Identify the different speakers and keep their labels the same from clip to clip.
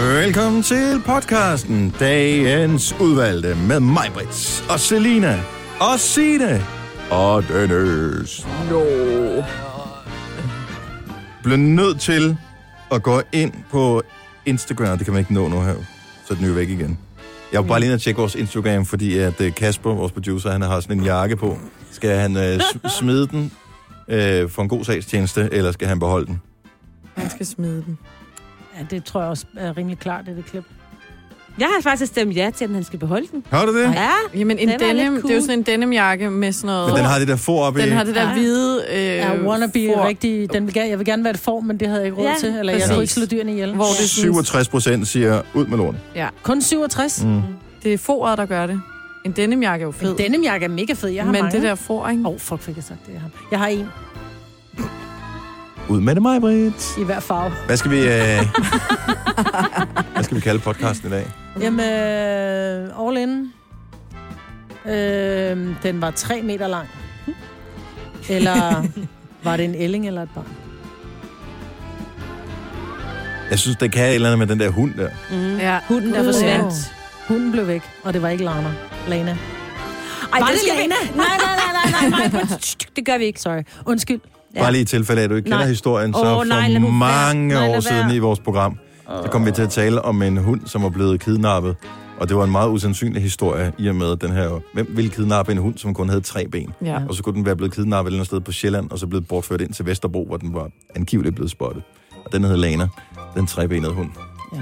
Speaker 1: velkommen til podcasten Dagens Udvalgte med mig, Brits, og Selina, og Sine og Dennis.
Speaker 2: No.
Speaker 1: Bliver nødt til at gå ind på Instagram, det kan man ikke nå nu her, så den er jo væk igen. Jeg var bare lige inde og tjekke vores Instagram, fordi at øh, Kasper, vores producer, han har sådan en jakke på. Skal han øh, s- smide den øh, for en god sagstjeneste, eller skal han beholde den?
Speaker 2: Han skal smide den.
Speaker 3: Ja, det tror jeg også er rimelig klart, det, det klip.
Speaker 4: Jeg har faktisk stemt ja til, at han skal beholde den.
Speaker 1: Har du det?
Speaker 4: Ja.
Speaker 2: Jamen, en
Speaker 4: Den er lidt
Speaker 2: denim, cool. det er jo
Speaker 4: cool.
Speaker 2: sådan en denimjakke med sådan noget...
Speaker 1: Men den har det der for op i.
Speaker 2: den har det der
Speaker 4: Ja.
Speaker 2: hvide... Øh,
Speaker 3: Jeg øh, wannabe er
Speaker 2: for,
Speaker 3: rigtig... Den vil gerne, jeg vil gerne være et form, men det havde jeg ikke råd
Speaker 4: Ja,
Speaker 3: til. Eller jeg
Speaker 1: præcis.
Speaker 3: kunne ikke slå dyrene ihjel.
Speaker 2: Hvor det, sådan,
Speaker 1: 67 procent siger, ud med lorten.
Speaker 3: Kun 67. Mm.
Speaker 1: Mm.
Speaker 2: det er foret, der gør det. En denimjakke er jo fed.
Speaker 3: Men denne jakke er mega fed. Jeg har
Speaker 2: Men
Speaker 3: mange.
Speaker 2: det der for, ikke?
Speaker 3: Åh, oh, fuck, fik jeg sagt det. Jeg har, jeg har en
Speaker 1: Ud med det, mig, Britt.
Speaker 3: i hver farve.
Speaker 1: Hvad skal vi... Øh... Hvad skal vi kalde podcasten i dag?
Speaker 3: Jamen, øh, all in. Øh, den var 3 meter lang. Eller var det en elling eller et barn?
Speaker 1: Jeg synes, det kan et eller andet med den der hund der.
Speaker 4: Mm.
Speaker 2: Ja.
Speaker 3: Hunden
Speaker 4: er forsvandt.
Speaker 3: Hunden blev væk, og det var ikke Lana. Lana.
Speaker 4: Ej,
Speaker 3: Var
Speaker 4: det,
Speaker 3: det
Speaker 4: skal vi
Speaker 3: Lena?
Speaker 4: ikke. Nej, nej, nej, nej, nej, nej. Maj-Brit. Tsk, tsk, Det gør vi ikke.
Speaker 3: Sorry. Undskyld.
Speaker 4: Ja.
Speaker 1: Bare lige i tilfælde af, at du ikke
Speaker 4: Nej.
Speaker 1: kender historien, så
Speaker 4: Åh,
Speaker 1: for
Speaker 4: nej, lad nu være.
Speaker 1: mange
Speaker 4: Nej, lad
Speaker 1: år
Speaker 4: være.
Speaker 1: siden i vores program, så kom vi til at tale om en hund, som var blevet kidnappet. Og det var en meget usandsynlig historie, i og med at den her... Hvem ville kidnappe en hund, som kun havde tre ben?
Speaker 2: Ja.
Speaker 1: Og så kunne den være blevet kidnappet et eller andet sted på Sjælland, og så blevet bortført ind til Vesterbro, hvor den var angiveligt blevet spottet. Og den hed Lana, den trebenede hund.
Speaker 3: Ja.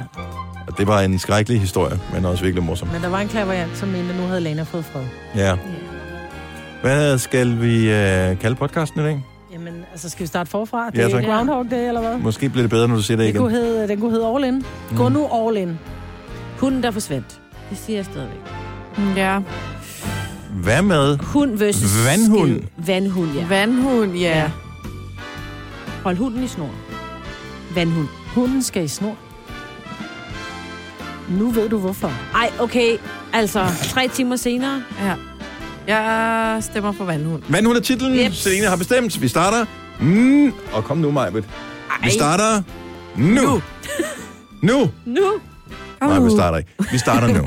Speaker 1: Og det var en skrækkelig historie, men også virkelig morsom.
Speaker 3: Men der var en klaverjant, som mente, at nu havde Lana fået fred.
Speaker 1: Ja. Hvad skal vi øh, kalde podcasten i dag?
Speaker 3: Jamen, altså, skal vi starte forfra?
Speaker 1: Ja,
Speaker 3: det er
Speaker 1: tak.
Speaker 3: Groundhog Day, eller hvad?
Speaker 1: Måske bliver det bedre, når du siger det
Speaker 3: Det
Speaker 1: igen. Mm.
Speaker 3: kunne hedde, den kunne hedde All In. Gå nu All In.
Speaker 4: Hunden, der forsvandt. Det siger jeg stadigvæk.
Speaker 2: ja.
Speaker 1: Hvad med?
Speaker 4: Hund versus
Speaker 1: Vandhund.
Speaker 4: skid. Vandhund, ja.
Speaker 2: Vandhund, ja.
Speaker 4: Ja. Hold hunden i snor. Vandhund.
Speaker 3: Hunden skal i snor. Nu ved du hvorfor.
Speaker 4: Ej, okay. Altså, tre timer senere.
Speaker 2: ja. Jeg stemmer for vandhund.
Speaker 1: Hvad hun er titlen?
Speaker 4: Yep.
Speaker 1: Selina har bestemt. Vi starter. Mm, og kom nu, Majbet. Vi starter nu. Nu. nu.
Speaker 4: Nu.
Speaker 1: Nej, vi starter ikke. Vi starter nu.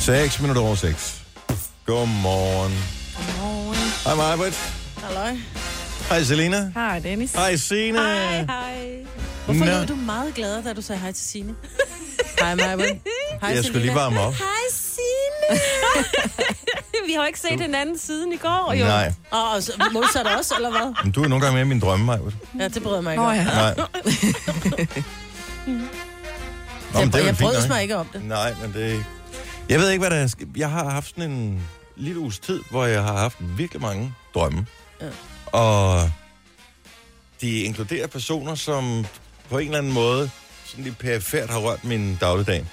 Speaker 1: 6 minutter over 6. Godmorgen. Hej, Majbet.
Speaker 3: Halløj.
Speaker 1: Hej, Selina.
Speaker 2: Hej, Dennis.
Speaker 1: Hej, Sina.
Speaker 4: Hej.
Speaker 3: Hvorfor
Speaker 1: Nå.
Speaker 3: lød du meget glad, da du sagde hej til Signe? hej, Maja. Hej,
Speaker 1: Jeg skulle lige
Speaker 3: Selina.
Speaker 1: varme op.
Speaker 4: Hej, Signe. Vi har jo ikke set hinanden siden i går, jo.
Speaker 1: Nej,
Speaker 3: Og, og så- modsat også, eller hvad?
Speaker 1: men du er nogle gange mere i min drømme, Majbet.
Speaker 3: Ja, det bryder jeg mig ikke
Speaker 2: Nå
Speaker 3: om.
Speaker 2: ja.
Speaker 1: Nej. Nå, men det er
Speaker 3: Jeg,
Speaker 1: vel
Speaker 3: jeg
Speaker 1: fint
Speaker 3: brød
Speaker 1: nok.
Speaker 3: mig ikke om det.
Speaker 1: Nej, men det... Jeg ved ikke, hvad der er... sk- Jeg har haft sådan en lille uges tid, hvor jeg har haft virkelig mange drømme.
Speaker 3: Ja.
Speaker 1: Og de inkluderer personer, som på en eller anden måde sådan lidt perifært har rørt min dagligdag.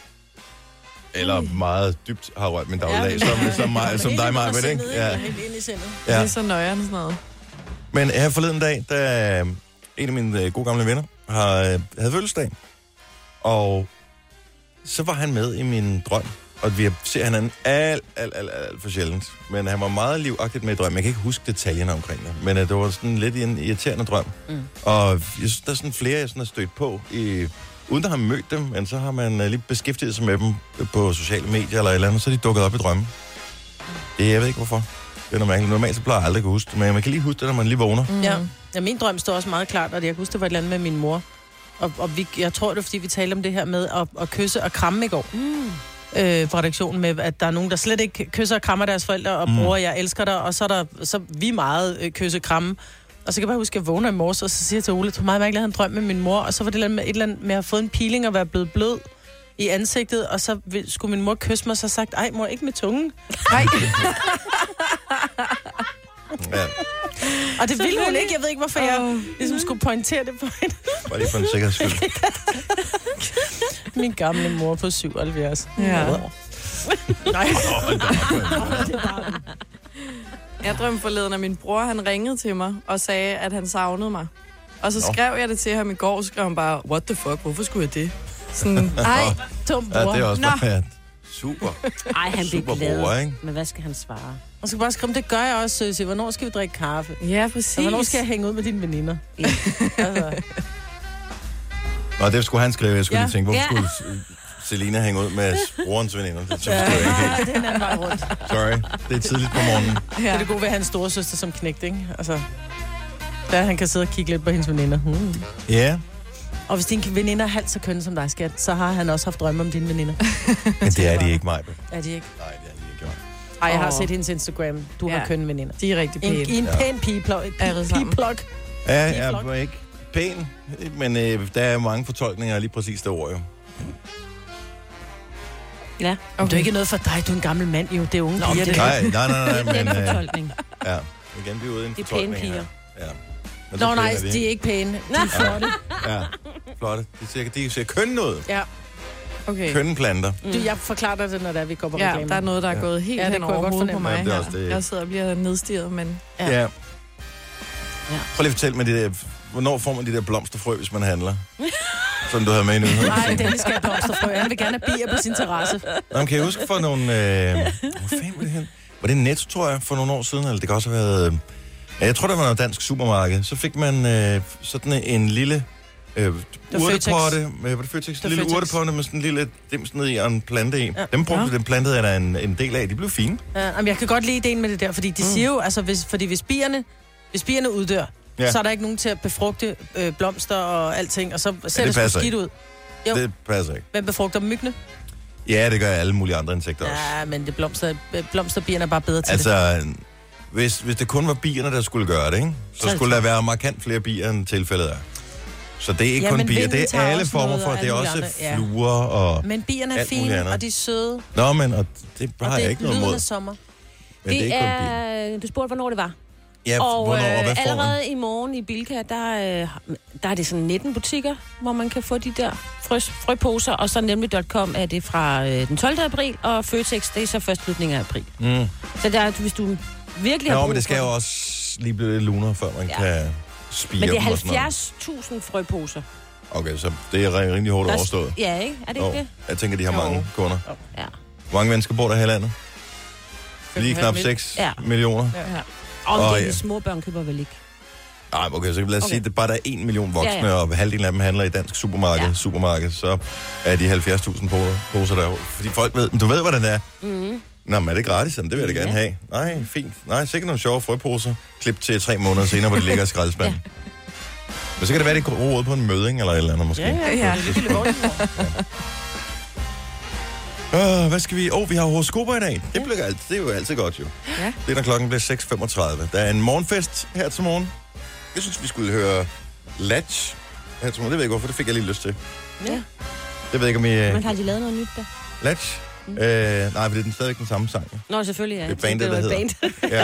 Speaker 1: Eller
Speaker 3: Mm.
Speaker 1: meget dybt har rørt min dagligdag, ja, som, som, mig, som dig, Maja, ved, ikke?
Speaker 3: Ja. Helt ind i sindet.
Speaker 2: Det
Speaker 1: ja.
Speaker 2: er så nøjeren sådan noget.
Speaker 1: Men her forleden dag, da øh, en af mine øh, gode gamle venner har, øh, havde fødselsdag, og så var han med i min drøm, og vi ser hinanden alt, alt, alt, alt, alt for sjældent. Men han var meget livagtigt med i drømmen. Jeg kan ikke huske detaljerne omkring det, men øh, det var sådan lidt en irriterende drøm. Mm. Og jeg synes, der er sådan flere, jeg sådan har stødt på, i, uden at have mødt dem, men så har man øh, lige beskæftiget sig med dem på sociale medier eller et eller andet, så er de dukket op i drømmen. Det, jeg ved ikke hvorfor. Det er noget mærkeligt. Normalt så plejer jeg aldrig at kunne huske det, men man kan lige huske det, når man lige vågner.
Speaker 3: Mm. Ja. ja, min drøm står også meget klart, og jeg kan huske, det var et eller andet med min mor. Og, og vi, jeg tror, det er, fordi vi talte om det her med at, at kysse og kramme i går. Mm. Øh, på redaktionen med, at der er nogen, der slet ikke kysser og krammer deres forældre, og mm. bror, jeg elsker dig, og så er der, så er vi meget øh, kysse kramme. Og så kan jeg bare huske, at jeg vågner i morges, og så siger jeg til Ole, det var meget mærkeligt, jeg havde en drøm med min mor, og så var det et eller andet med, et eller andet med at have fået en peeling og være blevet blød i ansigtet, og så vil- skulle min mor kysse mig, og så har jeg sagt, ej mor, ikke med tungen.
Speaker 2: Nej.
Speaker 1: Ja,
Speaker 3: Og det ville hun
Speaker 4: Selvfølgelig.
Speaker 3: ikke, jeg ved ikke, hvorfor jeg ligesom skulle pointere det for hende.
Speaker 1: bare lige for en sikkerheds skyld.
Speaker 3: Min gamle mor på 77.
Speaker 2: Ja.
Speaker 3: Nej.
Speaker 2: Jeg drømte forleden, at min bror han ringede til mig og sagde, at han savnede mig. Og så
Speaker 1: Nå.
Speaker 2: skrev jeg det til ham i går, og så skrev han bare, what the fuck, hvorfor skulle jeg det? Sådan, ej,
Speaker 3: Tom bror.
Speaker 1: Ja, det er også
Speaker 2: Nå.
Speaker 1: bare ja. Super.
Speaker 4: Ej, han blev
Speaker 1: Super
Speaker 4: glad.
Speaker 1: bror, ikke?
Speaker 4: Men hvad skal han svare?
Speaker 3: Og så bare skrive, det gør jeg også, Søsie. Hvornår skal vi drikke kaffe?
Speaker 2: ja,
Speaker 3: Og
Speaker 2: præcis.
Speaker 3: hvornår skal jeg hænge ud med dine veninder?
Speaker 4: Ja.
Speaker 3: Altså,
Speaker 1: Nå, det skulle han skrive. Jeg skulle ja.
Speaker 2: Ja.
Speaker 1: lige tænke, hvorfor
Speaker 4: Ja.
Speaker 1: skulle S- Selina hænge ud med brorens veninder? Det forstår jeg ikke helt.
Speaker 3: det er en anden vej rundt. Det
Speaker 1: Sorry, det er tidligt på morgenen.
Speaker 3: er
Speaker 2: Ja.
Speaker 3: det gode ved at have en storesøster som knægt, ikke? Altså, der han kan sidde og kigge lidt på hendes veninder. Hmm.
Speaker 1: Ja,
Speaker 3: Og hvis din veninder er halvt så køn som dig, skat, så har han også haft drømme om dine veninder.
Speaker 1: men det er de ikke, Maja. Nej,
Speaker 3: Er de ikke?
Speaker 1: det er de ikke, Maja.
Speaker 3: Ej, jeg har
Speaker 2: Åh.
Speaker 3: set hendes Instagram. Du ja. har
Speaker 2: Ja.
Speaker 3: kønne veninder.
Speaker 2: De er rigtig
Speaker 3: En,
Speaker 2: pæne.
Speaker 3: I en
Speaker 1: Ja.
Speaker 3: pæn pigeplok.
Speaker 2: Er det sammen?
Speaker 3: Pigeplok.
Speaker 1: Ja,
Speaker 3: Lige
Speaker 1: jeg
Speaker 3: flot.
Speaker 1: er ikke pæn, men øh, der er mange fortolkninger af lige præcis det ord, jo.
Speaker 4: Ja.
Speaker 3: Okay. Det er ikke noget for dig, du er en gammel mand, jo. Det er unge Nå, piger. Det.
Speaker 1: Nej, nej, nej, nej,
Speaker 4: Den
Speaker 1: men øh,
Speaker 4: fortolkning.
Speaker 1: ja. Igen, vi er ude i en
Speaker 4: Det er
Speaker 1: fortolkning.
Speaker 4: pæne piger.
Speaker 1: her. Ja. Men så
Speaker 3: Nå,
Speaker 1: pæne
Speaker 3: nej,
Speaker 1: er vi
Speaker 3: de er ikke pæne. De er flotte.
Speaker 1: Ja, flotte. De ser, de ser kønne ud.
Speaker 3: Ja.
Speaker 2: Okay. Mm.
Speaker 1: Kønne planter.
Speaker 3: Du, jeg forklarer dig det, når det er, vi går på
Speaker 2: Ja,
Speaker 3: reklamer.
Speaker 2: der er noget, der er gået helt
Speaker 3: Ja,
Speaker 2: ja,
Speaker 3: det
Speaker 2: hen
Speaker 3: kunne jeg
Speaker 2: over
Speaker 3: godt
Speaker 2: hovedet på
Speaker 3: fornemme.
Speaker 2: mig
Speaker 1: Jamen, det er også
Speaker 2: her.
Speaker 1: det.
Speaker 2: Jeg sidder og bliver nedstiget, men
Speaker 3: Ja.
Speaker 1: Ja. ja. Prøv lige at fortælle mig, det der, hvornår får man de der blomsterfrø, hvis man handler? Som du havde med i nyheden.
Speaker 3: Nej, Dennis skal have blomsterfrø. Han vil gerne have bier på sin terrasse.
Speaker 1: Nå, men kan jeg huske for nogle... Øh, hvor fanden var det hen? Var det Netto, tror jeg, for nogle år siden? Eller det kan også have været... Øh, ja, jeg tror, det var noget dansk supermarked. Så fik man øh, sådan en lille øh,
Speaker 3: var
Speaker 1: urtepotte. Øh, var det Føtex?
Speaker 3: var
Speaker 1: En lille
Speaker 3: er Føtex.
Speaker 1: urtepotte med sådan en lille dims ned i og en plante i.
Speaker 3: Ja.
Speaker 1: Ja. Dem brugte
Speaker 3: Nå.
Speaker 1: ja. den plantede jeg da en, en del af. De blev fine.
Speaker 3: Ja, jamen, jeg kan godt lide ideen med det der, fordi de mm. siger jo, altså, hvis, fordi hvis bierne, hvis bierne uddør, ja.
Speaker 1: Ja.
Speaker 3: så er der ikke nogen til at befrugte øh, blomster og alting, og så ser ja, det, det
Speaker 1: passer
Speaker 3: sgu skidt ud. Jo.
Speaker 1: Jo. Det passer ikke.
Speaker 3: Hvem befrugter dem? myggene?
Speaker 1: Ja, det gør alle mulige andre insekter også.
Speaker 3: Ja, men det blomster, øh, blomsterbierne er bare bedre til altså, det.
Speaker 1: Altså, hvis, hvis det kun var bierne, der skulle gøre det, ikke? så
Speaker 3: Så-
Speaker 1: skulle der være markant flere bier, end tilfældet er. Så det er ikke
Speaker 3: Ja,
Speaker 1: ja, kun
Speaker 3: men
Speaker 1: bier,
Speaker 3: vinden
Speaker 1: det er
Speaker 3: tager
Speaker 1: alle
Speaker 3: også
Speaker 1: former
Speaker 3: noget,
Speaker 1: for.
Speaker 3: og
Speaker 1: Det er
Speaker 3: alle
Speaker 1: også
Speaker 3: mulige andre, ja.
Speaker 1: fluer og...
Speaker 3: Men bierne er
Speaker 1: alt muligt
Speaker 3: fine,
Speaker 1: andet.
Speaker 3: og de er søde, og
Speaker 1: Nå, men og det har
Speaker 3: det
Speaker 1: jeg
Speaker 3: er
Speaker 1: ikke noget
Speaker 3: lyden af
Speaker 1: imod.
Speaker 3: sommer.
Speaker 1: Men det er ikke kun bier.
Speaker 4: er, du spurgte, hvornår det var.
Speaker 1: Ja,
Speaker 4: Og
Speaker 1: hvornår, og hvad
Speaker 4: øh,
Speaker 1: får man?
Speaker 4: allerede i morgen i Bilka, der, øh, der er det sådan 19 butikker, hvor man kan få de der frøs, frøposer. Og så nemlig.com er det fra øh, den 12. april, og Føtex, det er så først slutningen af april.
Speaker 1: Mm.
Speaker 4: Så der, er- hvis du virkelig har
Speaker 1: Nå,
Speaker 4: brug
Speaker 1: men det skal
Speaker 4: for
Speaker 1: jo
Speaker 4: dem.
Speaker 1: også lige blive lidt lunere, før man
Speaker 4: Ja.
Speaker 1: kan spire
Speaker 4: Men det
Speaker 1: dem og sådan noget.
Speaker 4: er 70.000 frøposer.
Speaker 1: Okay, så det er ri- rimelig hårdt
Speaker 4: Der-
Speaker 1: overstået.
Speaker 4: Ja, ikke? Er det
Speaker 1: Nå,
Speaker 4: ikke det?
Speaker 1: jeg tænker, de har
Speaker 4: Jo.
Speaker 1: mange kunder.
Speaker 4: Ja.
Speaker 1: Hvor mange mennesker bor der her i landet? Lige knap 6
Speaker 4: Ja.
Speaker 1: millioner.
Speaker 4: Og
Speaker 1: Åh,
Speaker 4: oh, det
Speaker 1: ja.
Speaker 4: er de små børn køber vel ikke.
Speaker 1: Nej, okay, så lad os okay.
Speaker 4: Okay.
Speaker 1: sige, at der bare der er en million voksne, ja,
Speaker 4: Ja,
Speaker 1: ja.
Speaker 4: ja.
Speaker 1: og halvdelen af dem handler i dansk supermarked, ja.
Speaker 4: Ja.
Speaker 1: supermarked så er de 70.000 po- poser der. Fordi folk ved, men du ved, hvordan det er.
Speaker 4: Mm.
Speaker 1: Nå, men er det gratis? Jamen, det vil jeg da gerne
Speaker 4: Ja.
Speaker 1: have. Nej, fint. Nej, sikkert nogle sjove frøposer. Klip til tre måneder senere, hvor de ligger i skraldespanden. ja. Men så kan det være, at det går råd på en møde, ikke? eller et eller andet måske. Ja,
Speaker 2: ja.
Speaker 1: ja. Øh, hvad skal vi? Åh, oh, vi har horoskoper i dag. Det, bliver alt, det er jo altid godt, jo.
Speaker 2: Ja.
Speaker 1: Det er, når klokken bliver 6.35. Der er en morgenfest her til morgen. Jeg synes, vi skulle høre Latch her til morgen. Det ved jeg ikke, hvorfor. Det fik jeg lige lyst til.
Speaker 4: Ja.
Speaker 1: Det ved jeg ikke, om I... øh,
Speaker 4: Men har de lavet noget nyt der?
Speaker 1: Latch? Mm. Øh, nej, for det er den stadigvæk den samme sang. jo.
Speaker 4: Nå, selvfølgelig, ja.
Speaker 1: Det er bandet,
Speaker 4: var
Speaker 1: der
Speaker 4: et
Speaker 1: hedder.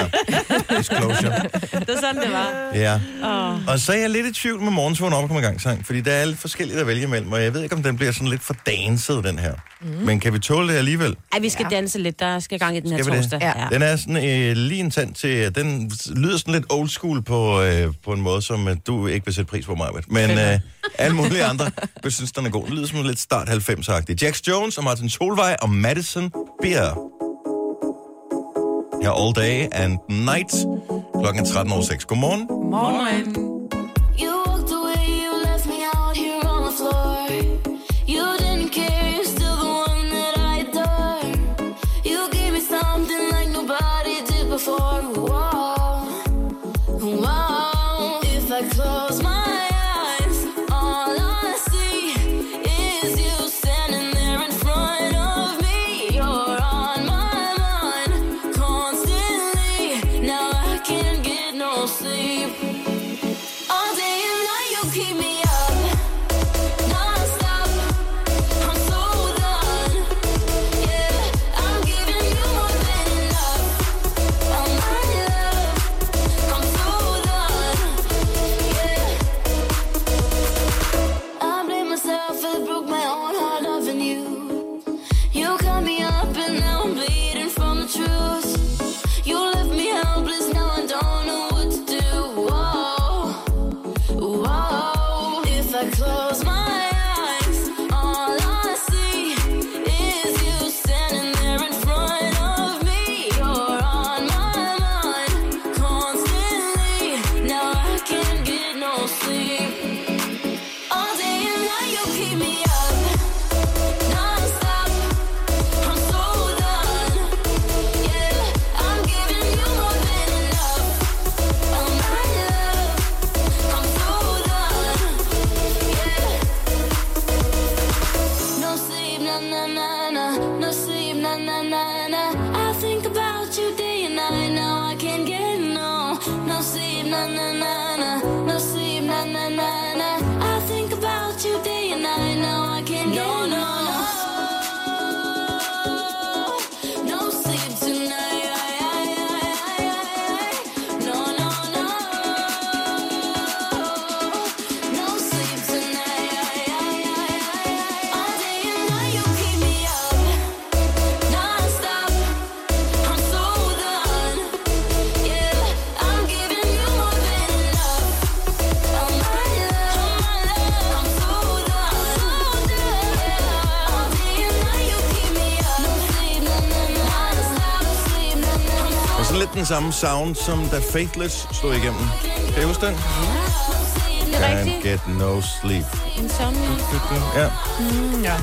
Speaker 1: Ja. Disclosure.
Speaker 4: Band. det er sådan, det var.
Speaker 1: Ja.
Speaker 4: Åh.
Speaker 1: Og så er jeg lidt i tvivl med morgensvågen op og gang sang, fordi der er lidt forskelligt at vælge imellem, og jeg ved ikke, om den bliver sådan lidt for danset, den her. Mm. Men kan vi tåle det alligevel?
Speaker 4: Ej, vi skal ja. danse lidt. Der skal gang i den her
Speaker 1: Skal vi det?
Speaker 4: torsdag.
Speaker 2: Ja.
Speaker 1: Den er sådan øh, lige en tand til... Den lyder sådan lidt old school på, øh, på en måde, som øh, du ikke vil sætte pris på, Marvitt. Men øh, alle mulige andre vil synes, den er god. Den lyder som lidt start 90'er-agtig. Jax Jones og Martin Solvej og Madison Beer. Her all day and night. Klokken er 13.06. Godmorgen.
Speaker 2: Morgen.
Speaker 5: You walked away, you left me out here on the floor. You didn't care, you're still the one that I adore. You gave me something like nobody did before. Whoa, whoa. If I close my eyes, all I see is you standing there in front of me. You're on my mind constantly. Now I can't get no sleep. All day and night you keep me up, non-stop. I'm so done. Yeah, I'm giving you more than enough. All my love, na na na na. No sleep, na na na na. I think about you day and night. Now I can't no, get no, no. No sleep tonight. No, no, no. No sleep tonight. All day and night you keep me up, nonstop. I'm so done. Yeah, I'm giving you more than enough. Oh my love, oh my love, I'm so done. All day and night you keep me up, no sleep, no no no, nonstop, no sleep, no no no.
Speaker 1: Og sådan lidt den samme sound, som da Faithless slog igennem. Kan I huske den?
Speaker 4: Det er
Speaker 1: Can't
Speaker 4: rigtigt.
Speaker 1: get no sleep.
Speaker 4: Insomnia. Mm.
Speaker 1: Ja.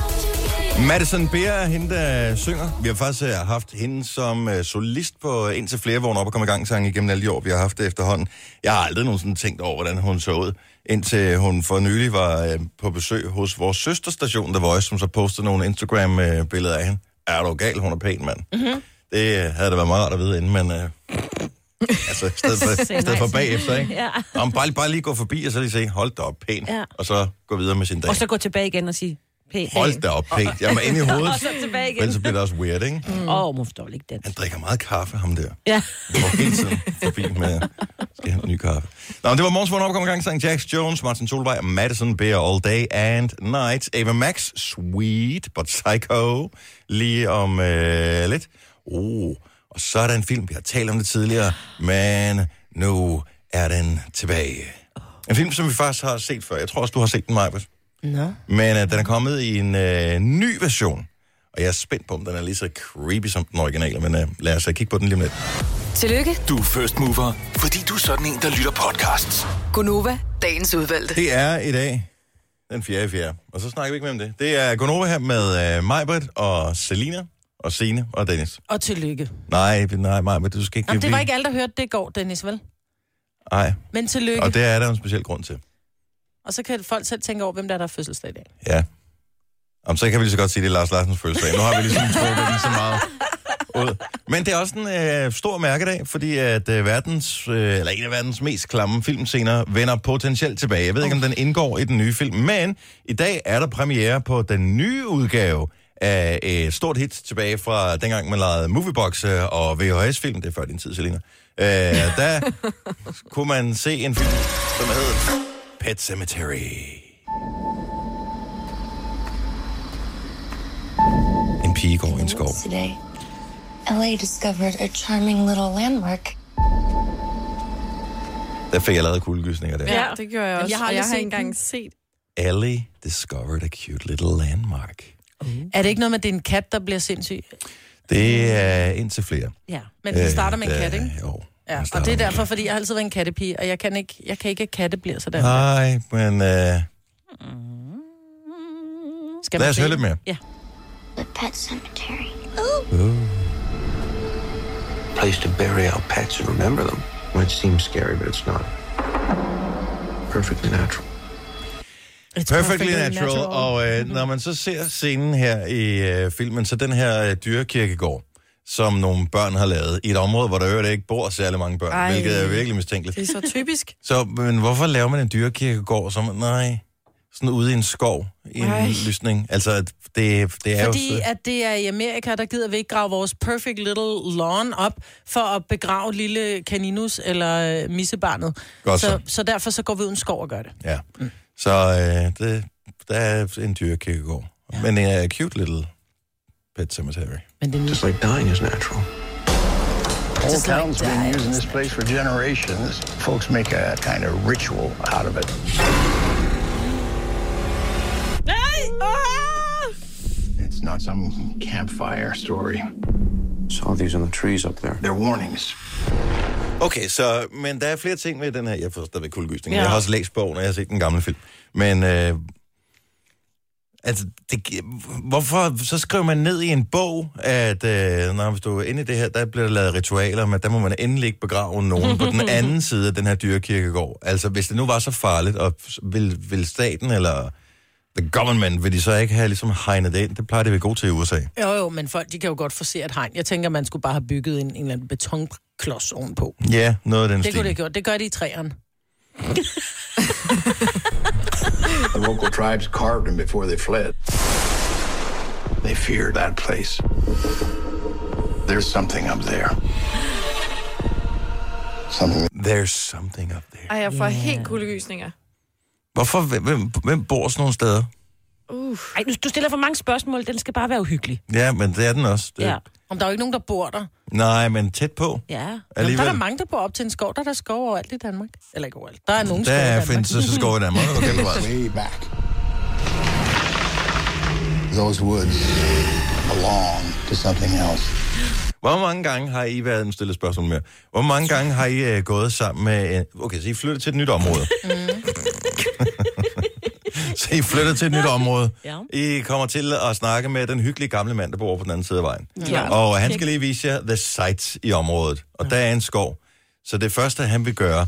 Speaker 1: Madison Beer er hende, der synger. Vi har faktisk øh, haft hende som øh, solist på indtil flere vågne op og komme i gang sang igennem alle de år, vi har haft det efterhånden. Jeg har aldrig nogensinde tænkt over, hvordan hun så ud, indtil hun for nylig var øh, på besøg hos vores søsterstation, The Voice, som så postede nogle Instagram-billeder af hende. Er du gal? Hun er pæn, mand. Mm-hmm. Det øh, havde det været meget rart at vide inden, men... Øh, altså, i stedet for, i stedet for bagefter, ikke?
Speaker 4: Ja.
Speaker 1: Nå, men bare, bare lige gå forbi og så lige se, hold da op, pæn.
Speaker 4: Ja.
Speaker 1: Og så gå videre med sin dag.
Speaker 4: Og så gå tilbage igen og sige, pænt.
Speaker 1: Hold da op, pænt. Jeg var inde i hovedet.
Speaker 4: Og så tilbage igen.
Speaker 1: Men så bliver det også weird, ikke? Mm.
Speaker 4: Åh, oh, må forstå ikke den.
Speaker 1: Han drikker meget kaffe, ham der.
Speaker 4: Ja.
Speaker 1: Går hele tiden forbi med, skal have en ny kaffe. Nå, men det var morgens vågen opkommer gang, sang Jax Jones, Martin Solvej, Madison Beer All Day and Night, Ava Max, Sweet, but Psycho, lige om øh, lidt. Oh, og så er der en film, vi har talt om det tidligere, men nu er den tilbage. En film, som vi faktisk har set før. Jeg tror også, du har set den, Majbert.
Speaker 3: Nå.
Speaker 1: Men øh, den er kommet i en øh, ny version. Og jeg er spændt på, om den er lige så creepy som den originale. Men øh, lad os øh, kigge på den lige om lidt.
Speaker 6: Tillykke,
Speaker 7: Du er first mover, fordi du er sådan en, der lytter podcasts.
Speaker 6: Gunova, dagens udvalgte.
Speaker 1: Det er i dag den 4. 4. Og så snakker vi ikke mere om det. Det er Gonova her med øh, Majbert og Selina og Sine og Dennis.
Speaker 3: Og tillykke.
Speaker 1: Nej, nej, Majbert, du skal ikke...
Speaker 3: Jamen, det var
Speaker 1: blive-
Speaker 3: ikke alle, der hørte det i går, Dennis, vel?
Speaker 1: Nej,
Speaker 3: Men tillykke. Og,
Speaker 1: og
Speaker 3: det...
Speaker 1: det er der jo en speciel grund til.
Speaker 3: og så kan folk selv tænke over, hvem der er, der er fødselsdag i dag.
Speaker 1: Ja. Jamen, så kan vi lige så godt sige, det er Lars Larsens fødselsdag. Nu har vi ligesom trukket den så meget ud. Men det er også en øh, stor mærkedag, fordi at øh, verdens, øh, eller en af verdens mest klamme filmscener vender potentielt tilbage. Jeg ved ikke, om den indgår i den nye film, men i dag er der premiere på den nye udgave af et stort hit tilbage fra dengang, man lavede movieboxe og VHS-film. Det er før din tid, Selina. Øh, der kunne man se en film, som hed Pet Cemetery. En pige går i en skov.
Speaker 8: Today, LA discovered a charming little landmark.
Speaker 1: Der fik jeg lavet kuldegysninger der.
Speaker 2: Ja, det gjorde jeg også.
Speaker 3: jeg
Speaker 2: Jeg har,
Speaker 3: har
Speaker 2: og
Speaker 3: aldrig
Speaker 2: jeg har
Speaker 3: set
Speaker 2: ikke engang set.
Speaker 1: Ellie discovered a cute little landmark.
Speaker 3: Er det ikke noget med, at det er en kat, der bliver sindssyg?
Speaker 1: Det er indtil flere.
Speaker 4: Ja.
Speaker 3: Men den starter med en kat, ikke?
Speaker 1: Øh, Jo.
Speaker 3: Ja,
Speaker 1: den
Speaker 3: og
Speaker 1: starter
Speaker 3: det er
Speaker 1: med en
Speaker 3: derfor, fordi jeg har altid været en kattepige, og jeg kan ikke, jeg kan ikke at katte bliver sådan.
Speaker 1: kat. Nej, men øh,
Speaker 3: Skal
Speaker 1: lad os
Speaker 3: se
Speaker 1: høre
Speaker 3: den?
Speaker 1: lidt mere.
Speaker 8: The pet cemetery.
Speaker 1: Øh.
Speaker 9: place to bury our pets and remember them. It seems scary, but it's not. Perfectly natural.
Speaker 3: It's
Speaker 1: Perfectly natural. Og øh, når man så ser scenen her i øh, filmen, så den her øh, dyrekirkegård, som nogle børn har lavet i et område, hvor der i øvrigt ikke bor særlig mange børn, Ej.
Speaker 2: Ej.
Speaker 1: hvilket er virkelig mistænkeligt.
Speaker 2: Det er så typisk.
Speaker 1: Så, men hvorfor laver man en dyrekirkegård som, nej, sådan ude i en skov, i en
Speaker 2: Ej.
Speaker 1: lysning? Altså, at det, det er jo...
Speaker 3: Fordi
Speaker 1: så-
Speaker 3: at det er i Amerika, der gider vi ikke grave vores perfect little lawn op for at begrave lille kaninus eller øh, missebarnet.
Speaker 1: Godt så.
Speaker 3: Så, så derfor så går vi uden skov og gør det.
Speaker 1: Ja. Mm. Så øh, det, der er en dyrekirkegård. Ja. Men en uh, cute little pet cemetery.
Speaker 3: Men det er
Speaker 9: Just like dying is natural.
Speaker 10: The whole town's been using this place for generations. Folks make a kind of ritual out of it.
Speaker 2: Nej!
Speaker 10: It's not some campfire story.
Speaker 9: Saw these on the trees up there.
Speaker 10: They're warnings.
Speaker 1: Okay, så, men der er flere ting ved den her. Jeg får stadigvæk kuldegysning. Ja.
Speaker 3: Ja.
Speaker 1: Jeg har også læst bogen, og jeg har set den gamle film. Men, øh, altså, det, gi- hvorfor, så skriver man ned i en bog, at øh, når, hvis du er inde i det her, der bliver der lavet ritualer, men der må man endelig ikke begrave nogen på den anden side af den her dyrekirkegård. Altså, hvis det nu var så farligt, og s- ville, ville staten eller The government vil de så ikke have ligesom hegnet det ind. Det plejer det at være gode til i USA.
Speaker 3: Jo, jo, men folk, de kan jo godt forse et hegn. Jeg tænker, man skulle bare have bygget en, en eller anden betonklods ovenpå.
Speaker 1: Ja, noget af den
Speaker 3: det
Speaker 1: stil.
Speaker 3: kunne det have gjort. Det gør de i træerne.
Speaker 10: The local tribes carved them before they fled. They fear that place. There's something up there. Something.
Speaker 1: There's something up there.
Speaker 2: Ej, jeg får yeah. helt kuldegysninger.
Speaker 1: Hvorfor? Hvem- Hvem, hvem bor sådan nogle steder?
Speaker 4: Uh. Ej, du, du stiller for mange spørgsmål. Den skal bare være uhyggelig.
Speaker 1: Ja, men det er den også. Det,
Speaker 4: Ja.
Speaker 3: Om der er jo ikke nogen, der bor der.
Speaker 1: Nej, men tæt på.
Speaker 4: Ja.
Speaker 3: Jamen, der er
Speaker 1: Alligevel.
Speaker 3: der mange, der bor op til en skov. Der er der skov overalt i Danmark. Eller ikke overalt. Der er nogen skov i
Speaker 1: Der
Speaker 3: Danmark.
Speaker 1: findes så skov i Danmark. Okay, bevares.
Speaker 10: Way back. Those woods belong to something else.
Speaker 1: Hvor mange gange har I været, nu stiller jeg spørgsmål mere. Hvor mange gange har I øh, gået sammen med, øh, okay, så I flytter til et nyt område.
Speaker 4: Mm.
Speaker 1: så I flytter til et nyt område.
Speaker 4: Ja.
Speaker 1: I kommer til at snakke med den hyggelige gamle mand, der bor over på den anden side af vejen.
Speaker 4: Ja.
Speaker 1: Og han skal lige vise jer the sights i området. Og der er en skov. Så det første, han vil gøre,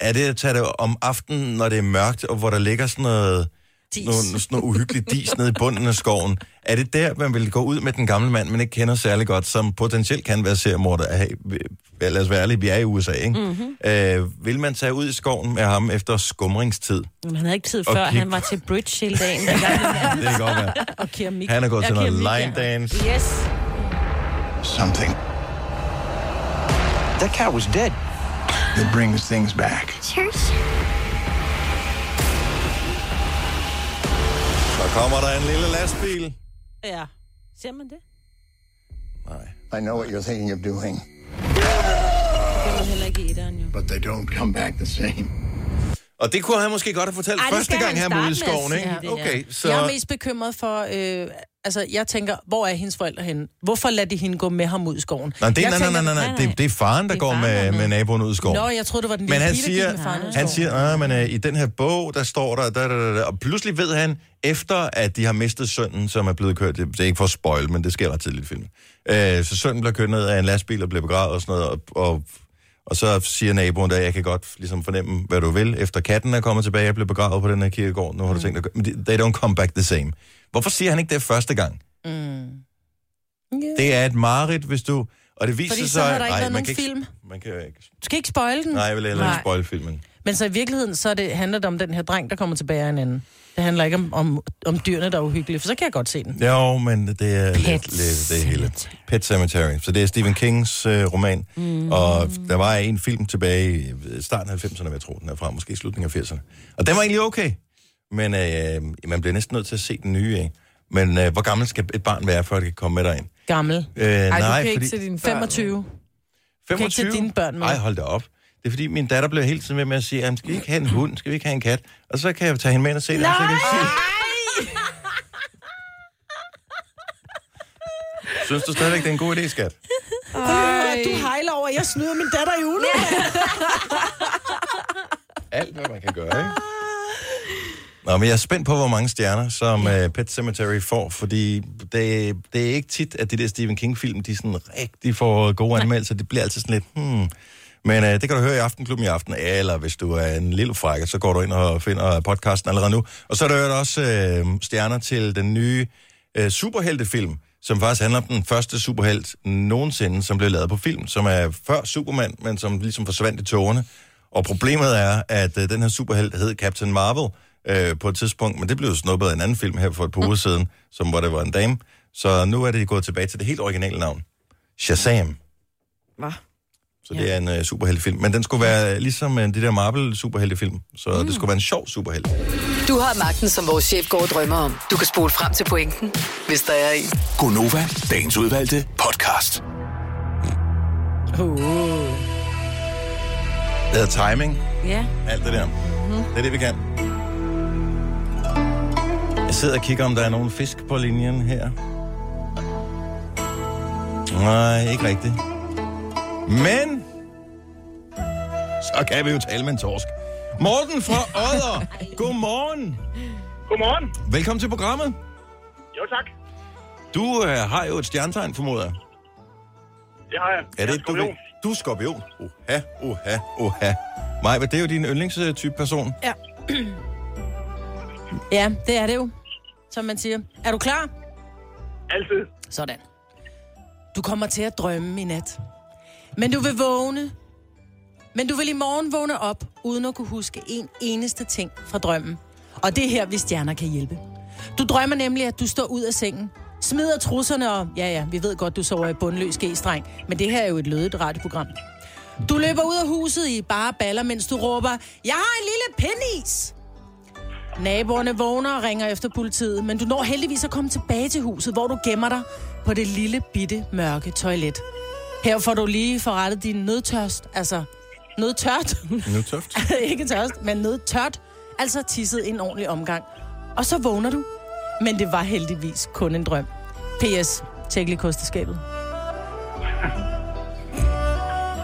Speaker 1: er det at tage det om aftenen, når det er mørkt, og hvor der ligger sådan noget,
Speaker 3: Dis.
Speaker 1: noget, sådan noget uhyggeligt dis nede i bunden af skoven. Er det der, man vil gå ud med den gamle mand, man ikke kender særlig godt, som potentielt kan være seriemorder? Hey, vi- lad os være ærlige, vi er i USA, ikke? Mm-hmm. Øh, vil man tage ud i skoven med ham efter skumringstid?
Speaker 4: Men han havde ikke tid
Speaker 1: Og
Speaker 4: før. Okay.
Speaker 1: kig-
Speaker 4: Han var til bridge hele dagen. Den gamle mand.
Speaker 1: Det kan godt være.
Speaker 4: og keramik.
Speaker 1: Han er gået
Speaker 4: Ja,
Speaker 1: til noget
Speaker 4: keramik, ja.
Speaker 1: line dance.
Speaker 4: Yes.
Speaker 10: Something
Speaker 9: That cat was dead.
Speaker 10: that brings things back.
Speaker 1: Så kommer der en lille lastbil.
Speaker 4: Ja. Ser man det?
Speaker 1: Nej.
Speaker 10: I know what you're thinking of doing,
Speaker 4: Det kan man heller ikke i etteren, jo.
Speaker 10: but they don't come back the same.
Speaker 1: Og det kunne han måske godt have fortalt
Speaker 4: Ej, det
Speaker 1: første
Speaker 4: skal
Speaker 1: gang,
Speaker 4: han
Speaker 1: han var ude i
Speaker 4: starte med at
Speaker 1: skoven, ikke?
Speaker 4: sige det, ja.
Speaker 1: Okay, så...
Speaker 3: Så... Jeg er mest bekymret for... Øh, altså, jeg tænker, hvor er hendes forældre henne? Hvorfor lader de hende gå med ham ud i skoven?
Speaker 1: Nej, det,
Speaker 3: Jeg
Speaker 1: nej, nej,
Speaker 3: tænker-
Speaker 1: nej, nej,
Speaker 4: nej,
Speaker 1: nej.
Speaker 4: nej.
Speaker 1: Det, det er faren,
Speaker 4: Det
Speaker 1: der
Speaker 4: er
Speaker 1: går
Speaker 4: faren, der
Speaker 1: med,
Speaker 4: er med.
Speaker 1: med naboen ud i skoven.
Speaker 3: Nå, jeg troede, det var den lille
Speaker 1: Men han
Speaker 3: pige, der gik
Speaker 1: siger,
Speaker 3: med faren ud i skoven.
Speaker 1: han siger, "Ah, men øh, i den her bog, der står der, da, da, da, da." og pludselig ved han, efter at de har mistet sønnen, som er blevet kørt, det det er ikke for at spoil, men det sker ret tidligt i filmen. Øh, så sønnen bliver kørt ned af en lastbil og bliver begravet og sådan noget, og, og, og så siger naboen der, jeg kan godt ligesom fornemme, hvad du vil, efter katten er kommet tilbage og blev begravet på den her kirkegård,
Speaker 3: Mm.
Speaker 1: nu har du tænkt dig at gøre, men de- they don't come back the same. Hvorfor siger han ikke det første gang?
Speaker 3: Yeah.
Speaker 1: Det er et mareridt, hvis du... Og det viser
Speaker 3: Fordi så
Speaker 1: sig...
Speaker 3: havde der ikke
Speaker 1: nej,
Speaker 3: været
Speaker 1: man
Speaker 3: nogen
Speaker 1: kan ikke,
Speaker 3: film.
Speaker 1: Man kan jo ikke...
Speaker 3: Du skal ikke spoile den.
Speaker 1: Nej, jeg vil heller ikke
Speaker 2: Nej.
Speaker 1: spoil filmen.
Speaker 3: Men så i virkeligheden, så er det, handler det om den her dreng, der kommer tilbage af en anden. Det handler ikke om, om, om dyrene, der er uhyggelige, for så kan jeg godt se den.
Speaker 1: Jo, men det er
Speaker 4: Pet
Speaker 1: lidt, lidt det hele. Pet Cemetery. Så det er Stephen Kings øh, roman. Mm. Og der var en film tilbage i øh, starten af 90'erne, vil jeg tror, den er fra. Måske i slutningen af 80'erne. Og den var egentlig okay. Men øh, man bliver næsten nødt til at se den nye, ikke? Men øh, hvor gammel skal et barn være, før det kan komme med dig ind?
Speaker 3: Gammel.
Speaker 1: Øh, Ej,
Speaker 2: Ej, du kan ikke se dine børn.
Speaker 3: 25. kan ikke tage dine børn med.
Speaker 1: Nej, hold da op. Det er fordi, min datter bliver hele tiden ved med at sige, "Jamen, skal vi ikke have en hund, skal vi ikke have en kat? Og så kan jeg tage hende med ind og se det. og Så kan jeg sige... Synes du stadigvæk, det er en god idé, skat?
Speaker 3: Ej. Du hejler over, at jeg snyder min datter i ugen. Yeah.
Speaker 1: Alt, hvad man kan gøre, ikke? Nå, men jeg er spændt på, hvor mange stjerner, som ja. uh, Pet Cemetery får, fordi det, det er ikke tit, at de der Stephen King-film, de sådan rigtig får gode anmeldelser. Det bliver altid sådan lidt, hmm. Men uh, det kan du høre i Aftenklubben i aften, eller hvis du er en lille frække, så går du ind og finder podcasten allerede nu. Og så er der i øvrigt også øh, stjerner til den nye øh, superheltefilm, som faktisk handler om den første superhelt nogensinde, som blev lavet på film, som er før Superman, men som ligesom forsvandt i tårerne. Og problemet er, at øh, den her superhelt hed Captain Marvel øh, på et tidspunkt, men det blev jo snuppet af en anden film her for et par uger siden, som hvor det var en dame. Så nu er det gået tilbage til det helt originale navn. Shazam.
Speaker 2: Hva?
Speaker 1: Så det er en øh, superheltefilm. Men den skulle være øh, ligesom øh, det der Marvel-superheltefilm. Så mm. det skulle være en sjov superhelt.
Speaker 6: Du har magten, som vores chef går og drømmer om. Du kan spole frem til pointen, hvis der er en.
Speaker 7: Gonova, dagens udvalgte podcast.
Speaker 3: Uh.
Speaker 1: Det hedder timing.
Speaker 4: Ja.
Speaker 1: Alt det der. Mm-hmm. Det er det, vi kan. Jeg sidder og kigger, om der er nogen fisk på linjen her. Nej, ikke rigtigt. Men... Så kan vi jo tale med en torsk. Morten fra Odder. Godmorgen.
Speaker 11: Godmorgen.
Speaker 1: Velkommen til programmet.
Speaker 11: Jo, tak.
Speaker 1: Du øh, har jo et stjernetegn, formoder jeg.
Speaker 11: Det har jeg.
Speaker 1: Er det
Speaker 11: Jeg
Speaker 1: ikke, du ved? Du er skorpion. Oha, oha, oha. Maja, det er jo din yndlingstype person.
Speaker 2: Ja.
Speaker 3: Ja, det er det jo, som man siger. Er du klar?
Speaker 11: Altid.
Speaker 3: Sådan. Du kommer til at drømme i nat. Men du vil vågne. Men du vil i morgen vågne op, uden at kunne huske en eneste ting fra drømmen. Og det er her, vi stjerner kan hjælpe. Du drømmer nemlig, at du står ud af sengen, smider trusserne og... Ja, ja, vi ved godt, du sover i bundløs g-streng, men det her er jo et lødigt radioprogram. Du løber ud af huset i bare baller, mens du råber, Jeg har en lille penis! Naboerne vågner og ringer efter politiet, men du når heldigvis at komme tilbage til huset, hvor du gemmer dig på det lille bitte mørke toilet. Her får du lige forrettet din nødtørst, altså nødtørt.
Speaker 1: Nødtøft.
Speaker 3: Ikke tørst, men nødtørt. Altså tisset en ordentlig omgang. Og så vågner du. Men det var heldigvis kun en drøm. P.S. Tjek lige kosteskabet.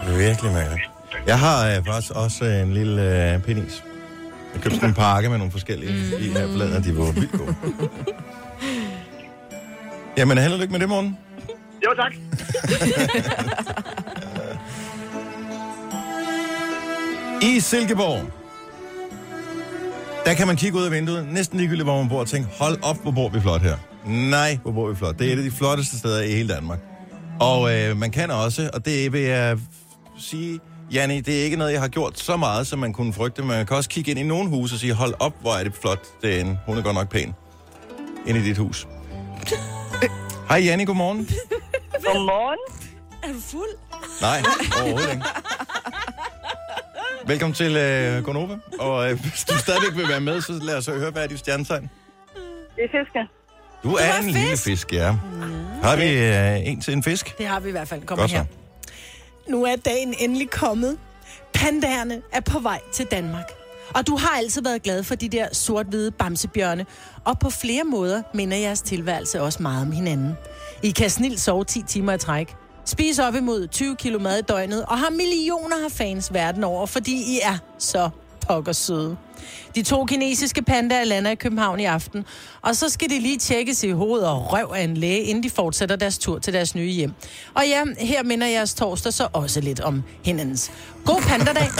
Speaker 1: Virkelig mærkeligt. Jeg har øh, faktisk også øh, en lille øh, penis. Jeg købte sådan en pakke med nogle forskellige i her forleden, og de var vildt gode. Jamen, held og lykke med det, morgen.
Speaker 11: Jo, tak.
Speaker 1: I Silkeborg, der kan man kigge ud af vinduet, næsten ligegyldigt, hvor man bor, og tænke, hold op, hvor bor vi flot her. Nej, hvor bor vi flot. Det er et af de flotteste steder i hele Danmark. Og øh, man kan også, og det vil jeg sige, Janni, det er ikke noget, jeg har gjort så meget, som man kunne frygte. Man kan også kigge ind i nogle huse og sige, hold op, hvor er det flot. Det er en, hun er godt nok pæn. Ind i dit hus. Hej Janni, godmorgen.
Speaker 12: Godmorgen.
Speaker 2: Er du fuld?
Speaker 1: Nej, overhovedet ikke. Velkommen til øh, Gonova. Og øh, hvis du stadigvæk vil være med, så lad os høre, hvad er dit stjernetegn?
Speaker 12: Det er fisker.
Speaker 1: Du er en lille fisk, ja. Har vi øh, en til en fisk?
Speaker 3: Det har vi i hvert fald. Kom
Speaker 1: Godt så.
Speaker 3: her. Nu er dagen endelig kommet. Pandaerne er på vej til Danmark. Og du har altid været glad for de der sort-hvide bamsebjørne, og på flere måder minder jeres tilværelse også meget om hinanden. I kan snilt sove 10 timer i træk, spise op imod 20 kilo mad i døgnet, og har millioner af fans verden over, fordi I er så pokker søde. De to kinesiske pandaer lander i København i aften, og så skal de lige tjekkes i hovedet og røv af en læge, inden de fortsætter deres tur til deres nye hjem. Og ja, her minder jeres torsdag så også lidt om hinandens. God pandadag!
Speaker 12: Øh,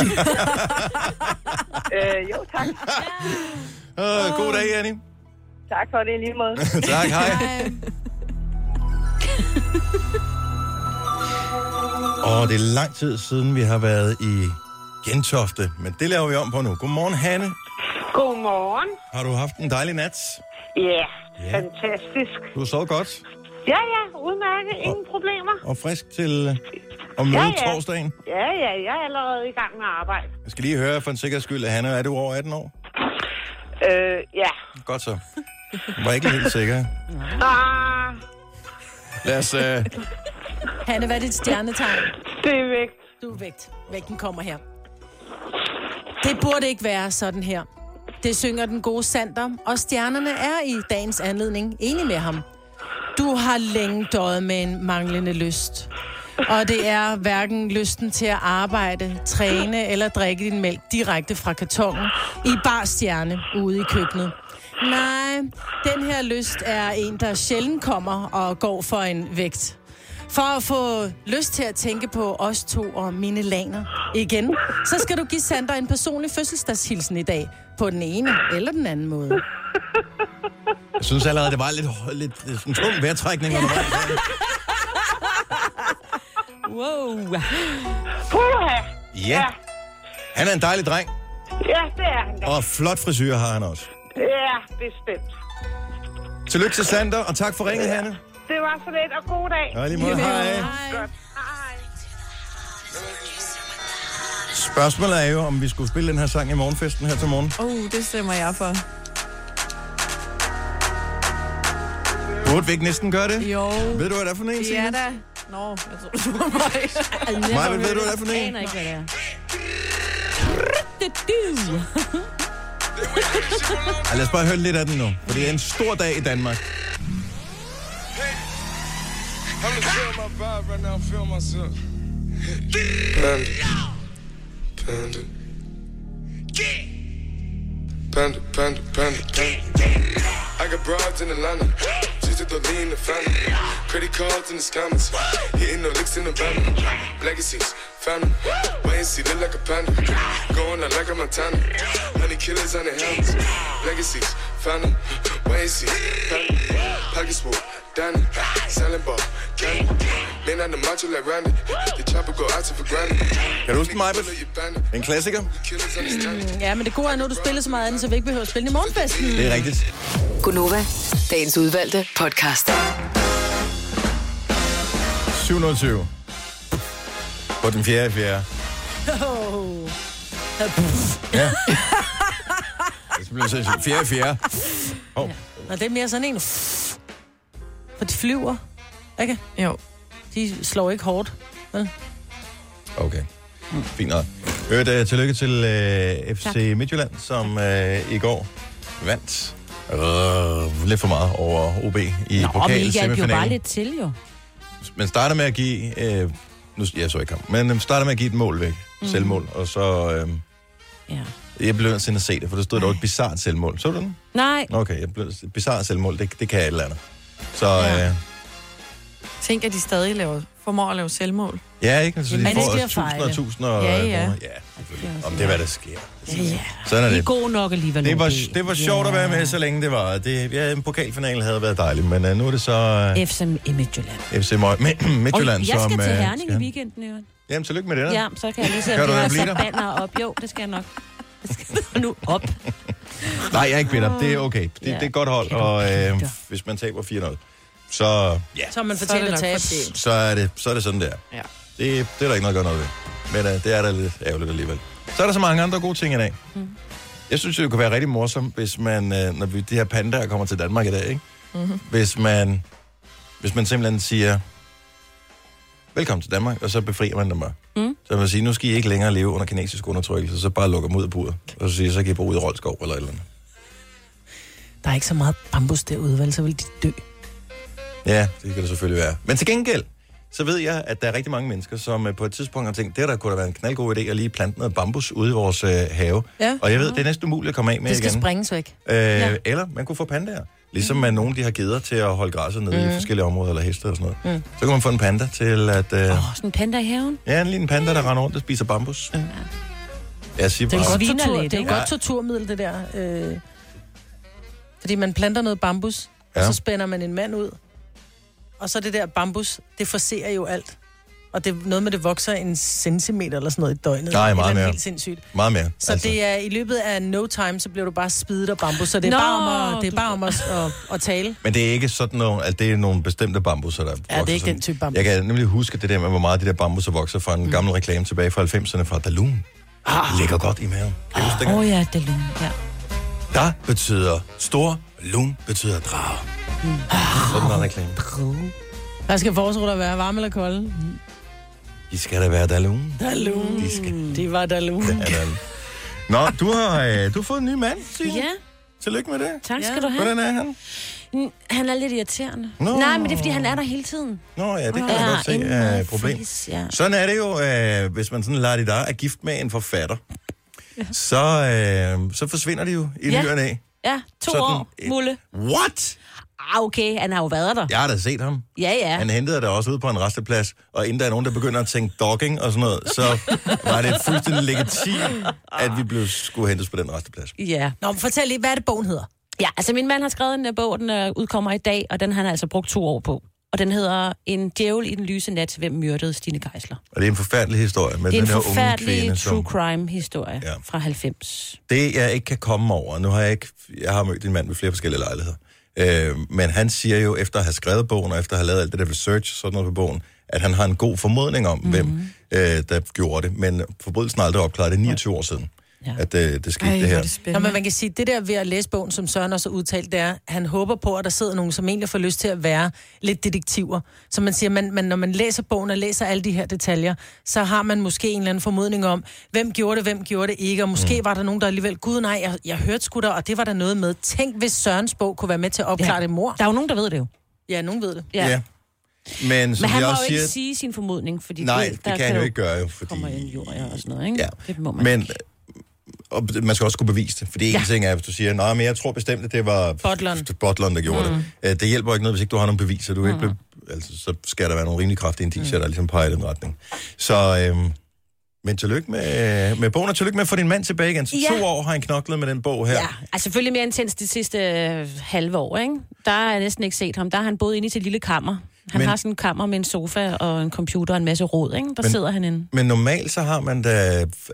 Speaker 12: jo, tak.
Speaker 1: Øh, god dag, Annie.
Speaker 12: Tak for det i lige måde.
Speaker 1: tak, hej. Og det er lang tid siden, vi har været i Gentofte, men det laver vi om på nu. Godmorgen, Hanne.
Speaker 13: Godmorgen.
Speaker 1: Har du haft en dejlig nat?
Speaker 13: Ja,
Speaker 1: Ja.
Speaker 13: fantastisk.
Speaker 1: Du har sovet godt
Speaker 13: Ja, ja, udmærket. Ingen problemer.
Speaker 1: og frisk til øh, at møde
Speaker 13: ja,
Speaker 1: ja,
Speaker 13: ja.
Speaker 1: torsdagen.
Speaker 13: Ja, ja, jeg er allerede i gang med arbejde.
Speaker 1: Jeg skal lige høre for en sikkerheds skyld, Hanne, er du over 18 år?
Speaker 13: Øh, ja.
Speaker 1: Godt så. Jeg var ikke helt sikker.
Speaker 13: Ah,
Speaker 1: Lad os... Øh...
Speaker 3: Hanne, hvad er dit stjernetegn?
Speaker 13: Det er vægt.
Speaker 3: Du er vægt. Vægten kommer her. Det burde ikke være sådan her. Det synger den gode Sander, og stjernerne er i dagens anledning enige med ham. Du har længe døjet med en manglende lyst. Og det er hverken lysten til at arbejde, træne eller drikke din mælk direkte fra kartongen i bar stjerne ude i køkkenet. Nej, den her lyst er en, der sjældent kommer og går for en vægt. For at få lyst til at tænke på os to og mine laner igen, så skal du give Sander en personlig fødselsdagshilsen i dag. På den ene eller den anden måde.
Speaker 1: Jeg synes allerede, det var lidt, lidt, lidt en tung vejrtrækning. Ja.
Speaker 3: Wow.
Speaker 13: Puha.
Speaker 1: ja. Han er en dejlig dreng,
Speaker 13: Ja, det er han da.
Speaker 1: og flot frisyr har han også.
Speaker 13: Ja, bestemt.
Speaker 1: Tillykke til Sander, og tak for ringet, Hanne.
Speaker 13: Det var så lidt, og god dag.
Speaker 1: Ja, i lige måde. Hej.
Speaker 13: Godt.
Speaker 1: Spørgsmålet er jo, om vi skulle spille den her sang i morgenfesten her til morgen.
Speaker 2: Oh, det stemmer jeg for.
Speaker 1: Burde vi ikke næsten gøre det?
Speaker 2: Jo.
Speaker 1: Ved du, hvad det er for en, Signe?
Speaker 2: Ja da. Nå, jeg tror, det var mig.
Speaker 3: Altså,
Speaker 1: Maja, ved du, hvad det er for en? Jeg aner
Speaker 4: ikke, hvad det er.
Speaker 1: Ej, lad os bare høre lidt af den nu, for det er en stor dag i Danmark.
Speaker 14: I'm just feeling my vibe right now. I'm feeling myself. Panda. Panda. Panda, panda, panda, panda. I got broads in Atlanta. Just to the lean the family. Credit cards in the scammers. Hitting the licks in the van. Legacies. Family, way see, look like a panda. Going out like a Montana. Honey killers on the helmets. Legacies, family, way see, family. Pockets full, Danny. Selling ball, candy. Been on the macho like Randy. The chopper go out to for granted.
Speaker 1: Kan du huske den, Majbert? En klassiker?
Speaker 3: Mm, Ja, men det gode er, nu du spiller så meget andet, så vi ikke behøver at spille den i morgenfesten.
Speaker 1: Det er rigtigt.
Speaker 6: Gunova, dagens udvalgte podcast.
Speaker 1: 720. På den fjerde i fjerde.
Speaker 3: Oh.
Speaker 1: Ja. Det bliver sådan fjerde i fjerde.
Speaker 3: Nå, det er mere sådan en... For de flyver, ikke?
Speaker 2: Jo.
Speaker 3: De slår ikke hårdt, vel?
Speaker 1: Okay. Fint nok. Øvrigt, øh, tillykke til øh, FC
Speaker 3: Tak.
Speaker 1: Midtjylland, som øh, i går vandt øh, lidt for meget over OB
Speaker 4: Og
Speaker 1: i
Speaker 4: vi hjalp jo bare
Speaker 1: pokalsemifinalen.
Speaker 4: lidt til, jo.
Speaker 1: Man starter med at give... Øh, nu, jeg så ikke kampen, men man starter med at give et mål væk. Mm. Selvmål. Og så... Øh,
Speaker 4: ja.
Speaker 1: Jeg blev nødt til at se det, for der stod dog et bizart selvmål. Så du den?
Speaker 4: Nej.
Speaker 1: Okay, jeg blev, et bizart selvmål, det, det kan jeg et eller andet. Så ja, øh,
Speaker 2: Tænk, at de stadig laver, formår at lave selvmål.
Speaker 1: ja ikke? Så de
Speaker 2: Jamen, det
Speaker 1: får
Speaker 2: sker
Speaker 1: også tusinder og
Speaker 2: fejl.
Speaker 1: tusinder og
Speaker 2: Ja, ja.
Speaker 1: kroner. ja. selvfølgelig. Om det er, hvad der sker.
Speaker 4: Ja, ja.
Speaker 1: Sådan er
Speaker 4: De er
Speaker 1: det.
Speaker 4: gode nok alligevel.
Speaker 1: Det var,
Speaker 4: OB.
Speaker 1: det var sjovt at være med, så længe det var. Det, ja, en pokalfinale havde været dejlig, men uh, nu er det så uh,
Speaker 4: FC Midtjylland.
Speaker 1: FC Mø- Midtjylland,
Speaker 4: og jeg
Speaker 1: som...
Speaker 4: skal til
Speaker 1: øh,
Speaker 4: Herning i
Speaker 1: skal-
Speaker 4: weekenden, jo.
Speaker 1: Jamen, tillykke med det der.
Speaker 4: Ja, så kan jeg lige se,
Speaker 1: Gør
Speaker 4: om
Speaker 1: du
Speaker 4: de
Speaker 1: det,
Speaker 4: har
Speaker 1: bliver
Speaker 4: sat
Speaker 1: der?
Speaker 4: banner op. Jo, det skal jeg nok. Det skal jeg nu op.
Speaker 1: Nej, jeg er ikke bitter. Det er okay. Det,
Speaker 4: Ja.
Speaker 1: det er et godt hold, og øh, hvis man taber 4-0, så, ja,
Speaker 3: Så har man
Speaker 2: Så er
Speaker 3: fortjent
Speaker 2: det
Speaker 3: at
Speaker 2: nok
Speaker 3: tabe.
Speaker 2: fortjent.
Speaker 1: så, er det, så er det sådan, der.
Speaker 2: Ja.
Speaker 1: Det, det er der ikke noget at gøre noget ved. Men uh, det er da lidt ærgerligt alligevel. Så er der så mange andre gode ting i dag. Mm. Jeg synes, det kunne være rigtig morsomt, hvis man, uh, når vi, de her pandaer kommer til Danmark i dag, ikke?
Speaker 4: Mhm.
Speaker 2: Mm-hmm.
Speaker 1: hvis man, hvis man simpelthen siger, velkommen til Danmark, og så befrier man dem bare.
Speaker 4: Mm.
Speaker 1: Så man siger, nu skal I ikke længere leve under kinesisk undertrykkelse, så bare lukker dem ud af buret, og så siger, så kan I bo ud i Roldskov eller et eller andet.
Speaker 3: Der er ikke så meget bambus derude, vel? Så vil de dø.
Speaker 1: Ja, det kan det selvfølgelig være. Men til gengæld, så ved jeg, at der er rigtig mange mennesker, som øh, på et tidspunkt har tænkt, det der kunne da være en knaldgod idé at lige plante noget bambus ude i vores øh, have.
Speaker 3: Ja.
Speaker 1: Og jeg ved, det er næsten umuligt at komme af med
Speaker 3: Det skal
Speaker 1: igen.
Speaker 3: springes væk.
Speaker 1: Øh, ja. Eller man kunne få pandaer. Ligesom man nogen, de har geder til at holde græsset nede mm.
Speaker 4: Mhm.
Speaker 1: i forskellige områder, eller heste og sådan noget.
Speaker 4: Mm.
Speaker 1: Mm. Så kan man få en panda til at... Øh, oh.
Speaker 4: Sådan en panda i haven.
Speaker 1: Ja, en lille panda, der render rundt og spiser bambus. Ja. Jeg siger
Speaker 3: Det er
Speaker 1: bare...
Speaker 3: jo godt, tortur, det er jo
Speaker 1: Ja.
Speaker 3: godt torturmiddel, det der. Øh, fordi man planter noget bambus, ja.
Speaker 1: Ja.
Speaker 3: og så spænder man en mand ud. Og så det der bambus, det forserer jo alt. Og det er noget med, det vokser en centimeter eller sådan noget i døgnet.
Speaker 1: Nej,
Speaker 3: Eller
Speaker 1: meget mere.
Speaker 3: helt sindssygt.
Speaker 1: Meget mere.
Speaker 3: Så altså. det er i løbet af no time, så bliver du bare spidet af bambus. Så det er
Speaker 4: Nå,
Speaker 3: bare om at, det er
Speaker 4: du-
Speaker 3: bare om at, at, at tale.
Speaker 1: Men det er ikke sådan noget, at det er nogle bestemte bambusser, der
Speaker 3: Ja, det er ikke den type bambus.
Speaker 1: Jeg kan nemlig huske det der med, hvor meget de der bambusser vokser fra en mm. gammel reklame tilbage fra 90'erne fra Dalun. Ah. Ligger godt i maven. Kan du huske
Speaker 3: Ah.
Speaker 4: Åh
Speaker 1: dengang?
Speaker 4: oh, ja, det er lun. Ja.
Speaker 1: Der betyder stor, lun betyder drage. Mm.
Speaker 3: Ah.
Speaker 1: Sådan en reklame.
Speaker 3: Hvad skal forårsruller være? Varme eller kolde?
Speaker 1: De skal da være Dalun.
Speaker 3: Dalun.
Speaker 1: De skal.
Speaker 3: Det var Dalun.
Speaker 1: Ja, Dalun. Nå, du har, øh, du har fået en ny mand, Signe.
Speaker 4: Ja.
Speaker 1: Tillykke med det.
Speaker 4: Tak skal du have.
Speaker 1: Hvordan er han?
Speaker 4: Mm, Han er lidt irriterende.
Speaker 1: Nå.
Speaker 4: Nej, men det er, fordi han er der hele tiden.
Speaker 1: Nå ja, det kan
Speaker 4: Åh,
Speaker 1: jeg godt
Speaker 4: inden
Speaker 1: se
Speaker 4: meget
Speaker 1: er et problem.
Speaker 4: fis, ja.
Speaker 1: Sådan er det jo, øh, hvis man sådan lader det der er gift med en forfatter. Så, øh, så forsvinder de jo i ja.
Speaker 4: Ja.
Speaker 1: nyerne af.
Speaker 4: Ja, to
Speaker 1: Sådan
Speaker 4: år,
Speaker 1: et-
Speaker 4: Mulle.
Speaker 1: What?
Speaker 4: Ah, okay, han har jo været der.
Speaker 1: Jeg har da set ham.
Speaker 4: Ja, ja.
Speaker 1: Han hentede det også ud på en resteplads, og inden der er nogen, der begynder at tænke dogging og sådan noget, så var det fuldstændig legitimt, at vi blev skulle hentes på den resteplads.
Speaker 4: Ja.
Speaker 3: Nå, men fortæl lige, hvad er det, bogen hedder?
Speaker 4: Ja, altså min mand har skrevet en øh, bog, den øh, udkommer i dag, og den har han altså brugt to år på. Og den hedder En djævel i den lyse nat, hvem myrdede Stine Geisler.
Speaker 1: Og det er en forfærdelig historie med
Speaker 4: det er
Speaker 1: den
Speaker 4: en
Speaker 1: her unge
Speaker 4: forfærdelig
Speaker 1: kvinde.
Speaker 4: true crime-historie ja. fra 90.
Speaker 1: Det, jeg ikke kan komme over, nu har jeg ikke, jeg har mødt en mand ved flere forskellige lejligheder, øh, men han siger jo, efter at have skrevet bogen, og efter at have lavet alt det der research og sådan noget på bogen, at han har en god formodning om, mm-hmm. hvem øh, der gjorde det, men forbrydelsen er aldrig opklaret, det er 29 år siden, ja. at øh, det skete det her.
Speaker 3: Nå, men man kan sige, det der ved at læse bogen, som Søren også har udtalt, det er, han håber på, at der sidder nogen, som egentlig får lyst til at være lidt detektiver. Så man siger, man, man, når man læser bogen og læser alle de her detaljer, så har man måske en eller anden formodning om, hvem gjorde det, hvem gjorde det ikke, og måske mm. var der nogen, der alligevel, gud nej, jeg, jeg hørte sgu der, og det var der noget med. Tænk, hvis Sørens bog kunne være med til at opklare ja. det mor. Der
Speaker 4: er jo nogen, der ved det jo.
Speaker 3: Ja, nogen ved det.
Speaker 1: Ja. ja. Men som
Speaker 4: Men han
Speaker 1: jeg
Speaker 4: må
Speaker 1: også
Speaker 4: jo
Speaker 1: siger,
Speaker 4: ikke sige sin formodning, fordi
Speaker 1: nej,
Speaker 4: du ved,
Speaker 1: det kan han jo ikke gøre, jo, fordi...
Speaker 4: Og sådan noget, ikke?
Speaker 1: Ja.
Speaker 4: Det må man.
Speaker 1: Men og man skal også kunne bevise det. Fordi ja. en ting er, hvis du siger, nej, men jeg tror bestemt, at det var
Speaker 3: Butleren.
Speaker 1: Botlon, der gjorde mm. det. Øh, Det hjælper ikke noget, hvis ikke du har nogle beviser. Du er ikke
Speaker 4: Mm.
Speaker 1: mm. altså, så skal der være nogle rimelig kraftige indicier, mm. der ligesom peger i den retning. Så øhm, Men tillykke med, med bogen, og tillykke med at få din mand tilbage igen. Så
Speaker 4: Ja.
Speaker 1: ja. to år har han knoklet med den bog her. Ja.
Speaker 4: Altså selvfølgelig mere intens de sidste øh, halve år, ikke? Der har jeg næsten ikke set ham. Der har han boet inde i sit lille kammer. Han
Speaker 1: Men-
Speaker 4: har sådan en kammer med en sofa og en computer og en masse rod, ikke? Der
Speaker 1: Men-
Speaker 4: sidder han inde.
Speaker 1: Men normalt så har man da...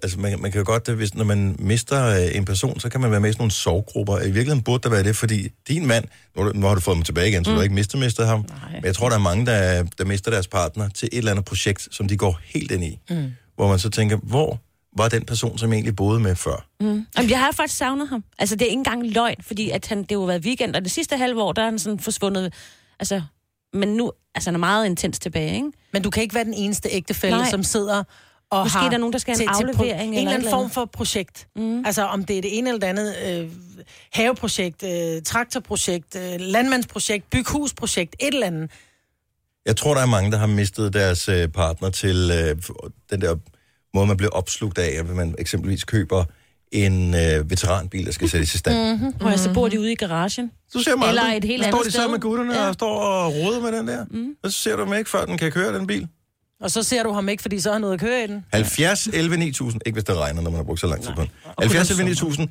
Speaker 1: Altså, man, man kan jo godt... Hvis, når man mister øh, en person, så kan man være med i sådan nogle sorggrupper. I virkeligheden burde der være det, fordi din mand... Nu, har du- nu har du fået ham tilbage igen, så mm. du
Speaker 4: Mm.
Speaker 1: har ikke mistet, mistet ham. Nej. Men jeg tror, der er mange, der, der mister deres partner til et eller andet projekt, som de går helt ind i. Mm. Hvor man så tænker, hvor var den person, som jeg egentlig boede med før?
Speaker 4: Mm. Jamen, jeg har faktisk savnet ham. Altså, det er ikke engang løgn, fordi at han, det har jo været weekend, og det sidste halve år, der er han sådan forsvundet. Altså, men nu, altså, han er meget intens tilbage, ikke?
Speaker 3: Men du kan ikke være den eneste ægtefælle,
Speaker 4: Nej.
Speaker 3: som sidder og
Speaker 4: Måske
Speaker 3: har...
Speaker 4: er der nogen, der skal have en
Speaker 3: pro-
Speaker 4: aflevering eller
Speaker 3: en eller
Speaker 4: et
Speaker 3: anden
Speaker 4: eller
Speaker 3: form
Speaker 4: andet.
Speaker 3: for projekt. Mm. Altså om det er det ene eller det andet øh, haveprojekt, øh, traktorprojekt, øh, landmandsprojekt, byghusprojekt, et eller andet.
Speaker 1: Jeg tror, der er mange, der har mistet deres øh, partner til øh, den der måde, man bliver opslugt af, at man eksempelvis køber en øh, veteranbil, der skal sættes i stand.
Speaker 3: Mhm.
Speaker 4: Mm-hmm. Og så bor de ude i garagen.
Speaker 1: Du ser mig
Speaker 4: Eller
Speaker 1: aldrig.
Speaker 4: et helt
Speaker 1: Så
Speaker 4: andet
Speaker 1: står de sammen med
Speaker 4: sted.
Speaker 1: gutterne ja. og står og roder med den der. Mm. Og så ser du dem ikke, før den kan køre, den bil.
Speaker 3: Og så ser du ham ikke, fordi så har han noget at køre i den.
Speaker 1: 70, 11, 9000. Ikke hvis det regner, når man har brugt så lang tid på den.
Speaker 3: Og
Speaker 1: 70,
Speaker 3: kun om
Speaker 1: 11, 9000.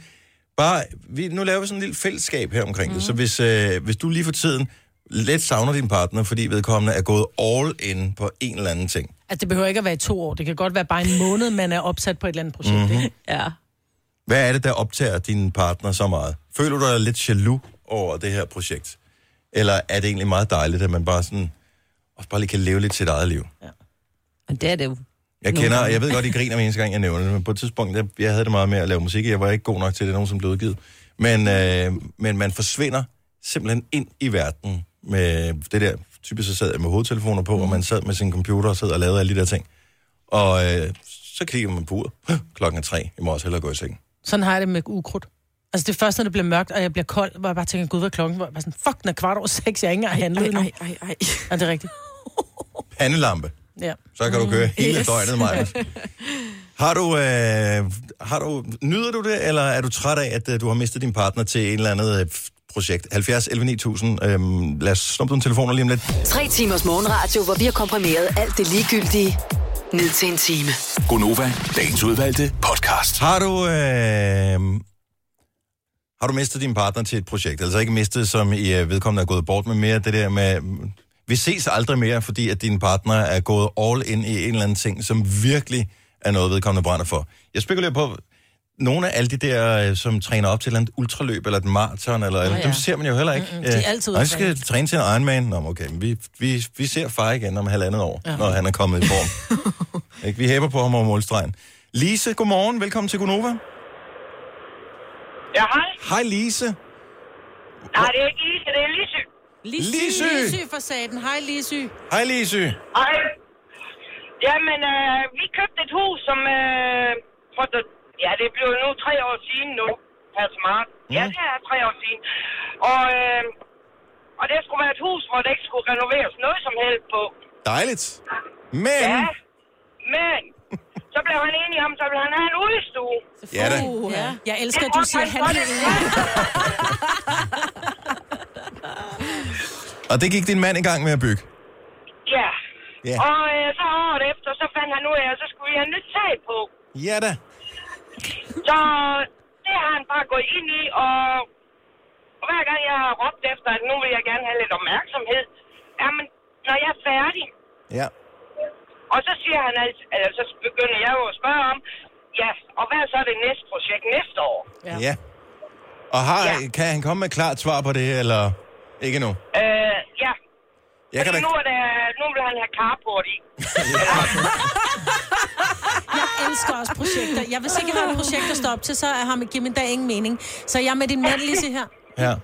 Speaker 1: Bare, vi, nu laver vi sådan et lille fællesskab her omkring mm. det. Så hvis, øh, hvis du lige for tiden let savner din partner, fordi vedkommende er gået all in på en eller anden ting.
Speaker 3: Altså det behøver ikke at være i to år. Det kan godt være bare en måned, man er opsat på et eller andet projekt.
Speaker 1: Mhm.
Speaker 3: Ikke?
Speaker 4: Ja.
Speaker 1: Hvad er det, der optager din partner så meget? Føler du dig lidt jaloux over det her projekt? Eller er det egentlig meget dejligt, at man bare sådan også bare lige kan leve lidt sit eget liv?
Speaker 4: Og det er det jo.
Speaker 1: Jeg
Speaker 4: Nogle
Speaker 1: kender,
Speaker 4: gange.
Speaker 1: jeg ved godt, I griner hver eneste gang, jeg nævner det, men på et tidspunkt, jeg, jeg havde det meget med at lave musik, jeg var ikke god nok til det, nogen som blev udgivet. Men, øh, men man forsvinder simpelthen ind i verden med det der, typisk så sad jeg med hovedtelefoner på, og man sad med sin computer og sad og lavede alle de der ting. Og øh, så kigger man på uret, klokken er tre, jeg må også hellere gå i seng.
Speaker 3: Sådan har jeg det med ukrudt. Altså det første, når det bliver mørkt, og jeg bliver kold, hvor jeg bare tænker, gud, hvad er klokken? Hvor jeg bare sådan, fuck, den er kvart over seks, jeg har ikke engang handlet endnu.
Speaker 2: ej, ej.
Speaker 3: Er det rigtigt?
Speaker 1: Pandelampe,
Speaker 3: Ja.
Speaker 1: så kan du køre hele
Speaker 3: Mm. Yes.
Speaker 1: døgnet, Maja. Har du, øh, har du, nyder du det, eller er du træt af, at øh, du har mistet din partner til et eller andet øh, projekt? 70 11 9000. Øhm, lad os snuppe nogle telefoner lige om lidt.
Speaker 6: Tre timers morgenradio, hvor vi har komprimeret alt det ligegyldige ned til en time.
Speaker 7: Gonova, dagens udvalgte podcast.
Speaker 1: Har du, øh, har du mistet din partner til et projekt? Altså ikke mistet, som i øh, vedkommende er gået bort med mere, det der med, mm, vi ses aldrig mere, fordi at din partner er gået all in i en eller anden ting, som virkelig er noget, vedkommende brænder for. Jeg spekulerer på, nogle af alle de der, øh, som træner op til et eller andet ultraløb, eller et maraton, eller, eller
Speaker 3: ja.
Speaker 1: ja. dem ser man jo heller ikke.
Speaker 3: Mm-mm, de er altid ude
Speaker 1: Han
Speaker 3: at træne.
Speaker 1: skal træne til en Ironman. Nå, men okay, men vi, vi, vi ser far igen om halvandet år,
Speaker 3: Ja.
Speaker 1: ja. når han er kommet i form. ikke? Vi hæber på ham over målstregen. Lise, godmorgen. Velkommen til Gunova.
Speaker 13: Ja, hej.
Speaker 1: Hej, Lise.
Speaker 13: Nej, det er ikke Lise, det er Lise.
Speaker 1: Lisy! Lisy!
Speaker 3: Lisy for saten. Hej, Lisy.
Speaker 1: Hej, Lise.
Speaker 13: Hej. Jamen, øh, vi købte et hus, som... Øh, for det, ja, det blev nu tre år siden nu. Per smart. Ja, det er tre år siden. Og, øh, og det skulle være et hus, hvor der ikke skulle renoveres noget som helst på.
Speaker 1: Dejligt. Men...
Speaker 13: Ja. Men så blev han enig om, så ville han have en udstue.
Speaker 1: Ja da.
Speaker 3: Ja. Jeg elsker, at du siger, han er
Speaker 1: Og det gik din mand i gang med at bygge.
Speaker 13: Ja.
Speaker 1: Ja.
Speaker 13: Og øh, så året efter, så fandt han ud af, at så skulle vi have nyt tag på.
Speaker 1: Ja da.
Speaker 13: Så det har han bare gået ind i, og, og hver gang jeg har råbt efter, at nu vil jeg gerne have lidt opmærksomhed, jamen, når jeg er færdig,
Speaker 1: Ja.
Speaker 13: og så siger han altså, eller så begynder jeg jo at spørge om, ja, og hvad er så det næste projekt næste år?
Speaker 1: Ja. ja. Og har, ja. kan han komme med et klart svar på det, eller ikke nu?
Speaker 13: Øh, ja.
Speaker 1: Jeg kan
Speaker 13: Fordi
Speaker 1: da-
Speaker 13: nu, er der, nu vil han have carport i.
Speaker 3: Jeg elsker også projekter. Jeg vil sikkert have et projekt at stå op til, så er ham giver min dag ingen mening. Så jeg er med din mand, Lisy, her.
Speaker 1: Ja.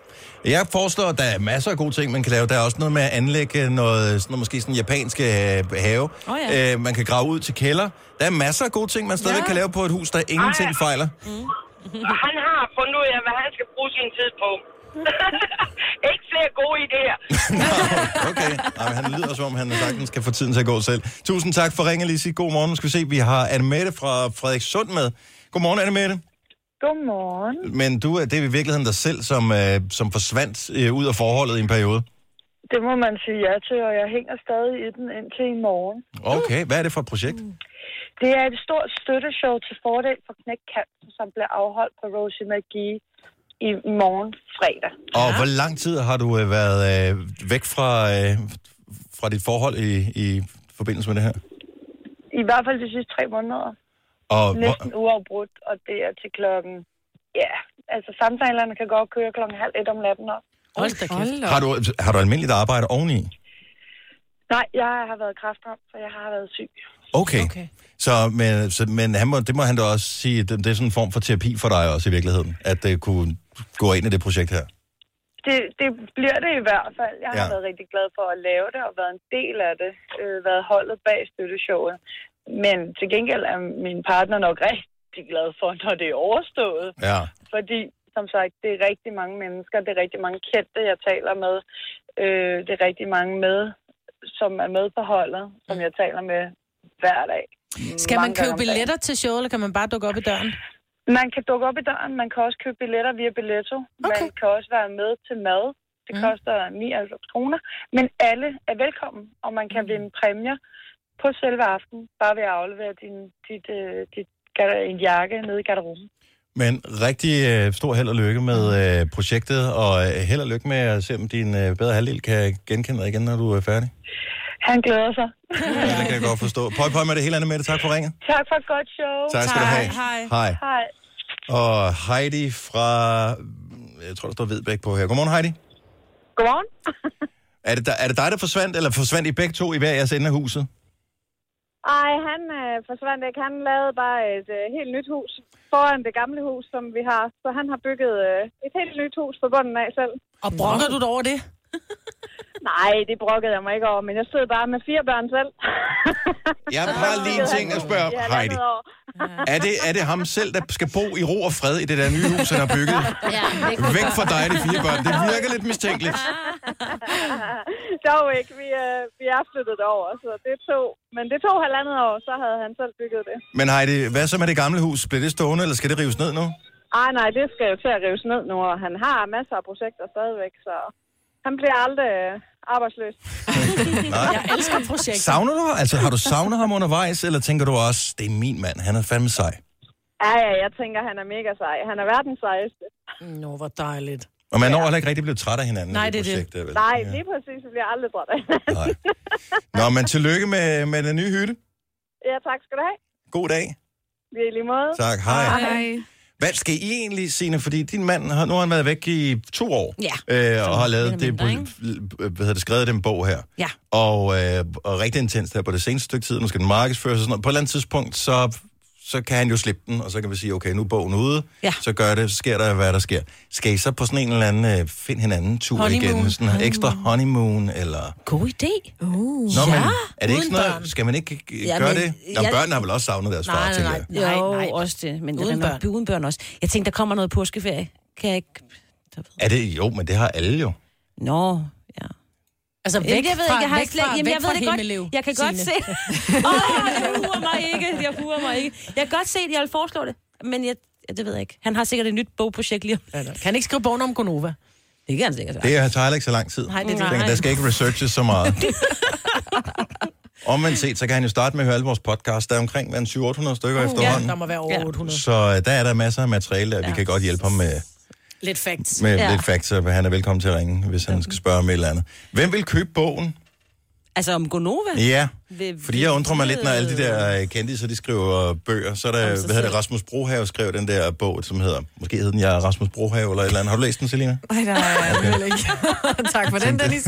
Speaker 1: Jeg foreslår, at der er masser af gode ting, man kan lave. Der er også noget med at anlægge noget, sådan noget måske sådan japansk øh, have.
Speaker 3: Åh, ja.
Speaker 1: øh, man kan grave ud til kælder. Der er masser af gode ting, man stadigvæk
Speaker 13: Ja.
Speaker 1: ja. kan lave på et hus, der ingenting
Speaker 13: Ej.
Speaker 1: fejler.
Speaker 13: Og Mm. han har fundet ud af, hvad han skal bruge sin tid på. Ikke flere gode idéer.
Speaker 1: Okay. Ej, men han lyder, som om han sagtens kan få tiden til at gå selv. Tusind tak for ringen, Lise. God morgen. Nu skal vi se, vi har Annemette fra Frederikssund med. Godmorgen, Annemette.
Speaker 15: Godmorgen.
Speaker 1: Men du er det er i virkeligheden dig selv, som, øh, som forsvandt øh, ud af forholdet i en periode.
Speaker 15: Det må man sige ja til, og jeg hænger stadig i den indtil i morgen.
Speaker 1: Okay, hvad er det for et projekt?
Speaker 15: Det er et stort støtteshow til fordel for Knæk Cancer, som bliver afholdt på Rosie McGee i morgen fredag.
Speaker 1: Og hvor lang tid har du øh, været øh, væk fra, øh, fra dit forhold i, i forbindelse med det her?
Speaker 15: I hvert fald de sidste tre måneder.
Speaker 1: Og hvor,
Speaker 15: Næsten uafbrudt, og det er til klokken... Ja, altså samtalerne kan godt køre klokken halv et om natten også. Hold da
Speaker 1: har, du, har du almindeligt arbejde oveni?
Speaker 15: Nej, jeg har været kræftramt, så jeg har været syg.
Speaker 1: Okay. okay. Så, men, så, men han må, det må han da også sige, det, det er sådan en form for terapi for dig også i virkeligheden, at det kunne gå ind i det projekt her.
Speaker 15: Det, det bliver det i hvert fald. Jeg har
Speaker 1: Ja.
Speaker 15: ja. været rigtig glad for at lave det og været en del af det. Øh, været holdet bag støtteshowet. Men til gengæld er min partner nok rigtig glad for, når det er overstået.
Speaker 1: Ja.
Speaker 15: Fordi, som sagt, det er rigtig mange mennesker, det er rigtig mange kendte, jeg taler med. Øh, det er rigtig mange med, som er med på holdet, som
Speaker 1: Mm.
Speaker 15: jeg taler med hver dag.
Speaker 3: Skal man
Speaker 15: Mange gange
Speaker 3: købe
Speaker 15: om dagen.
Speaker 3: billetter til showet, eller kan man bare dukke op i døren?
Speaker 15: Man kan dukke op i døren, man kan også købe billetter via Billetto. Okay. Man kan også være med til mad. Det mm. koster 99 kroner. Men alle er velkommen, og man
Speaker 3: Mm.
Speaker 15: kan vinde præmier på selve aftenen, bare ved at aflevere din, dit, øh, dit, gar- en jakke nede i garderoben.
Speaker 1: Men rigtig øh, stor held og lykke
Speaker 15: Mm.
Speaker 1: med øh, projektet, og øh, held og lykke med at se, om din øh, bedre halvdel kan genkende dig igen, når du er færdig.
Speaker 15: Han glæder sig.
Speaker 1: Ja, det kan jeg godt forstå. Pøj, pøj med det hele andet med det. Tak for ringet.
Speaker 15: tak for et godt show.
Speaker 1: Tak skal du have. Hej. Hej.
Speaker 15: Hej.
Speaker 1: Og Heidi fra, jeg tror, der står Vedbæk på her. Godmorgen, Heidi.
Speaker 16: Godmorgen.
Speaker 1: Er det, er det dig, der forsvandt, eller forsvandt I begge to i hver jeres ende af huset?
Speaker 16: Ej, han øh, forsvandt ikke. Han lavede bare et øh, helt nyt hus foran det gamle hus, som vi har. Så han har bygget øh, et helt nyt hus på bunden af selv.
Speaker 3: Og brokker du dig over det?
Speaker 16: Nej, det brokkede jeg mig ikke over, men jeg stod bare med fire børn selv.
Speaker 1: Jeg har bare lige en ting at spørge om, Heidi. Er det, er det ham selv, der skal bo i ro og fred i det der nye hus, han har bygget?
Speaker 16: Ja,
Speaker 1: Væk fra dig, de fire børn. Det virker lidt mistænkeligt.
Speaker 16: Dog ikke. Vi, øh, vi er flyttet over, så det tog. Men det tog halvandet år, så havde han selv bygget det.
Speaker 1: Men Heidi, hvad så med det gamle hus? Bliver det stående, eller skal det rives ned nu?
Speaker 16: Ej, nej, det skal jo til at rives ned nu, og han har masser af projekter stadigvæk, så han bliver aldrig øh, arbejdsløs.
Speaker 1: Jeg
Speaker 3: elsker projekter.
Speaker 1: Savner du? Altså, har du savnet ham undervejs, eller tænker du også, det er min mand, han er fandme sej?
Speaker 16: Ja, ja, jeg tænker, han er mega sej. Han er verdens sejeste.
Speaker 3: Nå, hvor dejligt.
Speaker 1: Og man når heller ikke rigtig blevet træt af hinanden. i
Speaker 16: Nej, det er det.
Speaker 1: projekt der, vel?
Speaker 16: Nej, lige præcis. Vi bliver aldrig træt af
Speaker 1: Nå, men tillykke med, med den nye hytte.
Speaker 16: Ja, tak skal du have.
Speaker 1: God dag.
Speaker 16: Vi er i lige måde.
Speaker 1: Tak, hej. Hvad skal I egentlig, Signe? Fordi din mand, har, nu har han været væk i to år.
Speaker 4: Ja.
Speaker 1: Øh, og har
Speaker 4: lidt
Speaker 1: lavet det,
Speaker 4: mindre, ikke?
Speaker 1: hvad hedder det, skrevet den bog her.
Speaker 4: Ja.
Speaker 1: Og, øh, og rigtig intens her på det seneste stykke tid. Nu skal den markedsføres og sådan noget. På et eller andet tidspunkt, så, så kan han jo slippe den, og så kan vi sige, okay, nu er bogen ude.
Speaker 3: Ja.
Speaker 1: Så gør det, så sker der, hvad der sker. Skal I så på sådan en eller anden øh, find hinanden tur
Speaker 4: Honeymoon.
Speaker 1: igen? Sådan en ekstra honeymoon, eller...
Speaker 4: God idé. Uh,
Speaker 1: Nå, men er det ikke sådan noget, skal man ikke øh,
Speaker 4: Ja,
Speaker 1: gøre
Speaker 4: men
Speaker 1: det? Nå,
Speaker 4: jeg-
Speaker 1: børnene har vel også savnet deres far,
Speaker 4: Nej,
Speaker 1: tænker
Speaker 4: nej,
Speaker 1: jeg.
Speaker 4: nej. Jo, nej, også det. Men uden, børn. uden børn også. Jeg tænkte, der kommer noget påskeferie. Kan jeg ikke...
Speaker 1: Er det, jo, men det har alle jo.
Speaker 4: Nå,
Speaker 3: Altså
Speaker 4: Jamen,
Speaker 3: væk
Speaker 4: jeg ved
Speaker 3: fra,
Speaker 4: ikke, jeg har
Speaker 3: væk
Speaker 4: ikke slet,
Speaker 3: fra,
Speaker 4: jamen,
Speaker 3: væk
Speaker 4: jeg
Speaker 3: fra
Speaker 4: ved det
Speaker 3: Himmelev,
Speaker 4: godt. Jeg kan godt se.
Speaker 3: Signe.
Speaker 4: Åh, oh, jeg huer mig ikke. Jeg huer mig ikke. Jeg kan godt se det, jeg vil foreslå det. Men jeg, ja, det ved jeg ikke. Han har sikkert et nyt bogprojekt lige om.
Speaker 3: Kan han ikke skrive bogen om Gonova?
Speaker 4: Det kan han sikkert.
Speaker 1: Det er- tager heller ikke så lang tid.
Speaker 4: Nej, det er det.
Speaker 1: Jeg Tænker, der skal ikke researches så meget. Omvendt set, så kan han jo starte med at høre alle vores podcasts. Der er omkring hvad, en 700-800 stykker uh, efterhånden.
Speaker 3: Ja, der må være over 800.
Speaker 1: Så øh, der er der masser af materiale, og vi kan godt hjælpe ham med,
Speaker 3: Lidt facts.
Speaker 1: med lidt facts, så han er velkommen til at ringe, hvis han skal spørge om et eller andet. Hvem vil købe bogen?
Speaker 4: Altså om Gonova?
Speaker 1: Ja,
Speaker 4: Ved-
Speaker 1: fordi jeg undrer mig lidt, når alle de der øh, kendisser, de skriver bøger. Så er der, hvad hedder det, Rasmus Brohave skrev den der bog, som hedder, måske hed den Jeg er Rasmus Brohave, eller et eller andet. Har du læst den, Selina?
Speaker 2: Nej, der er okay. vel ikke. tak for den, Dennis.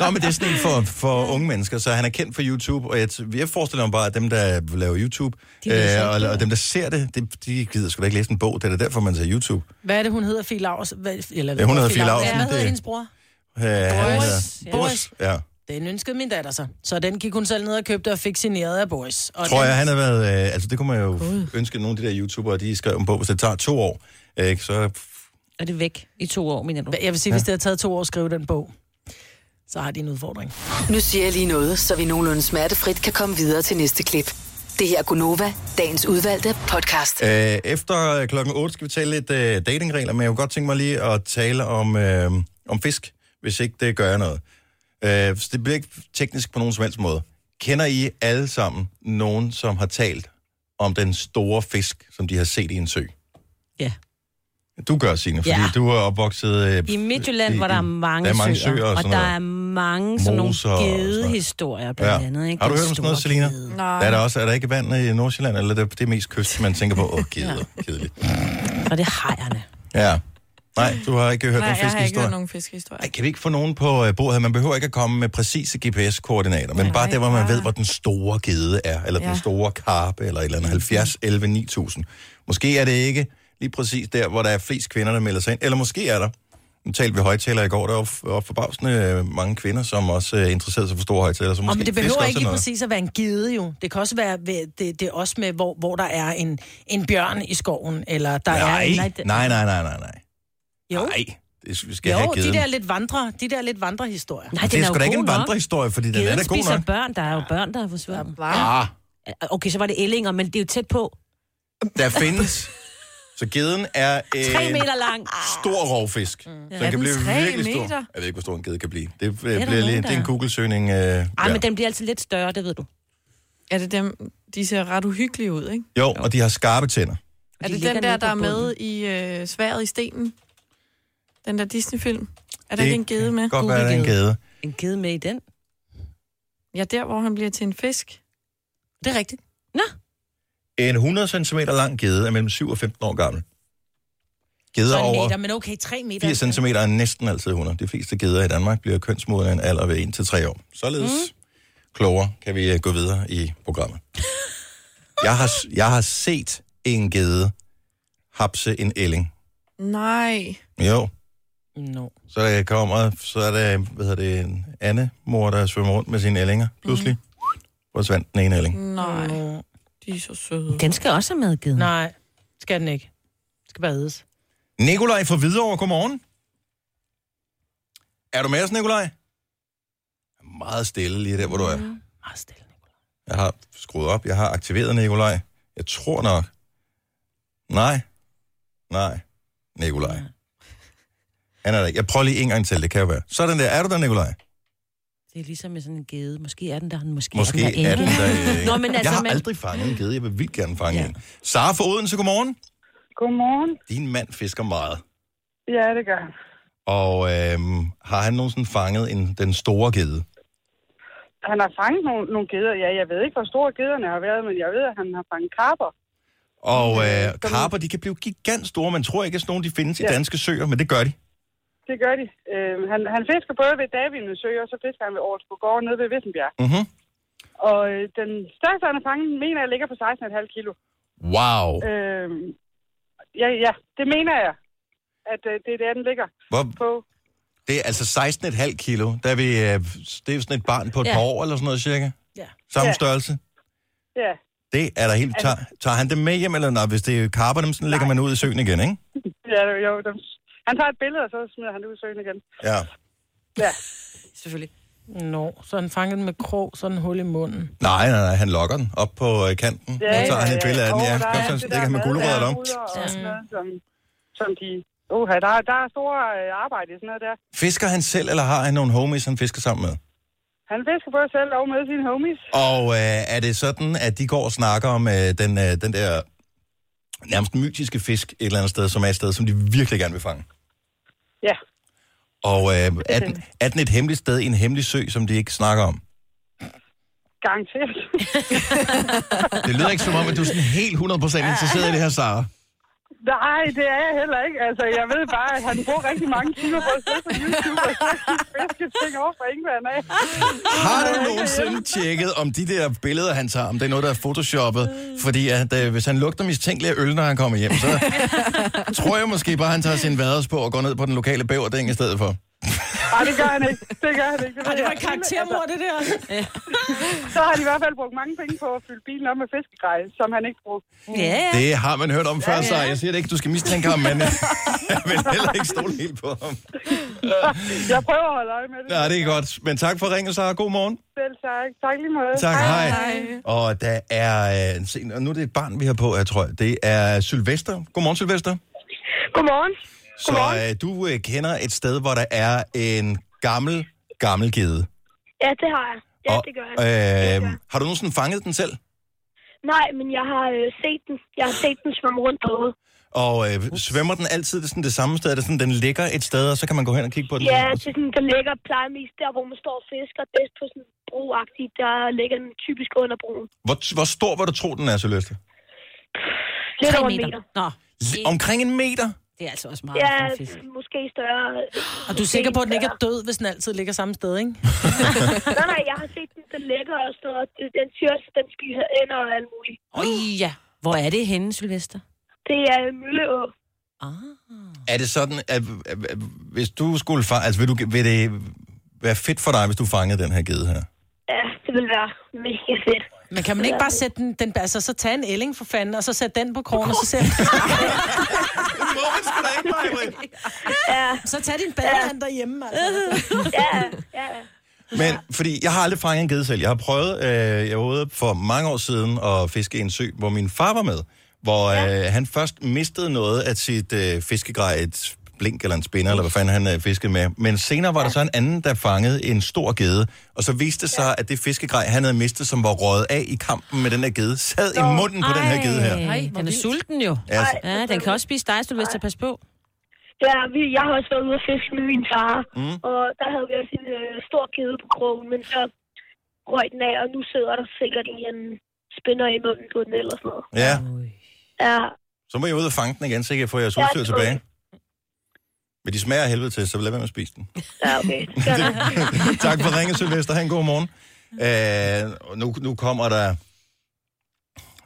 Speaker 1: Nå, men det er sådan en for, for unge mennesker, så han er kendt for YouTube, og jeg, t- jeg forestiller mig bare, at dem, der laver YouTube,
Speaker 3: De læser
Speaker 1: øh,
Speaker 3: ikke
Speaker 1: og, og dem, der ser det, de, de gider sgu da ikke læse en bog. Det er da derfor, man ser YouTube.
Speaker 3: Hvad er det, hun hedder? Fie Laurs? Hvad, eller,
Speaker 1: Ja, hun hedder Fie Laursen,
Speaker 3: Ja, Hvad hedder
Speaker 1: det-
Speaker 3: hendes bror?
Speaker 1: Øh, han
Speaker 3: Boris.
Speaker 1: hedder-
Speaker 3: Boris.
Speaker 1: Ja.
Speaker 3: Den ønskede min datter sig. Så den gik hun selv ned og købte og fik signeret af Boris. Og
Speaker 1: Tror
Speaker 3: den...
Speaker 1: jeg, han har været... Øh, altså, det kunne man jo ønske, at nogle af de der YouTubere, de skrev en bog, hvis det tager to år. Ikke? Så
Speaker 4: Er det væk i to år, mener du?
Speaker 3: Jeg vil sige, hvis det har taget to år at skrive den bog, så har de en udfordring.
Speaker 6: Nu siger jeg lige noget, så vi nogenlunde smertefrit kan komme videre til næste klip. Det her er Gunova, dagens udvalgte podcast.
Speaker 1: Øh, efter øh, klokken 8 skal vi tale lidt øh, datingregler, men jeg kunne godt tænke mig lige at tale om, øh, om fisk, hvis ikke det gør noget. Øh, så det bliver ikke teknisk på nogen som helst måde. Kender I alle sammen nogen, som har talt om den store fisk, som de har set i en sø?
Speaker 4: Ja.
Speaker 1: Du gør, Signe, fordi
Speaker 4: Ja.
Speaker 1: ja. du er opvokset... øh,
Speaker 4: I Midtjylland,
Speaker 1: i-
Speaker 4: hvor der er mange,
Speaker 1: der er mange
Speaker 4: søer,
Speaker 1: søer og
Speaker 4: og,
Speaker 1: sådan
Speaker 4: der
Speaker 1: noget.
Speaker 4: er mange sådan nogle
Speaker 1: Moser og sådan noget.
Speaker 4: gedehistorier blandt andet. Ikke?
Speaker 1: Har du
Speaker 4: Den
Speaker 1: hørt om sådan
Speaker 4: store
Speaker 1: noget, Selina?
Speaker 4: gede.
Speaker 1: Der er der også, er der ikke vand i Nordsjælland, eller er det, det er mest kyst, man tænker på, åh, geder, kedeligt.
Speaker 4: Og det har jeg.
Speaker 1: Ja. Nej, du har ikke hørt
Speaker 2: Nej,
Speaker 1: nogen
Speaker 2: jeg har ikke hørt
Speaker 1: fiskehistorie.
Speaker 2: nogen fiskehistorie.
Speaker 1: Ej, kan vi ikke få nogen på øh, bordet her? Man behøver ikke at komme med præcise GPS-koordinater, men bare der, hvor man ved, hvor den store gede er, eller ja.
Speaker 2: Ja.
Speaker 1: den store karpe, eller et eller andet. 70, 11, 9000. Måske er det ikke lige præcis der, hvor der er flest kvinder, der melder sig ind. Eller måske er der. Nu talte vi højtaler i går, der var, var forbavsende øh, mange kvinder, som også øh, interesserede sig for store højtaler. Så måske
Speaker 3: Og men det
Speaker 1: fisk
Speaker 3: behøver
Speaker 1: også er
Speaker 3: ikke lige
Speaker 1: noget.
Speaker 3: præcis at være en gide jo. Det kan også være ved, det, det er også med, hvor, hvor der er en, en bjørn i skoven, eller der er...
Speaker 1: Nej,
Speaker 3: en-
Speaker 1: nej, nej, nej, nej, nej.
Speaker 3: Jo,
Speaker 1: Nej, det skal- vi skal
Speaker 3: jo
Speaker 1: have
Speaker 3: de
Speaker 1: geden.
Speaker 3: der lidt vandre, de der lidt vandrehistorier.
Speaker 1: Nej, det er, sgu da ikke en vandrehistorie, fordi den er da
Speaker 4: Geden
Speaker 1: god
Speaker 4: spiser
Speaker 1: nok.
Speaker 4: børn. Der er jo børn, der er forsvundet.
Speaker 1: Ah,
Speaker 4: Okay, så var det ællinger, men det er jo tæt på.
Speaker 1: der findes. Så geden er en
Speaker 4: Tre meter lang.
Speaker 1: stor rovfisk. Mm.
Speaker 4: Ja.
Speaker 1: Den
Speaker 4: Er
Speaker 1: kan
Speaker 4: den
Speaker 1: blive
Speaker 4: tre
Speaker 1: virkelig stor.
Speaker 4: meter?
Speaker 1: Jeg ved ikke, hvor stor en ged kan blive. Det, øh,
Speaker 4: der
Speaker 1: bliver
Speaker 4: nogen,
Speaker 1: lige,
Speaker 4: der
Speaker 1: det er en
Speaker 4: er.
Speaker 1: Google-søgning. Øh, ja.
Speaker 4: Ej, men den bliver altid lidt større, det ved du.
Speaker 2: Er det dem, de ser ret uhyggelige ud, ikke?
Speaker 1: Jo, og de har skarpe tænder.
Speaker 2: Er det
Speaker 4: ligger
Speaker 2: den der,
Speaker 4: nede på
Speaker 2: der er med i øh, Sværet i stenen? Den der Disney-film? Er der
Speaker 1: Det
Speaker 2: ikke en gede med?
Speaker 1: kan godt være, der er en gede.
Speaker 4: En gede med i den?
Speaker 2: Ja, der, hvor han bliver til en fisk.
Speaker 3: Det er rigtigt.
Speaker 1: En 100 cm lang gede er mellem 7 og 15 år gammel. Geder
Speaker 3: Så en
Speaker 1: over
Speaker 3: meter, men okay, tre meter.
Speaker 1: 4 cm er næsten altid 100. De fleste geder i Danmark bliver kønsmodne af en alder ved 1-3 år. Således mm. klogere kan vi øh, gå videre i programmet. Jeg har, jeg har set en gede hapse en ælling.
Speaker 2: Nej.
Speaker 1: Jo.
Speaker 3: No.
Speaker 1: Så der kommer, så er der, hvad hedder det, en andemor, der svømmer rundt med sine ællinger. Pludselig forsvandt den ene
Speaker 3: Mm?
Speaker 1: ælling.
Speaker 2: Nej. De er så søde.
Speaker 4: Den skal også have medgivet.
Speaker 3: Nej, skal den ikke. Den skal bare ædes.
Speaker 1: Nikolaj fra Hvidovre, godmorgen. Er du med os, Nikolaj? Meget stille lige der, hvor du er. Meget stille, Nikolaj. Jeg har skruet op, jeg har aktiveret Nikolaj. Jeg tror nok. Nej. Nej. Nikolaj. Han er der ikke. Jeg prøver lige en gang til, det kan jo være. Sådan der. Er du der, Nikolaj?
Speaker 4: Det er ligesom med sådan en gede. Måske er den der, måske,
Speaker 1: Måske er den der. øh,
Speaker 4: Nå, men altså,
Speaker 1: jeg har
Speaker 4: man...
Speaker 1: aldrig fanget en gede. Jeg vil vildt gerne fange ja. en. Sara fra Odense, godmorgen.
Speaker 17: Godmorgen.
Speaker 1: Din mand fisker meget.
Speaker 17: Ja, det gør han.
Speaker 1: Og øhm, har han nogensinde fanget en, den store gede?
Speaker 17: Han har fanget nogle, nogle geder. Ja, jeg ved ikke, hvor store gederne har været, men jeg ved, at han har fanget karper.
Speaker 1: Og øh, karper, de kan blive gigantstore. Man tror ikke, at sådan nogle de findes ja. i
Speaker 17: Ja.
Speaker 1: danske søer, men det gør de.
Speaker 17: Det gør de. Øh, han, han fisker både ved Davinde Sø, og så fisker han ved Aarhusgård nede ved Vissenbjerg.
Speaker 1: Mm-hmm.
Speaker 17: Og øh, den største, han har fanget, mener jeg ligger på 16,5 kilo.
Speaker 1: Wow.
Speaker 17: Øh, ja, ja, det mener jeg, at øh, det er der, den ligger
Speaker 1: Hvor,
Speaker 17: på.
Speaker 1: det er altså 16,5 kilo. Der er vi, øh, det er jo sådan et barn på et
Speaker 17: Ja.
Speaker 1: ja. par år eller sådan noget cirka. Samme
Speaker 17: Ja. Ja. Altså-
Speaker 1: ja. størrelse.
Speaker 17: Ja,
Speaker 1: Det er der helt... Tager, tager han det med hjem, eller nej, hvis det er karper, dem, så lægger man ud i søen igen, ikke?
Speaker 17: ja jo, dem, han tager et billede, og så smider han det ud i søen igen.
Speaker 1: Ja.
Speaker 17: Ja.
Speaker 3: Selvfølgelig. Nå, så han fangede den med krog, så den hul i munden.
Speaker 1: Nej, nej, nej, han lokker den op på øh, kanten.
Speaker 17: Ja,
Speaker 1: så tager
Speaker 17: ja,
Speaker 1: han et
Speaker 17: ja.
Speaker 1: billede af den,
Speaker 17: Og
Speaker 1: ja.
Speaker 17: der
Speaker 1: Kom,
Speaker 17: er
Speaker 1: så
Speaker 17: alt
Speaker 1: så
Speaker 17: det
Speaker 1: lægger han med
Speaker 17: der
Speaker 1: guldrødder
Speaker 17: madlavruller
Speaker 1: om.
Speaker 17: og sådan noget, Som, som de... Uh, der, er- der er store øh, arbejde i sådan noget der.
Speaker 1: Fisker han selv, eller har han nogle homies, han fisker sammen med?
Speaker 17: Han fisker både selv og med sine homies.
Speaker 1: Og øh, er det sådan, at de går og snakker om øh, den, øh, den der nærmest mytiske fisk et eller andet sted, som er et sted, som de virkelig gerne vil fange?
Speaker 17: Ja,
Speaker 1: Og øh, er, den, er den et hemmeligt sted i en hemmelig sø, som de ikke snakker om?
Speaker 17: garanteret.
Speaker 1: Det lyder ikke som om, at du er sådan helt 100% interesseret i det her, Sara.
Speaker 17: Nej, det er jeg heller ikke. Altså, jeg ved bare, at han bruger rigtig mange timer på at sidde på YouTube og fiske ting over fra England af.
Speaker 1: Har du nogensinde tjekket, om de der billeder, han tager, om det er noget, der er photoshoppet? Fordi at, øh, hvis han lugter mistænkelig af øl, når han kommer hjem, så tror jeg måske bare, at han tager sin vaders på og går ned på den lokale bæverding i stedet for.
Speaker 17: Nej, det gør han ikke. Det gør han ikke.
Speaker 3: Ej, det var
Speaker 17: et
Speaker 3: karaktermord, det der.
Speaker 17: Så har de i hvert fald brugt mange penge på at fylde bilen op med fiskegrej, som han ikke brugte.
Speaker 1: Det har man hørt om før, så jeg siger det ikke, du skal mistænke ham, men jeg vil heller ikke stole helt på ham.
Speaker 17: Jeg prøver at holde øje med det.
Speaker 1: Nej, det er godt. Men tak for ringen, Sara. God morgen.
Speaker 17: Selv tak. Tak lige måde.
Speaker 1: Tak, hej. Og der er... øh, se, og nu er det et barn, vi har på, jeg tror. Det er Sylvester. Godmorgen, Sylvester.
Speaker 18: Godmorgen.
Speaker 1: Så øh, du øh, kender et sted, hvor der er en gammel, gammel gede.
Speaker 18: Ja, det har jeg. Ja, det gør han.
Speaker 1: Øh, har du nogensinde fanget den selv?
Speaker 18: Nej, men jeg har øh, set den. Jeg har set den svømme rundt derude.
Speaker 1: Og øh, svømmer den altid det, sådan det samme sted? Er det sådan, den ligger et sted, og så kan man gå hen og kigge på den?
Speaker 18: Ja, det er sådan, den ligger plejemest der, hvor man står og fisker. Bedst på sådan broagtigt, der ligger den typisk under broen.
Speaker 1: Hvor, hvor stor var du tro, den er, Søløste?
Speaker 18: Lidt
Speaker 4: Tre
Speaker 18: over en
Speaker 4: meter.
Speaker 18: meter.
Speaker 4: Nå.
Speaker 1: Omkring en meter?
Speaker 4: Det er altså også meget.
Speaker 18: Ja,
Speaker 4: for en fisk.
Speaker 18: måske større.
Speaker 3: Og du er sikker på, at den ikke er død, hvis den altid ligger samme sted, ikke?
Speaker 18: nej, nej, jeg har set den, den ligger og sådan noget. Den- Den siger også, at den skal ind og alt muligt.
Speaker 4: Øj, ja. Hvor er det henne, Sylvester?
Speaker 18: Det er Mølleå.
Speaker 1: Er det sådan, at, at, at hvis du skulle fange... Altså, vil, du, vil det være fedt for dig, hvis du fangede den her gede her?
Speaker 18: Ja, det vil være mega fedt.
Speaker 3: Men kan man ikke bare sætte den, den altså så tage en ælling for fanden, og så sætte den på krogen, og så sætte...
Speaker 18: ja.
Speaker 3: Så tag din badehand derhjemme, altså.
Speaker 1: Men fordi jeg har aldrig fanget en gedde selv. Jeg har prøvet, øh, jeg var ude for mange år siden og fiske i en sø, hvor min far var med. Hvor øh, han først mistede noget af sit øh, fiskegrej, et blink eller en spinder, eller hvad fanden han øh, fiskede med. Men senere var der så en anden, der fangede en stor gedde. Og så viste det sig, at det fiskegrej, han havde mistet, som var røget af i kampen med den her gedde, sad i munden på den her gedde her.
Speaker 4: Ej, den er sulten jo.
Speaker 1: Ja, så-
Speaker 4: Ja, den kan også spise dig, Sylvester. Pas på.
Speaker 18: Ja, vi, jeg har også været ude at fiske med min far,
Speaker 1: Mm.
Speaker 18: mm. og der havde vi også en øh, stor kæde på krogen, men så røg den af, og nu sidder der sikkert i en spinner i munden på den eller sådan noget.
Speaker 1: Ja,
Speaker 18: Ja,
Speaker 1: så må jeg ud og fange den igen, så jeg kan få jeres udstyr tilbage. Men de smager af helvede til, så lad være med at spise den.
Speaker 18: ja okay. Det skal jeg nok.
Speaker 1: tak for ringen, Sylvester. Ha' en god morgen. Øh, og nu, nu kommer der...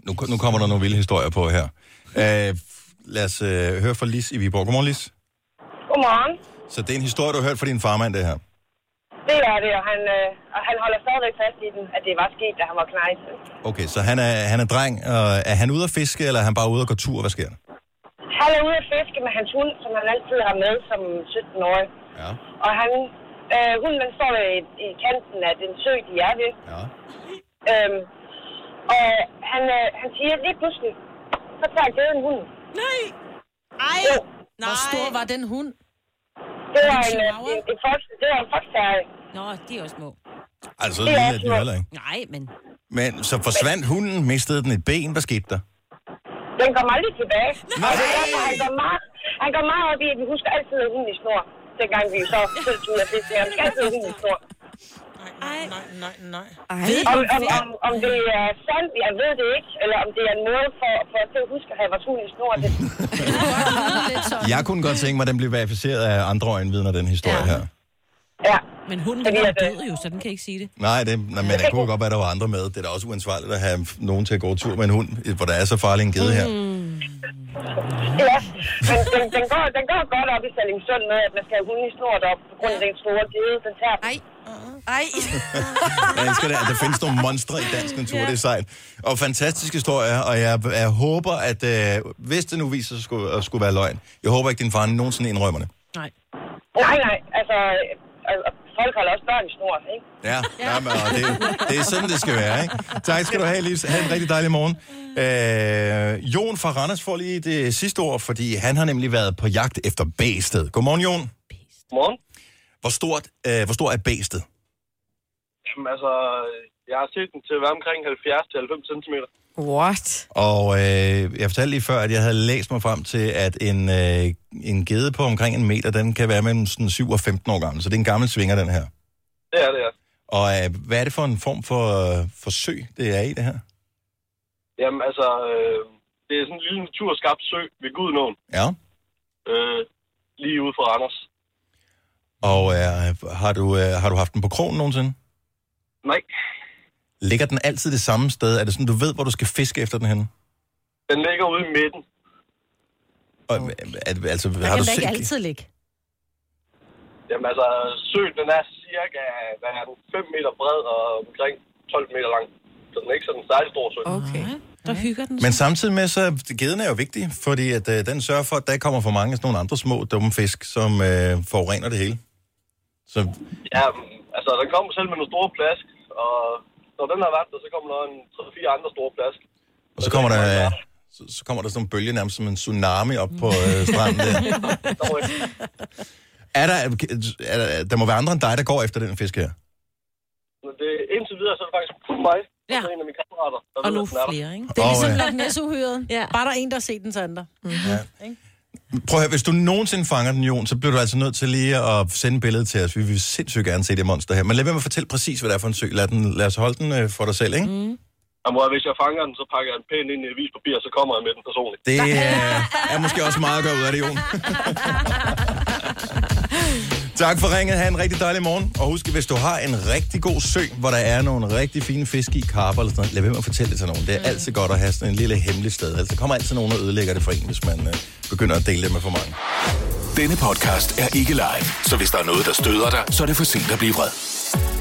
Speaker 1: Nu, nu kommer der nogle vilde historier på her. Øh, lad os øh, høre fra Lis i Viborg. Godmorgen, Lis.
Speaker 13: Godmorgen.
Speaker 1: Så det er en historie, du har hørt fra din farmand, det her.
Speaker 13: Det er det, og han, øh, og han holder stadigvæk fast i den, at det var sket, da han var knejsen.
Speaker 1: Okay, så han er, han er dreng. Og er han ude at fiske, eller er han bare ude og gå tur? Hvad sker der?
Speaker 13: Han er ude at fiske med hans hund, som han altid har med som 17-årig.
Speaker 1: Ja.
Speaker 13: Og han, øh, hunden den står i, i kanten af den sø, de er ved.
Speaker 1: Ja.
Speaker 13: Øhm, og han, øh, han siger lige pludselig, så tager gæden hunden. Nej! Ej! Jo,
Speaker 3: Hvor stor var den hund?
Speaker 13: det
Speaker 3: var
Speaker 13: var en,
Speaker 3: det en
Speaker 13: øh, en, en, fox, det var en foxterrier.
Speaker 4: Nå, de er også små.
Speaker 1: Altså, det er de heller ikke.
Speaker 4: Nej, men...
Speaker 1: Men så forsvandt hunden, mistede den et ben. Hvad skete der?
Speaker 13: Den kommer aldrig tilbage. Og det er derfor, han går meget, han går meget op i, at vi husker altid at have hunden i snor. Dengang vi så selv tog ud af fisk, han skal altid have hunden i snor.
Speaker 3: Nej, nej, nej, nej.
Speaker 13: Om, om, om, om det er sandt, jeg ved det ikke, eller om det er en måde for, for os til at huske at have vores hund i snor. Det,
Speaker 1: Jeg kunne godt tænke mig, at den blev verificeret af andre øjenvidner, den historie ja. her.
Speaker 13: ja. øh,
Speaker 4: Men hunden den er død jo, så den kan ikke sige det.
Speaker 1: Nej, det, nej, men det kunne godt være, at der var andre med. Det er da også uansvarligt at have nogen til at gå tur med en hund, hvor der er så farlig en gede her.
Speaker 13: ja. Men den, den, går, den går godt op i Sallingsund med, at man skal have hunden i snor op på grund af den store gede, den tager. Nej.
Speaker 19: Ej.
Speaker 1: Jeg elsker det, at der findes nogle monstre i dansk natur, det er sejt. Og fantastiske historier, og jeg, jeg håber, at øh, hvis det nu viser sig at skulle, at skulle være løgn, jeg håber ikke, din far nogensinde indrømmer det.
Speaker 4: Nej.
Speaker 13: Nej, nej, altså... øh, øh, Folk holder også børn i snor, ikke?
Speaker 1: Ja, ja. men, og det, det er sådan, det skal være, ikke? Tak skal du have, Lis. Ha' en rigtig dejlig morgen. Øh, Jon fra Randers får lige det sidste ord, fordi han har nemlig været på jagt efter bæstet. Godmorgen, Jon.
Speaker 20: Morgen.
Speaker 1: Hvor, stort, øh, hvor stor er bæstet?
Speaker 20: Jamen, altså, jeg har set den til at være omkring 70-90 cm.
Speaker 19: What?
Speaker 1: Og øh, jeg fortalte lige før, at jeg havde læst mig frem til, at en, øh, en gede på omkring en meter, den kan være mellem sådan 7 og 15 år gammel. Så det er en gammel svinger, den her.
Speaker 20: Det er det, ja.
Speaker 1: Og øh, hvad er det for en form for øh, forsøg, det er i det her?
Speaker 20: Jamen, altså, øh, det er sådan en lille naturskabt sø ved Gudnåen,
Speaker 1: Ja.
Speaker 20: øh, lige ude for Randers.
Speaker 1: Og øh, har, du, øh, har du haft den på krogen nogensinde?
Speaker 20: Nej,
Speaker 1: Ligger den altid det samme sted? Er det sådan, du ved, hvor du skal fiske efter den henne?
Speaker 20: den ligger ude i midten.
Speaker 1: Og, øh, er, altså,
Speaker 3: Der
Speaker 1: har
Speaker 3: kan
Speaker 1: du
Speaker 3: da
Speaker 1: set...
Speaker 3: ikke altid ligge.
Speaker 20: Jamen, altså, søen, den er cirka, hvad er den, 5 meter bred og omkring 12 meter lang. Så den er ikke sådan en særlig stor sø.
Speaker 4: Okay. Der hygger den.
Speaker 1: Men samtidig med, så gedden er jo vigtig, fordi at, øh, den sørger for, at der ikke kommer for mange af sådan nogle andre små dumme fisk, som øh, forurener det hele. Så
Speaker 20: Ja, men, altså, den kommer selv med nogle store plask, og når den har været der, så kommer der en 3-4 andre store plask.
Speaker 1: Og så kommer der, så, så kommer der sådan en bølge, nærmest som en tsunami op på øh, stranden der.
Speaker 20: øh,
Speaker 1: Er der, er der. Der må være andre end dig, der går efter den fisk her.
Speaker 20: Men det, indtil videre, så er det faktisk kun mig. Ja. Og så en af mine kammerater. Der
Speaker 3: Og
Speaker 20: ved,
Speaker 3: nu
Speaker 20: at den er der.
Speaker 3: flere, ikke? Det er
Speaker 1: Og,
Speaker 3: ligesom
Speaker 1: øh,
Speaker 3: Loch Ness-uhyret. Ja. Bare der er en, der har set den til andre. Mm-hmm.
Speaker 1: Prøv at høre, hvis du nogensinde fanger den, Jon, så bliver du altså nødt til lige at sende billedet til os. Vi vil sindssygt gerne se det monster her. Men lad være med at fortælle præcis, hvad det er for en sø. Lad, den, lad os holde den øh, for dig selv, ikke? Mm.
Speaker 20: Jamen, hvor hvis jeg fanger den, så pakker jeg den pænt ind i avispapir, og så kommer jeg med den personligt.
Speaker 1: Det øh, er måske også meget at gøre ud af det, Jon. tak for ringet. Ha' en rigtig dejlig morgen. Og husk, hvis du har en rigtig god sø, hvor der er nogle rigtig fine fisk i, karper eller sådan noget, lad være med at fortælle det til nogen. Det er altid godt at have sådan en lille hemmelig sted. Altså, der kommer altid nogen og ødelægger det for en, hvis man øh, begynder at dele det med for mange.
Speaker 7: Denne podcast er ikke live, så hvis der er noget, der støder dig, så er det for sent at blive vred.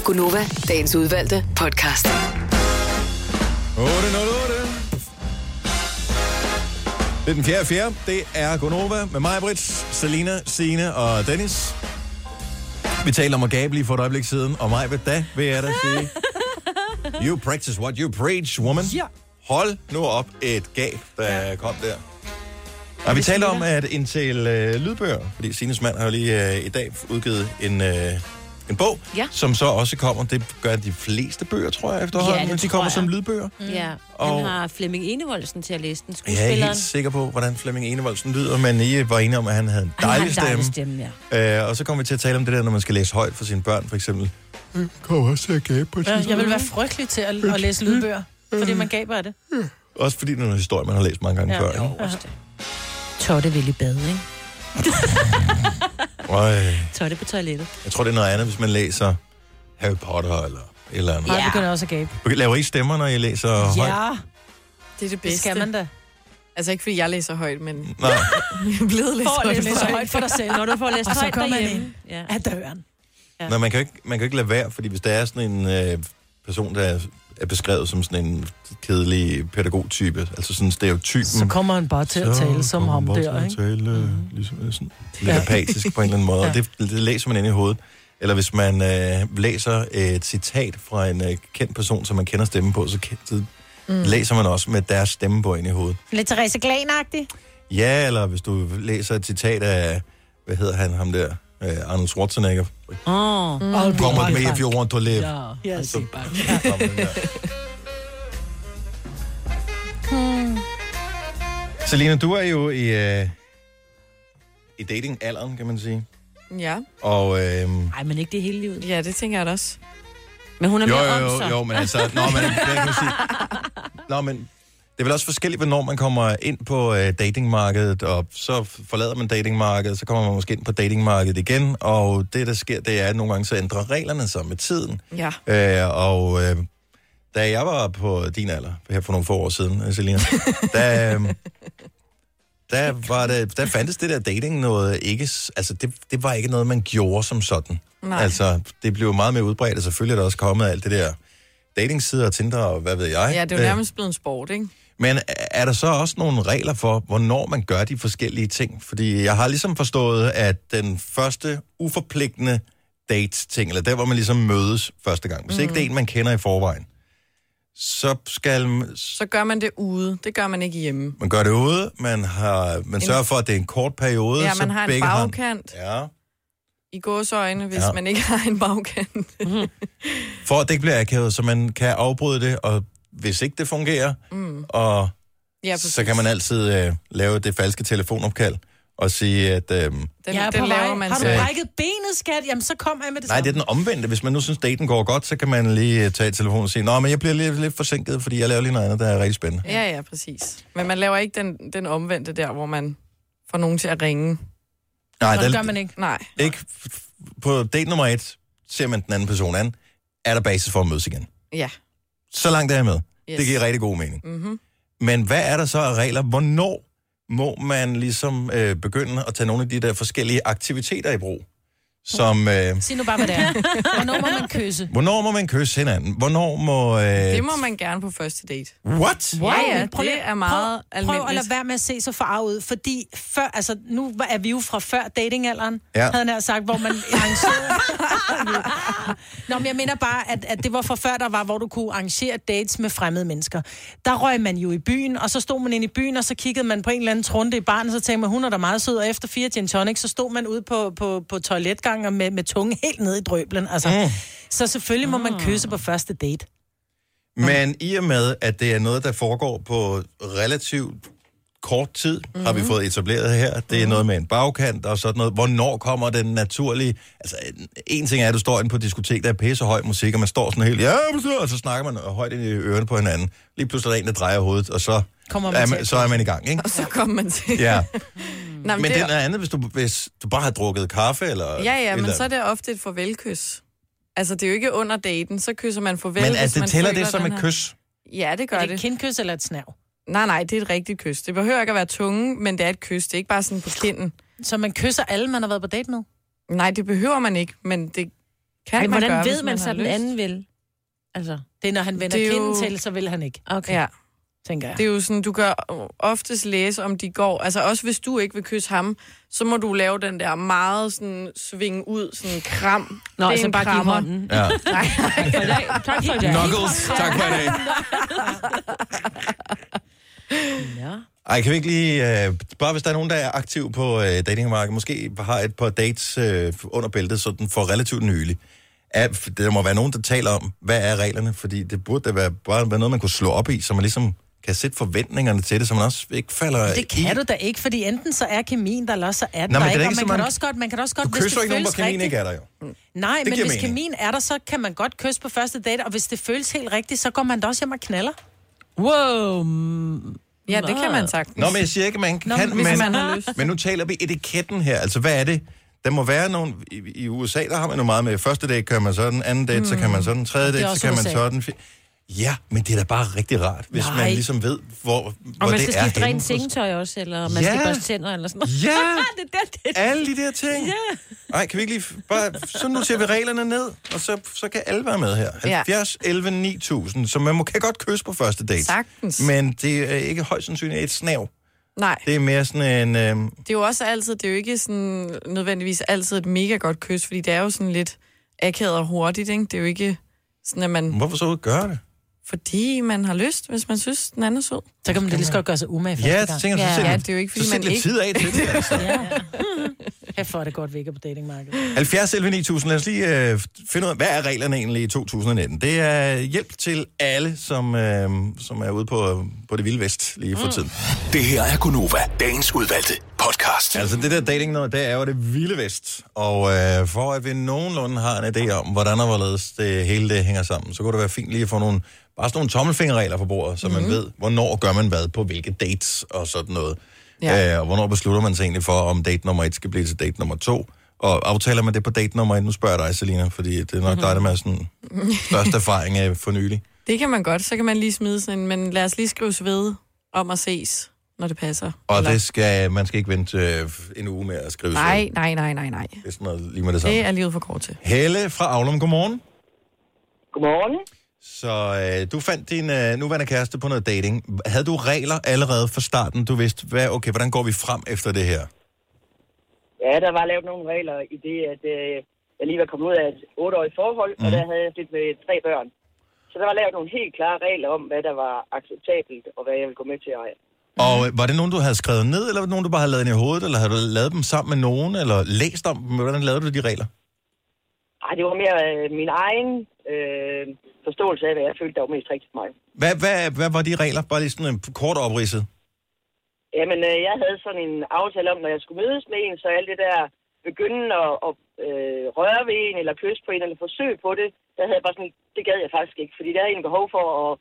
Speaker 6: Gunova, dagens udvalgte podcast.
Speaker 1: 808. Det er den fjerde fjerde. Det er Gonova med mig, Brits, Selina, Sine og Dennis. Vi talte om at gabe lige for et øjeblik siden, og mig ved da, vil jeg da sige. You practice what you preach, woman. Ja. Hold nu op et gab, der ja. kom der. Og vi talte om, at indtil øh, lydbøger, fordi Sines mand har jo lige øh, i dag udgivet en, øh, en bog,
Speaker 4: Ja.
Speaker 1: som så også kommer, det gør de fleste bøger, tror jeg, efterhånden,
Speaker 4: det
Speaker 1: men de
Speaker 4: tror
Speaker 1: kommer
Speaker 4: jeg.
Speaker 1: som lydbøger.
Speaker 4: Mm. Ja, han
Speaker 1: Og-
Speaker 4: har Flemming Enevoldsen til at læse den,
Speaker 1: Jeg er ikke
Speaker 4: skuespilleren.
Speaker 1: helt sikker på, hvordan Flemming Enevoldsen lyder, men I var enige om, at han havde en
Speaker 4: Han har
Speaker 1: dejlig
Speaker 4: en
Speaker 1: stemme.
Speaker 4: dejlig stemme, ja.
Speaker 1: Øh, og så kom vi til at tale om det der, når man skal læse højt for sine børn, for eksempel.
Speaker 3: Mm.
Speaker 1: Kommer også til at gabe på
Speaker 3: Ja, Øh, jeg vil være frygtelig til at, at læse lydbøger, fordi man gaber af det.
Speaker 1: Mm. Også fordi det er en historie, man har læst mange gange
Speaker 3: Ja,
Speaker 1: før.
Speaker 3: jo,
Speaker 1: ikke?
Speaker 3: også
Speaker 4: Totte vil i bad, ikke?
Speaker 1: Øj,
Speaker 4: Totte på toilettet.
Speaker 1: jeg tror, det er noget andet, hvis man læser Harry Potter eller et eller andet.
Speaker 3: Ja. Jeg begynder også at gabe.
Speaker 1: Okay, Laver I stemmer, når I læser højt?
Speaker 2: Det er det bedste.
Speaker 3: Det skal man da.
Speaker 2: Altså ikke fordi jeg læser højt, men
Speaker 1: Nej.
Speaker 2: jeg er blevet lidt
Speaker 3: For at læse højt for dig selv.
Speaker 4: Når du får læst
Speaker 3: Og så
Speaker 4: højt
Speaker 3: kommer man
Speaker 4: derhjemme.
Speaker 3: ind af døren.
Speaker 1: Ja. Nå, man kan, jo ikke, man kan jo ikke lade være, fordi hvis der er sådan en øh, person, der er, er beskrevet som sådan en kedelig pædagogtype, altså sådan stereotypen.
Speaker 3: Så kommer han bare til at
Speaker 1: Så
Speaker 3: tale som
Speaker 1: kommer
Speaker 3: ham
Speaker 1: man bare
Speaker 3: der,
Speaker 1: til at
Speaker 3: ikke?
Speaker 1: Tale, øh, ligesom, øh, sådan, lidt
Speaker 3: Ja.
Speaker 1: apatisk på en eller anden måde,
Speaker 3: Ja.
Speaker 1: og det, det læser man ind i hovedet. Eller hvis man øh, læser et citat fra en øh, kendt person, som man kender stemmen på, så, kan- så mm. læser man også med deres stemme på ind i hovedet.
Speaker 3: Lidt Therese Glan-agtig.
Speaker 1: Ja, eller hvis du læser et citat af, hvad hedder han, ham der, øh, Arnold Schwarzenegger.
Speaker 4: Åh. Mm.
Speaker 3: I'll be
Speaker 1: Come
Speaker 3: right
Speaker 1: with me if
Speaker 3: back.
Speaker 1: you want to live.
Speaker 3: Ja. Yes.
Speaker 1: Så-
Speaker 3: Hmm.
Speaker 1: Selina, du er jo i, øh, i dating-alderen, kan man sige.
Speaker 2: Ja.
Speaker 1: Og, øh,
Speaker 4: Nej, men ikke det hele livet.
Speaker 2: Ja, det tænker jeg da også.
Speaker 4: Men hun er
Speaker 1: jo,
Speaker 4: mere
Speaker 1: jo,
Speaker 4: om
Speaker 1: jo,
Speaker 4: sig.
Speaker 1: jo, men altså... Nå, men, hvad kan man sige? Nå, men det er vel også forskelligt, hvornår man kommer ind på øh, datingmarkedet, og så forlader man datingmarkedet, så kommer man måske ind på datingmarkedet igen, og det, der sker, det er, at nogle gange så ændrer reglerne sig med tiden.
Speaker 2: Ja.
Speaker 1: Øh, og øh, da jeg var på din alder, her for nogle få år siden, øh, Selina, der, øh, der, var det, der fandtes det der dating noget ikke... s- Altså, det, det var ikke noget, man gjorde som sådan.
Speaker 2: Nej.
Speaker 1: Altså, det blev meget mere udbredt, og selvfølgelig er der også kommet alt det der datingsider og Tinder og hvad ved jeg.
Speaker 2: Ja, det er jo
Speaker 1: Øh,
Speaker 2: nærmest blevet en sport, ikke?
Speaker 1: men er der så også nogle regler for, hvornår man gør de forskellige ting? Fordi jeg har ligesom forstået, at den første uforpligtende date-ting, eller der, hvor man ligesom mødes første gang, hvis mm. ikke det er en, man kender i forvejen, så skal
Speaker 2: Så gør man det ude. Det gør man ikke hjemme.
Speaker 1: man gøre det ude, man, har, man sørger for, at det er en kort periode,
Speaker 2: Ja, man
Speaker 1: så
Speaker 2: har en
Speaker 1: begge har en-
Speaker 2: bagkant
Speaker 1: Ja,
Speaker 2: i gåseøjne, hvis
Speaker 1: Ja.
Speaker 2: ja. man ikke har en bagkant.
Speaker 3: Mhm.
Speaker 1: for at det ikke bliver akavet, så man kan afbryde det, og hvis ikke det fungerer,
Speaker 2: Mm.
Speaker 1: og
Speaker 2: Ja,
Speaker 1: ja,
Speaker 2: præcis.
Speaker 1: så kan man altid øh, lave det falske telefonopkald og sige, at... Øh,
Speaker 3: Den, jeg er
Speaker 2: den
Speaker 3: på
Speaker 2: laver
Speaker 3: vej.
Speaker 2: man
Speaker 3: Har du
Speaker 1: selv.
Speaker 3: brækket benet, skat? Jamen, så kommer jeg med det
Speaker 1: Nej, det er
Speaker 3: samme.
Speaker 1: den omvendte. Hvis man nu synes, daten går godt, så kan man lige øh, tage telefonen og sige, Nå, men jeg bliver lidt, lidt forsinket, fordi jeg laver lige noget andet, der er rigtig spændende.
Speaker 2: Ja, ja, præcis. Men man laver ikke den, den omvendte der, hvor man får nogen til at ringe.
Speaker 1: Nej,
Speaker 2: Nå,
Speaker 1: der-
Speaker 2: det gør man ikke. Nej.
Speaker 1: Ikke f- f- på date nummer et ser man den anden person an. Er der basis for at mødes igen?
Speaker 2: Ja.
Speaker 1: Så langt er jeg med. Yes.
Speaker 2: Yes.
Speaker 1: Det giver rigtig god mening.
Speaker 2: Mm-hmm.
Speaker 1: Men hvad er der så af regler? Hvornår må man ligesom øh, begynde at tage nogle af de der forskellige aktiviteter i brug? Som, øh,
Speaker 3: Sig nu bare, hvad det er. Hvornår må man kysse?
Speaker 1: hvornår må man kysse hinanden? Hvornår må... Øh,
Speaker 2: Det må man gerne på første date.
Speaker 3: Mm.
Speaker 1: What?
Speaker 2: Ja, ja,
Speaker 3: Men prøv lige-
Speaker 2: det er meget
Speaker 3: prøv, Prøv at
Speaker 2: almindeligt.
Speaker 3: lade være med at se så farvet ud, fordi før, altså, nu var- er vi jo fra før datingalderen,
Speaker 2: Ja.
Speaker 3: havde jeg nær sagt, hvor man arrangerede... Nå, men jeg mener bare, at, at det var fra før, der var, hvor du kunne arrangere dates med fremmede mennesker. Der røg man jo i byen, og så stod man inde i byen, og så kiggede man på en eller anden trunde i barnet, og så tænkte man, hun er da meget sød, og efter fire gin tonic, så stod man ude på, på, på toiletgangen, omgang og med, med tunge helt ned i drøblen. Altså. Mm. Så selvfølgelig må man
Speaker 2: Ah.
Speaker 3: kysse på første date.
Speaker 1: Mm. Men i og med, at det er noget, der foregår på relativt kort tid, mm-hmm. har vi fået etableret her. Det er noget med en bagkant og sådan noget. Hvornår kommer den naturlige... Altså, en- en ting er, at du står inde på et diskotek, der er pissehøj musik, og man står sådan helt... Ja, og så snakker man højt ind i ørerne på hinanden. Lige pludselig er der en, der drejer hovedet, og så,
Speaker 2: Kommer man
Speaker 1: er,
Speaker 2: til
Speaker 1: man,
Speaker 2: at-
Speaker 1: så er man i gang, ikke?
Speaker 2: Og så kom man til.
Speaker 1: Ja.
Speaker 2: Nå,
Speaker 1: men, men det er noget andet, hvis du, hvis du bare har drukket kaffe, eller...
Speaker 2: Ja,
Speaker 1: et
Speaker 2: ja, men
Speaker 1: eller
Speaker 2: så er det ofte et farvelkys. Altså, det er jo ikke under daten, så kysser man farvel,
Speaker 1: Men
Speaker 2: hvis
Speaker 1: altså,
Speaker 2: man
Speaker 1: tæller
Speaker 2: føler,
Speaker 1: det som
Speaker 2: den
Speaker 1: et
Speaker 2: her-
Speaker 1: kys?
Speaker 2: Ja, det gør
Speaker 3: Er
Speaker 2: det.
Speaker 3: det et kindkys eller et snav?
Speaker 2: Nej, nej, det er et rigtigt kys. Det behøver ikke at være tunge, men det er et kys. Det er ikke bare sådan på kinden.
Speaker 3: Så man kysser alle, man har været på date med?
Speaker 2: Nej, det behøver man ikke, men det kan
Speaker 4: Ej,
Speaker 2: man
Speaker 4: hvordan
Speaker 2: gøre,
Speaker 4: ved
Speaker 2: hvis
Speaker 4: man
Speaker 2: man
Speaker 4: så,
Speaker 2: har
Speaker 4: den
Speaker 2: lyst?
Speaker 4: anden vil? Altså,
Speaker 3: det er, når han vender
Speaker 2: Det er
Speaker 3: kinden
Speaker 2: jo-
Speaker 3: til, så vil han ikke.
Speaker 4: Okay.
Speaker 2: Ja.
Speaker 3: Tænker jeg.
Speaker 2: Det er jo sådan, du kan oftest læse, om de går. Altså også hvis du ikke vil kysse ham, så må du lave den der meget sådan svinge ud, sådan kram. Det
Speaker 4: Nå,
Speaker 2: er
Speaker 4: altså
Speaker 2: en
Speaker 4: bare give
Speaker 2: krammer.
Speaker 4: hånden.
Speaker 1: Ja.
Speaker 2: Nej, tak for i dag.
Speaker 4: Tak for i
Speaker 1: dag. Knuckles. Tak for i dag. Ej, kan vi ikke lige, øh, bare hvis der er nogen, der er aktiv på øh, datingmarkedet, måske har et par dates øh, under bæltet, sådan for relativt nylig. Er, f- der må være nogen, der taler om, hvad er reglerne, fordi det burde da være, bare være noget, man kunne slå op i, så man ligesom kan sætte forventningerne til det, så man også ikke falder
Speaker 3: Det
Speaker 1: Øh, i.
Speaker 3: kan du da ikke, fordi enten så er kemien der, eller også så er den
Speaker 1: Nå,
Speaker 3: der
Speaker 1: men det er
Speaker 3: ikke,
Speaker 1: da
Speaker 3: og man
Speaker 1: ikke så
Speaker 3: kan,
Speaker 1: mange-
Speaker 3: også godt, man kan også godt,
Speaker 1: Du
Speaker 3: hvis
Speaker 1: kysser
Speaker 3: det
Speaker 1: ikke nogen, hvor
Speaker 3: føles rigtigt.
Speaker 1: kemien
Speaker 3: Mm.
Speaker 1: ikke er der jo.
Speaker 3: Nej,
Speaker 1: Det
Speaker 3: men
Speaker 1: giver
Speaker 3: hvis
Speaker 1: mening.
Speaker 3: kemien er der, så kan man godt kysse på første date, og hvis det føles helt rigtigt, så går man da også hjem og knaller. Wow.
Speaker 2: Ja, det kan man sagtens.
Speaker 1: Nå, men jeg siger ikke, man
Speaker 2: Nå,
Speaker 1: kan,
Speaker 2: men hvis
Speaker 1: men,
Speaker 2: man har lyst.
Speaker 1: men nu taler vi etiketten her. Altså, hvad er det? Der må være nogle... I, I USA, der har man jo meget med første date, kører man sådan, anden date, mm. så kan man sådan, tredje
Speaker 3: Det er
Speaker 1: date, så
Speaker 3: også
Speaker 1: kan man
Speaker 3: USA.
Speaker 1: sådan... fi- Ja, men det er da bare rigtig rart, hvis Nej.
Speaker 4: Nej.
Speaker 1: man ligesom ved, hvor, hvor
Speaker 4: Og man
Speaker 1: det
Speaker 4: skal
Speaker 1: er
Speaker 4: skifte
Speaker 1: henne.
Speaker 4: rent sengetøj også, eller man
Speaker 1: Ja.
Speaker 4: skal børste tænder, eller sådan noget.
Speaker 1: Ja.
Speaker 4: det er der, det
Speaker 1: Alle de der ting. Nej, kan vi ikke lige... f- Bare, så nu ser vi reglerne ned, og så, så kan alle være med her.
Speaker 2: Ja.
Speaker 1: 70, 11, 9000. Så man må, kan godt kysse på første date.
Speaker 2: Sagtens.
Speaker 1: Men det er ikke højst sandsynligt et snav.
Speaker 2: Nej,
Speaker 1: Det er mere sådan en... Øh,
Speaker 2: det er jo også altid, det er jo ikke sådan nødvendigvis altid et mega godt kys, fordi det er jo sådan lidt akavet og hurtigt, ikke? Det er jo ikke sådan, at man...
Speaker 1: hvorfor så gøre det?
Speaker 2: Fordi man har lyst, hvis man synes, den anden er sød.
Speaker 3: Så kan man da lige så godt gøre sig umage første
Speaker 1: Ja,
Speaker 3: gang.
Speaker 1: det tænker jeg, så
Speaker 2: Ja.
Speaker 1: sæt
Speaker 2: Ja,
Speaker 1: lidt-
Speaker 2: det er jo ikke, fordi
Speaker 1: så sæt
Speaker 2: man
Speaker 1: lidt
Speaker 2: ikke-
Speaker 1: tid af til det. Altså.
Speaker 3: Her får det godt vækker på datingmarkedet.
Speaker 1: 70 11 9000, lad os lige øh, finde ud af, hvad er reglerne egentlig i 2019? Det er hjælp til alle, som, øh, som er ude på, på det vilde vest lige for tiden.
Speaker 7: Mm. Det her er Gunova, dagens udvalgte podcast.
Speaker 1: Altså det der dating noget, det er jo det vilde vest. Og øh, for at vi nogenlunde har en idé om, hvordan og hvorledes det hele det hænger sammen, så kunne det være fint lige at få nogle, bare sådan nogle tommelfingerregler på bordet, så mm. man
Speaker 7: Mhm.
Speaker 1: ved, hvornår gør man hvad på hvilke dates og sådan noget. Ja. Øh, og hvornår beslutter man sig egentlig for, om date nummer et skal blive til date nummer to? Og aftaler man det på date nummer et? Nu spørger jeg dig, Selina, fordi det er nok mm-hmm. dig, der med sådan største erfaring øh, for nylig.
Speaker 2: Det kan man godt, så kan man lige smide sådan en, men lad os lige skrives ved om at ses, når det passer.
Speaker 1: Og det skal, man skal ikke vente øh, en uge med at skrive sig.
Speaker 2: Nej, nej, nej, nej, nej.
Speaker 1: Det er sådan noget lige med det samme.
Speaker 2: Det er livet for kort til.
Speaker 1: Helle fra Aulum, godmorgen. Godmorgen. Så øh, du fandt din øh, nuværende kæreste på noget dating. Havde du regler allerede fra starten? Du vidste, hvad, okay, hvordan går vi frem efter det her?
Speaker 21: Ja, der var lavet nogle regler i det, at øh, jeg lige var kommet ud af et otteårigt forhold, mm. og der havde jeg lidt med tre børn. Så der var lavet nogle helt klare regler om, hvad der var acceptabelt, og hvad jeg ville gå med til. Og ej.
Speaker 1: Og øh, var det nogen, du havde skrevet ned, eller var det nogen, du bare havde lavet ind i hovedet, eller havde du lavet dem sammen med nogen, eller læst om dem? Hvordan lavede du de regler?
Speaker 21: Ej, det var mere øh, min egen øh, forståelse af, hvad jeg følte, der var mest rigtigt for mig.
Speaker 1: Hvad, hvad, hvad var de regler? Bare lige sådan en kort opridset.
Speaker 21: Jamen, øh, jeg havde sådan en aftale om, når jeg skulle mødes med en, så alt det der begynde at, at øh, røre ved en, eller kysse på en, eller forsøge på det, der havde jeg bare sådan, det gad jeg faktisk ikke, fordi der havde jeg en behov for at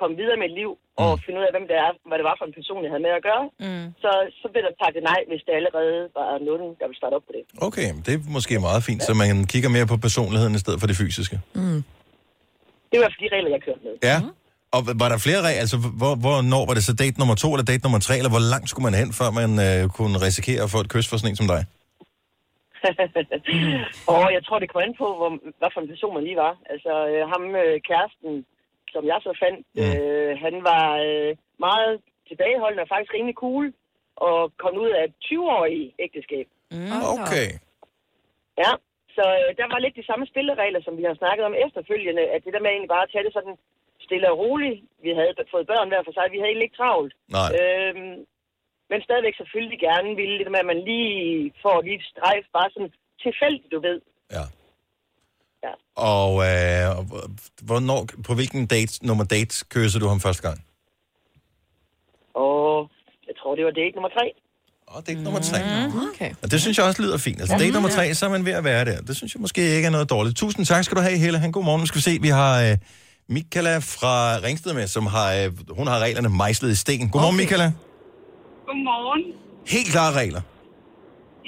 Speaker 21: komme videre med et liv, og finde ud af, hvem det er, hvad det var for en person, jeg havde med at gøre.
Speaker 3: Mm.
Speaker 21: Så, så blev der pakket nej, hvis det allerede var nogen, der ville starte op på det.
Speaker 1: Okay, det er måske meget fint, så man kigger mere på personligheden i stedet for det fysiske.
Speaker 21: Mm. Det var for de regler, jeg kørte med.
Speaker 1: Ja. Og h- var der flere regler? Altså, hvor, hvornår var det så date nummer to eller date nummer tre, eller hvor langt skulle man hen, før man øh, kunne risikere at få et kys for sådan en som dig?
Speaker 21: og jeg tror, det kom an på, hvor, hvad for en person man lige var. Altså, øh, ham øh, kæresten, som jeg så fandt,
Speaker 1: Mm.
Speaker 21: øh, han var øh, meget tilbageholdende og faktisk rimelig cool, og kom ud af et 20-årig ægteskab.
Speaker 1: Mm. Okay.
Speaker 21: Ja, så øh, der var lidt de samme spilleregler, som vi har snakket om efterfølgende, at det der med egentlig bare at tage det sådan stille og roligt. Vi havde b- fået børn hver for sig, vi havde egentlig ikke travlt.
Speaker 1: Nej.
Speaker 21: Øhm, men stadigvæk selvfølgelig gerne ville det der med, at man lige får lige et strejf, bare sådan tilfældigt, du ved.
Speaker 1: Og øh, og hvornår, på hvilken date, nummer date kysser du ham første gang?
Speaker 21: Og jeg tror, det var date nummer tre.
Speaker 1: Og date nummer tre.
Speaker 2: Okay.
Speaker 1: Og det synes jeg også lyder fint. Altså,
Speaker 21: Ja.
Speaker 1: date nummer tre, så er man ved at være der. Det synes jeg måske ikke er noget dårligt. Tusind tak skal du have, Helle. Han, god morgen. Nu skal vi se, vi har øh, Michaela fra Ringsted med, som har, øh, hun har reglerne mejslet i sten. Godmorgen, okay. Michaela.
Speaker 22: Godmorgen.
Speaker 1: Helt klare regler.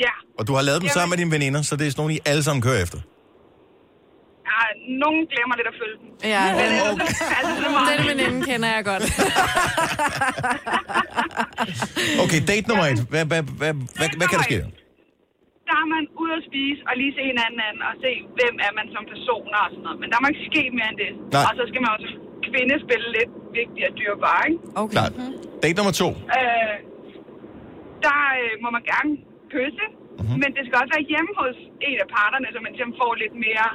Speaker 22: Ja,
Speaker 1: Og du har lavet dem
Speaker 22: Jamen.
Speaker 1: sammen med dine veninder, så det er sådan nogle, I alle sammen kører efter.
Speaker 22: ja nogen glemmer lidt at følge dem.
Speaker 2: Ja,
Speaker 22: Men
Speaker 2: den-
Speaker 22: ellers er det altid så meget.
Speaker 2: Den veninde kender jeg godt.
Speaker 1: Okay, date nummer et. Hvad, hvad, hvad, hvad, hvad kan der ske?
Speaker 22: Der er man ude at spise og lige se hinanden an og se, hvem er man som person og sådan noget. Men der må ikke ske mere end det.
Speaker 1: Nej.
Speaker 22: Og så skal man også kvinde spille lidt vigtig og dyrbar, ikke?
Speaker 2: Okay.
Speaker 1: Klart. Date nummer to.
Speaker 22: Øh, der øh, må man gerne kysse, mm-hmm. men det skal også være hjemme hos en af parterne, så man ligesom får lidt mere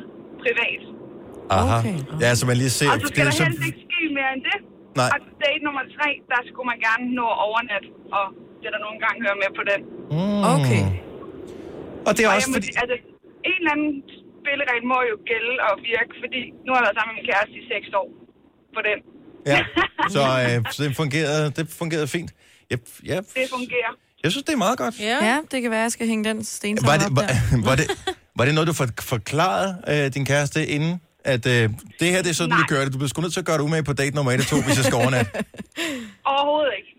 Speaker 22: privat.
Speaker 1: Aha. Okay. Ja, så man lige ser.
Speaker 22: og så skal
Speaker 1: er
Speaker 22: der
Speaker 1: så-
Speaker 22: helst ikke ske mere end det.
Speaker 1: Nej.
Speaker 22: Og date nummer tre, der skulle man gerne nå at overnatte, og det er der nogle gange hører med på den.
Speaker 1: Mm.
Speaker 22: Okay.
Speaker 1: Og det er
Speaker 22: og
Speaker 1: også
Speaker 22: jeg må
Speaker 1: fordi...
Speaker 22: sige, altså, en eller anden spilleregel må jo gælde og virke, fordi nu har jeg været sammen med min kæreste i seks år på den.
Speaker 1: Ja. Så, øh, så det, fungerede, det fungerede fint. Jeg, jeg,
Speaker 22: Det fungerer.
Speaker 1: jeg synes, det er meget godt.
Speaker 2: Ja. ja, det kan være, jeg skal hænge den sten
Speaker 1: Var
Speaker 2: op
Speaker 1: det,
Speaker 2: der.
Speaker 1: var, var, det, var det noget, du for, forklarede øh, din kæreste inden? At øh, det her, det er sådan, Nej. vi gør det. Du bliver sgu nødt til at gøre det umage på date nummer 1 og 2, hvis jeg skal overnatte.
Speaker 22: Overhovedet ikke.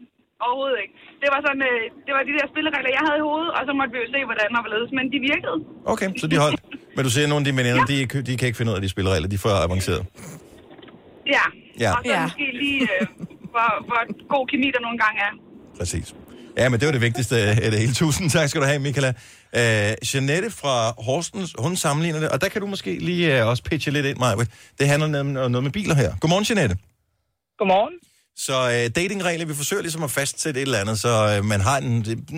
Speaker 22: Overhovedet ikke. Det var, sådan, øh, det var de der spilleregler, jeg havde i hovedet, og så måtte vi jo se, hvordan og hvorledes, men de virkede.
Speaker 1: Okay, så de holdt. Men du ser, at nogle af dine veninder, ja. de, de kan ikke finde ud af de spilleregler. De er for avanceret.
Speaker 22: Ja.
Speaker 1: Ja.
Speaker 22: Og så
Speaker 1: Ja.
Speaker 22: måske lige, øh, hvor, hvor god kemi der nogle gange er.
Speaker 1: Præcis. Ja, men det var det vigtigste af det hele. Tusind tak skal du have, Michaela. Øh, Jeanette fra Horsens, hun sammenligner det, og der kan du måske lige øh, også pitche lidt ind, Maja. Det handler nemlig om noget med biler her. Godmorgen, Jeanette.
Speaker 23: Godmorgen.
Speaker 1: Så øh, datingregler, vi forsøger ligesom at fastsætte et eller andet, så øh, man har en,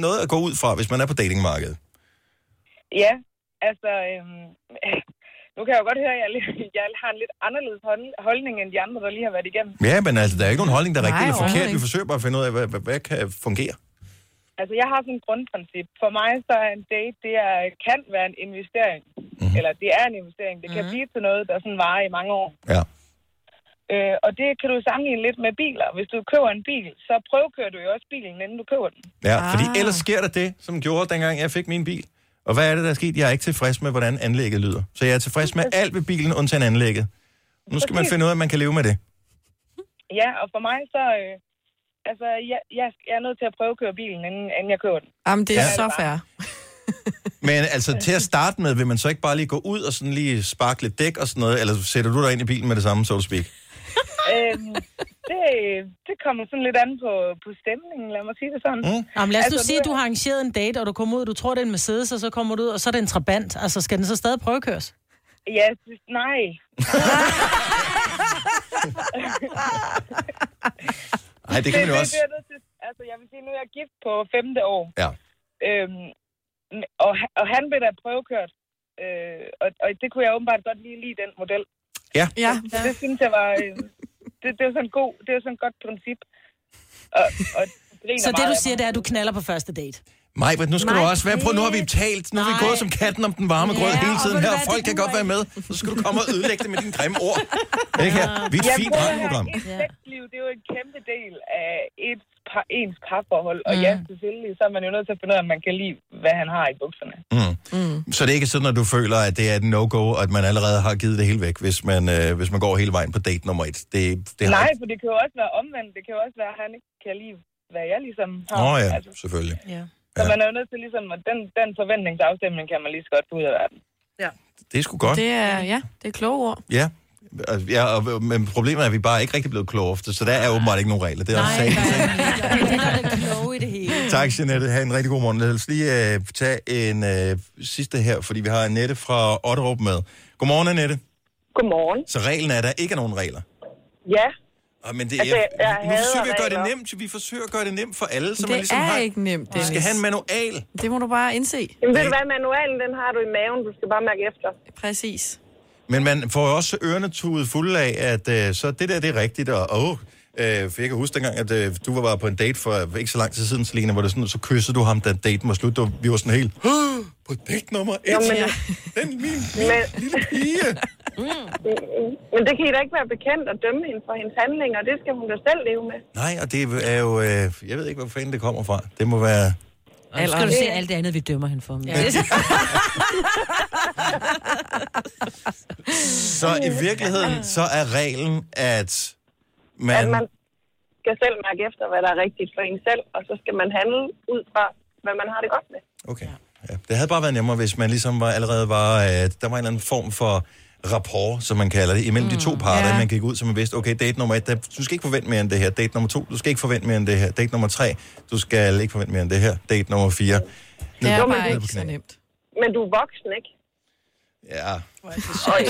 Speaker 1: noget at gå ud fra, hvis man er på datingmarkedet.
Speaker 23: Ja, altså, øhm, nu kan jeg jo godt høre, at jeg, lidt- jeg har en lidt anderledes hold- holdning end de andre, der lige har været igennem.
Speaker 1: Ja, men altså, der er ikke nogen holdning, der er
Speaker 23: Nej,
Speaker 1: rigtig eller forkert.
Speaker 23: overhovedet
Speaker 1: Vi
Speaker 23: ikke.
Speaker 1: forsøger bare at finde ud af, hvad, hvad, hvad kan fungere.
Speaker 23: Altså, jeg har sådan et grundprincip. For mig så er en date, det er, kan være en investering. Mm-hmm. Eller det er en investering. Det kan mm-hmm. blive til noget, der sådan varer i mange år.
Speaker 1: Ja.
Speaker 23: Øh, og det kan du sammenligne lidt med biler. Hvis du køber en bil, så prøvekører du jo også bilen, inden du køber den.
Speaker 1: Ja, ah. fordi ellers sker der det, som gjorde, dengang jeg fik min bil. Og hvad er det, der er sket? Jeg er ikke tilfreds med, hvordan anlægget lyder. Så jeg er tilfreds med alt ved bilen, undtagen anlægget. Nu skal man
Speaker 23: Præcis.
Speaker 1: finde ud af, at man kan leve med det.
Speaker 23: Ja, og for mig så... Øh, altså, jeg, jeg, jeg er nødt til at prøve at køre bilen, inden, inden jeg køber den.
Speaker 2: Jamen, det er
Speaker 1: Ja.
Speaker 2: ja. så fair.
Speaker 1: Men altså, til at starte med, vil man så ikke bare lige gå ud og sådan lige sparke lidt dæk og sådan noget, eller sætter du dig ind i bilen med det samme, så to speak?
Speaker 23: øhm, det, det kommer sådan lidt an på, på stemningen, lad mig sige det sådan.
Speaker 1: Mm.
Speaker 3: Jamen, lad os altså, nu
Speaker 23: nu
Speaker 3: sige, at
Speaker 23: er-
Speaker 3: du har arrangeret en date, og du kommer ud, og du tror, det er en Mercedes, og så kommer du ud, og så er det en Trabant. Altså, skal den så stadig prøvekøres?
Speaker 23: Ja, det- nej.
Speaker 1: Nej, det kan man jo
Speaker 23: det,
Speaker 1: også.
Speaker 23: Det, er jeg nødt til, altså, jeg vil sige, nu er jeg gift på femte år.
Speaker 1: Ja.
Speaker 23: Øhm, og, ha- og han blev da prøvekørt. Øh, og, og det kunne jeg åbenbart godt lide, lige den model.
Speaker 1: Ja.
Speaker 23: ja.
Speaker 5: Dạ.
Speaker 23: Så det synes jeg var... Øh, det, det, var sådan en god, det var sådan et godt princip. Og, og griner
Speaker 3: Så det,
Speaker 23: meget
Speaker 3: du
Speaker 23: af
Speaker 3: siger,
Speaker 23: mig.
Speaker 3: det er, at du knaller på første date.
Speaker 1: Maj, men nu skal du også være på. Nu har vi talt. Nu er vi gået som katten om den varme
Speaker 3: Ja,
Speaker 1: grød hele
Speaker 3: og
Speaker 1: tiden
Speaker 3: ved du
Speaker 1: her.
Speaker 3: hvad, det
Speaker 1: Folk kan godt være med. Så skal du komme og ødelægge det med dine grimme ord. Ikke her? Vi er et
Speaker 23: Jeg
Speaker 1: fint
Speaker 23: prøver at have
Speaker 1: radioprogram.
Speaker 23: Et sexliv, det er jo en kæmpe del af et par, ens parforhold.
Speaker 3: Mm.
Speaker 23: Og ja, selvfølgelig, så er man jo nødt til at finde ud af, om man kan lide, hvad han har i bukserne.
Speaker 1: Mm. Mm. Så det er ikke sådan, at du føler, at det er et no-go, og at man allerede har givet det hele væk, hvis man, øh, hvis man går hele vejen på date nummer et. Det, det
Speaker 23: Det
Speaker 1: har
Speaker 23: Nej,
Speaker 1: ikke-
Speaker 23: for det kan jo også være omvendt. Det kan jo også være, at han ikke kan lide, hvad jeg ligesom har.
Speaker 1: Åh oh, ja, selvfølgelig.
Speaker 23: ja. Så man er jo nødt til ligesom, at den, den forventningsafstemning kan man lige så godt få ud af verden. Ja.
Speaker 1: Det er sgu godt.
Speaker 2: Det er, ja, det er kloge ord.
Speaker 1: Ja. Og- ja og, men problemet er, at vi bare ikke rigtig blevet kloge efter, så der er åbenbart ikke nogen regler. Det er også sagen.
Speaker 3: Det er det kloge i det hele.
Speaker 1: Tak, Jeanette. Ha' en rigtig god morgen. Lad os lige øh, tage en øh, sidste her, fordi vi har Annette fra Otterup med. Godmorgen, Annette.
Speaker 24: Godmorgen.
Speaker 1: Så reglen er, at der ikke er nogen regler.
Speaker 24: Ja.
Speaker 1: Og, men det,
Speaker 24: Altså,
Speaker 1: altså,
Speaker 24: jeg- jeg
Speaker 1: jeg, nu
Speaker 24: hader
Speaker 1: forsøger vi at gøre det
Speaker 24: regler.
Speaker 1: nemt. Vi forsøger at gøre det nemt for alle, så
Speaker 2: det
Speaker 1: man ligesom
Speaker 2: er
Speaker 1: har...
Speaker 2: ikke nemt,
Speaker 1: Vi
Speaker 2: Dennis.
Speaker 1: skal have en manual.
Speaker 2: Det må du bare indse.
Speaker 24: Jamen, ved du hvad, manualen, den har du i maven. Du skal bare mærke efter.
Speaker 2: Præcis.
Speaker 1: Men man får jo også ørerne tudet fulde af, at øh, så det der, det er rigtigt, og åh, øh, for jeg kan huske dengang, at øh, du var bare på en date for ikke så lang tid siden, Selina, hvor det sådan, så kyssede du ham, da daten var slut, og vi var sådan helt, på date nummer et.
Speaker 23: Nå, men-
Speaker 1: Den min,
Speaker 23: Men,
Speaker 1: lille pige.
Speaker 15: Mm.
Speaker 23: men det kan I da ikke være bekendt at dømme hende for hendes handlinger. Det skal hun da selv leve med.
Speaker 1: Nej, og det er jo... Øh, jeg ved ikke, hvor fanden det kommer fra. Det må være...
Speaker 4: Og nu skal du se alt det andet, vi dømmer hende for. Ja.
Speaker 1: Så i virkeligheden, så er reglen, at man...
Speaker 23: At man skal selv mærke efter, hvad der er rigtigt for en selv, og så skal man handle ud fra, hvad man har det godt med.
Speaker 1: Okay. Ja, det havde bare været nemmere, hvis man ligesom var, allerede var... Øh, der var en eller anden form for rapport, som man kalder det, imellem mm, de to parter.
Speaker 5: ja.
Speaker 1: Yeah. Man gik ud, så man vidste, okay, date nummer et, der, du skal ikke forvente mere end det her. Date nummer to, du skal ikke forvente mere end det her. Date nummer tre, du skal ikke forvente mere end det her. Date nummer fire.
Speaker 2: Det er
Speaker 1: ned-
Speaker 2: bare
Speaker 1: ned på
Speaker 2: ikke så
Speaker 1: knæ.
Speaker 2: nemt.
Speaker 23: Men du er voksen, ikke?
Speaker 1: Ja.
Speaker 23: Og,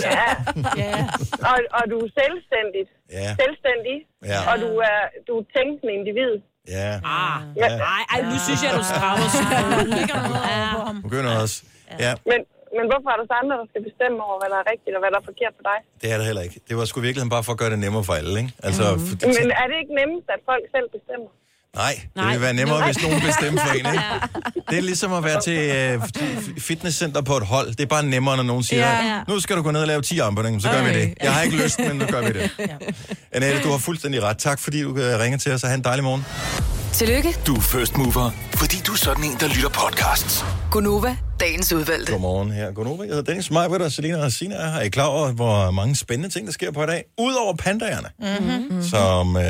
Speaker 23: ja. og, og du er selvstændig.
Speaker 1: Ja.
Speaker 23: Selvstændig.
Speaker 1: Ja.
Speaker 23: Og du er, du er tænkende individ.
Speaker 1: Ja.
Speaker 23: Ah,
Speaker 1: Ja.
Speaker 23: nej,
Speaker 4: ej, nu synes jeg, du strammer
Speaker 1: Nu begynder også. Ja,
Speaker 23: Men, men hvorfor er der så andre, der skal bestemme over, hvad der er rigtigt og hvad der er forkert for dig?
Speaker 1: det er det heller ikke. Det var sgu i virkeligheden bare for at gøre det nemmere for alle, ikke? Altså, mm. for,
Speaker 23: Men er det ikke nemmest, at folk selv bestemmer?
Speaker 1: Nej, det
Speaker 23: Nej.
Speaker 1: ville være nemmere,
Speaker 23: Nej.
Speaker 1: hvis nogen bestemte for en, ikke? Det er ligesom at være til øh, f- fitnesscenter på et hold. Det er bare nemmere, når nogen siger,
Speaker 5: Ja, ja.
Speaker 1: nu skal du gå ned og lave 10 armbøjninger, så gør vi det. Jeg har ikke lyst, men nu gør vi det. Annette, du har fuldstændig ret. Tak, fordi du øh, ringer til os, og have en dejlig morgen.
Speaker 6: Tillykke,
Speaker 7: Du er first mover, fordi du er sådan en, der lytter podcasts.
Speaker 6: Gunova, dagens udvalgte.
Speaker 1: Godmorgen her. Godmorgen. Jeg hedder Dennis Majbert og Selina og Sina er her. Er I klar over, hvor mange spændende ting, der sker på i dag? Udover pandagerne,
Speaker 4: Mm-hmm.
Speaker 1: som øh,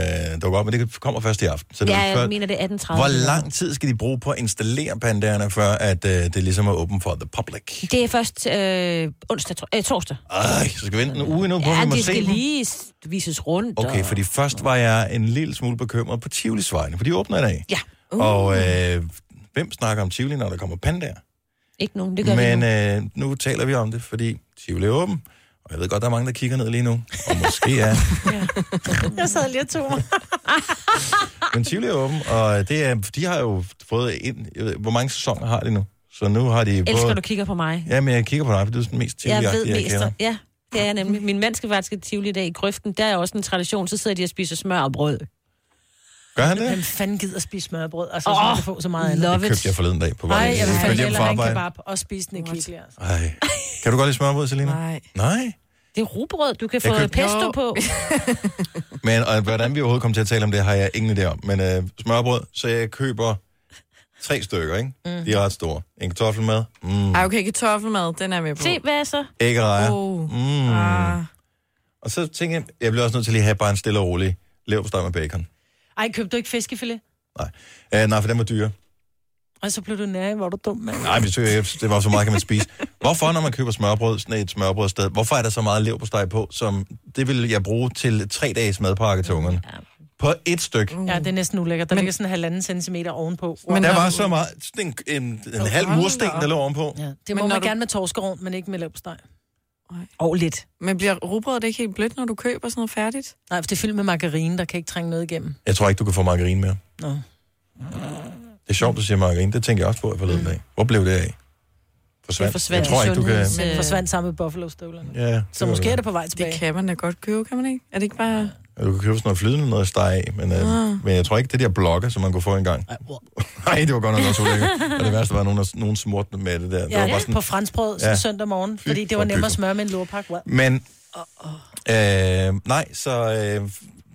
Speaker 1: dukker op, men det kommer først i aften. Så det er
Speaker 4: Ja,
Speaker 1: før-
Speaker 4: jeg mener, det er 18.30.
Speaker 1: Hvor lang tid skal de bruge på at installere pandagerne, før at øh, det ligesom er åbent for the public?
Speaker 4: Det er først øh, onsdag, tro- øh, torsdag.
Speaker 1: Ej, så skal vi vente en uge endnu på, at
Speaker 4: Ja,
Speaker 1: vi må
Speaker 4: det
Speaker 1: se
Speaker 4: skal
Speaker 1: dem.
Speaker 4: lige s- vises rundt.
Speaker 1: Okay,
Speaker 4: og-
Speaker 1: fordi først var jeg en lille smule bekymret på Tivolis vegne, for de åbner i dag.
Speaker 4: Ja.
Speaker 1: Uh. Og øh, hvem snakker om Tivoli, når der kommer pandaer?
Speaker 4: Ikke nogen, det gør
Speaker 1: Men
Speaker 4: vi nu.
Speaker 1: øh, nu taler vi om det, fordi Tivoli er åben. Og jeg ved godt, der er mange, der kigger ned lige nu. Og måske er...
Speaker 3: Jeg sad lige og tog mig.
Speaker 1: Men Tivoli er åben, og øh, det er, de har jo fået ind... Jeg ved, hvor mange sæsoner har de nu? Så nu har de...
Speaker 4: Elsker, du kigger på mig.
Speaker 1: Ja, men jeg kigger på dig, for du er sådan mest
Speaker 4: Jeg
Speaker 1: Tivoli-agtig,
Speaker 4: ved mest.
Speaker 1: kender.
Speaker 4: Ja, det er jeg nemlig. Min mand skal faktisk til Tivoli i dag i grøften. Der er også en tradition, så sidder de og spiser smør og brød.
Speaker 1: Gør han det?
Speaker 3: Hvem fanden gider spise smørbrød? Altså, så kan
Speaker 4: Åh,
Speaker 3: du få så meget andet.
Speaker 1: Det købte jeg forleden dag på vej.
Speaker 3: Nej,
Speaker 1: hjem.
Speaker 3: jeg vil
Speaker 1: Jeg
Speaker 3: fandme
Speaker 1: kørte hjem fra
Speaker 3: hellere have en
Speaker 1: arbejde.
Speaker 3: kebab og spise den i kigler. Altså.
Speaker 1: Ej. Kan du godt lide smørbrød, Selina?
Speaker 4: Nej.
Speaker 1: Nej?
Speaker 4: Det er rugbrød, du kan
Speaker 1: Jeg
Speaker 4: få
Speaker 1: købte-
Speaker 4: pesto
Speaker 1: Jo.
Speaker 4: på.
Speaker 1: Men og, hvordan vi overhovedet kom til at tale om det, har jeg ingen idé om. Men øh, smørbrød, så jeg køber tre stykker, ikke? Mm. De er ret store. En kartoffelmad, mm.
Speaker 2: Ej, okay, kartoffelmad, den er jeg med på. Se,
Speaker 4: hvad så?
Speaker 1: æggerejer.
Speaker 2: Oh.
Speaker 1: Mm.
Speaker 2: Ah.
Speaker 1: Og så tænkte jeg, jeg bliver også nødt til lige at have bare en stille og rolig leverpostej med bacon.
Speaker 3: Ej, købte du ikke fiskefilet?
Speaker 1: Uh, nej, for den var dyr.
Speaker 3: Og så blev du nær, hvor er du dum, mand.
Speaker 1: Nej, men det var- det var så meget, kan man spise. Hvorfor, når man køber smørbrød, sådan et smørbrødsted, hvorfor er der så meget leverpostej på, som det vil jeg bruge til tre dages madpakke til ungerne? På et stykke.
Speaker 3: Ja, det er næsten ulækkert. Der ligger sådan en halvanden centimeter ovenpå.
Speaker 1: Men der var så meget, sådan en, en, en halv mursten, der lå ovenpå.
Speaker 3: Ja, det må
Speaker 2: Men
Speaker 3: men
Speaker 2: når
Speaker 3: man
Speaker 2: du-
Speaker 3: gerne med torskerov, men ikke med lavsteg.
Speaker 4: Og lidt.
Speaker 2: Men bliver rugbrødet ikke helt blødt, når du køber sådan noget færdigt?
Speaker 3: Nej, for det er fyldt med margarine, der kan ikke trænge noget igennem.
Speaker 1: Jeg tror ikke, du kan få margarine mere.
Speaker 3: Nå.
Speaker 1: Det er sjovt, du siger margarine. Det tænker jeg også på i forleden dag. Hvor blev det af? Forsvandt. jeg tror ikke, du kan...
Speaker 3: Men forsvandt sammen med buffalo-støvlerne.
Speaker 1: Ja, det
Speaker 3: så
Speaker 1: var
Speaker 3: måske
Speaker 1: det.
Speaker 3: er det på vej tilbage.
Speaker 2: Det kan man da godt købe, kan man ikke? Er det ikke bare...
Speaker 1: Du kan købe sådan noget flydende noget at stege af, men, øh,
Speaker 2: Ah.
Speaker 1: men jeg tror ikke, det der blokke, som man kunne få engang. Nej, det var godt nok også ulækkert. Og det værste var, at nogen, der- nogen smurte med det der. det var
Speaker 3: Ja, på franskbrød sådan
Speaker 1: Ja.
Speaker 3: søndag morgen, fordi det
Speaker 1: for
Speaker 3: var nemmere at
Speaker 1: pykker.
Speaker 3: smøre med en lurpak. Wow.
Speaker 1: Men, øh, nej, så, øh,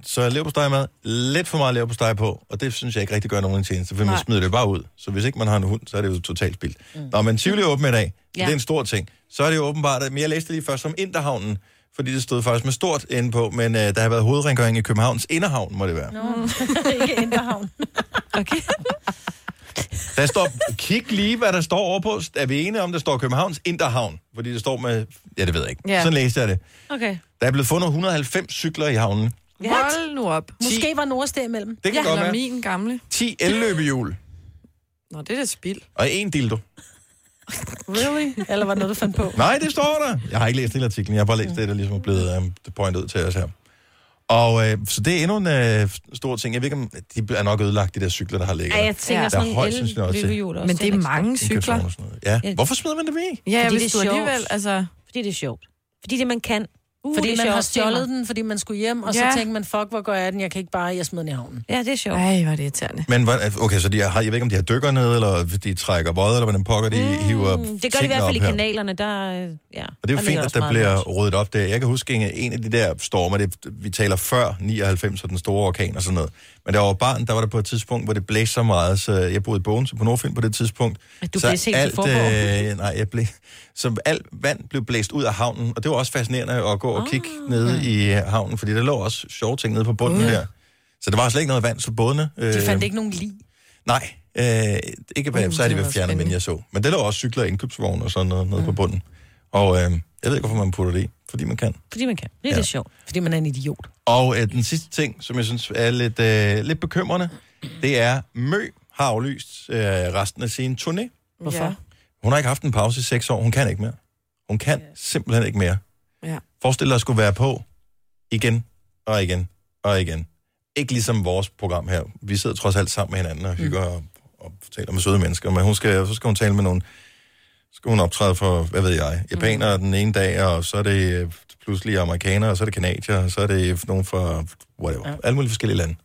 Speaker 1: så leverpostej mad. Lidt for meget leverpostej på, og det synes jeg ikke rigtig gør nogen en tjeneste, for man
Speaker 5: Nej.
Speaker 1: smider det jo bare ud. Så hvis ikke man har en hund, så er det jo totalt spildt. Mm. Nå, men Tivoli er åben i dag, så
Speaker 5: Ja.
Speaker 1: det er en stor ting. Så er det jo åbenbart, at- men jeg læste lige først om Inderhavnen, fordi det stod faktisk med stort inde på, men øh, der har været hovedrengøring i Københavns Inderhavn, må det være.
Speaker 3: Nå, ikke Inderhavn.
Speaker 1: Der står, kig lige, hvad der står overpå. Er vi enige om, der står Københavns Inderhavn? Fordi det står med, ja, det ved jeg ikke.
Speaker 3: Ja.
Speaker 1: Ja. Sådan læste jeg det.
Speaker 3: Okay.
Speaker 1: Der er blevet fundet 190 cykler i havnen.
Speaker 2: Hold nu op.
Speaker 3: Måske var Noras der imellem.
Speaker 1: Det kan godt
Speaker 2: Eller
Speaker 1: være.
Speaker 2: min gamle.
Speaker 1: 10 elløbehjul
Speaker 2: Nå, det er da spild.
Speaker 1: og en dildo.
Speaker 3: Really? Eller var det noget, du fandt på?
Speaker 1: Nej, det står der. Jeg har ikke læst hele artiklen. Jeg har bare læst det, der ligesom er blevet um, pointet ud til os her. Og øh, så det er endnu en øh, stor ting. Jeg ved ikke, om de er nok ødelagt, de der cykler, der har ligget.
Speaker 4: Ja, jeg tænker
Speaker 1: der
Speaker 4: sådan
Speaker 1: er
Speaker 4: en
Speaker 1: højst sandsynligt også til.
Speaker 4: elløbehjul også
Speaker 2: Men det er
Speaker 4: til,
Speaker 2: mange
Speaker 1: Indkøbsvogn og
Speaker 2: cykler.
Speaker 1: sådan noget. Ja. Hvorfor smider man det væk?
Speaker 2: Ja,
Speaker 4: Fordi
Speaker 2: hvis
Speaker 4: det er
Speaker 2: du
Speaker 4: sjovt.
Speaker 2: alligevel, altså...
Speaker 4: Fordi det er sjovt. Fordi det, man kan.
Speaker 3: Uh,
Speaker 4: det
Speaker 3: fordi
Speaker 4: er
Speaker 3: man har
Speaker 4: sjovt tema.
Speaker 3: stjålet den, fordi man skulle hjem, og ja.
Speaker 4: Ja.
Speaker 3: så tænkte man, fuck, hvor går jeg den? Jeg kan ikke bare, jeg smider den i havnen.
Speaker 4: Ja, det er sjovt.
Speaker 2: Ej, hvor er det irriterende.
Speaker 1: Men hvad- okay, så de har, jeg ved ikke, om de har dykker ned, eller de trækker våde, eller hvordan pokker de mm, hiver
Speaker 4: Det gør de i
Speaker 1: tingene
Speaker 4: hvert fald i
Speaker 1: op her.
Speaker 4: kanalerne, der... øh, Ja.
Speaker 1: Og
Speaker 4: der
Speaker 1: det er jo
Speaker 4: ligger
Speaker 1: fint, at
Speaker 4: også
Speaker 1: der
Speaker 4: meget
Speaker 1: bliver
Speaker 4: lort.
Speaker 1: ryddet op der. Jeg kan huske en, en af de der stormer, det, vi taler før 99 og den store orkan og sådan noget. Men der var barn, der var der på et tidspunkt, hvor det blæste så meget, så jeg boede i Bogense på Nordfyn på det tidspunkt.
Speaker 4: Du
Speaker 1: så
Speaker 4: blæste helt til Fåborg.
Speaker 1: øh, Nej, jeg blev, så alt vand blev blæst ud af havnen, og det var også fascinerende at gå og kigge
Speaker 4: Ah.
Speaker 1: nede i havnen, fordi der lå også sjove ting nede på bunden
Speaker 3: Gud.
Speaker 1: der. Så der var slet ikke noget vand, så bådene... Øh,
Speaker 3: De fandt ikke nogen lig.
Speaker 1: Nej, øh, ikke hvad,
Speaker 3: Uh,
Speaker 1: så er de
Speaker 3: det
Speaker 1: vel
Speaker 3: var
Speaker 1: fjernet, men
Speaker 3: spændende.
Speaker 1: jeg så. Men det lå også cykler og indkøbsvogne og sådan noget nede på bunden. Og øh, jeg ved ikke, hvorfor man putter det i, fordi man kan.
Speaker 4: Fordi man kan. Det er
Speaker 1: Ja.
Speaker 4: lidt sjovt.
Speaker 3: Fordi man er en idiot.
Speaker 1: Og øh, den sidste ting, som jeg synes er lidt, øh, lidt bekymrende, det er, Mø har aflyst øh, resten af sin turné.
Speaker 2: Hvorfor?
Speaker 1: Hun har ikke haft en pause i seks år. Hun kan ikke mere. Hun kan simpelthen ikke mere.
Speaker 2: Ja.
Speaker 1: Forestil dig at skulle være på igen og igen og igen. Ikke ligesom vores program her. Vi sidder trods alt sammen med hinanden og hygger og, og taler med søde mennesker. Men hun skal, så skal hun tale med nogen. Så skal hun optræde for, hvad ved jeg, japanere den ene dag, og så er det øh, pludselig amerikanere, og så er det kanadier, og så er det nogen fra whatever. Ja. Alle mulige forskellige lande.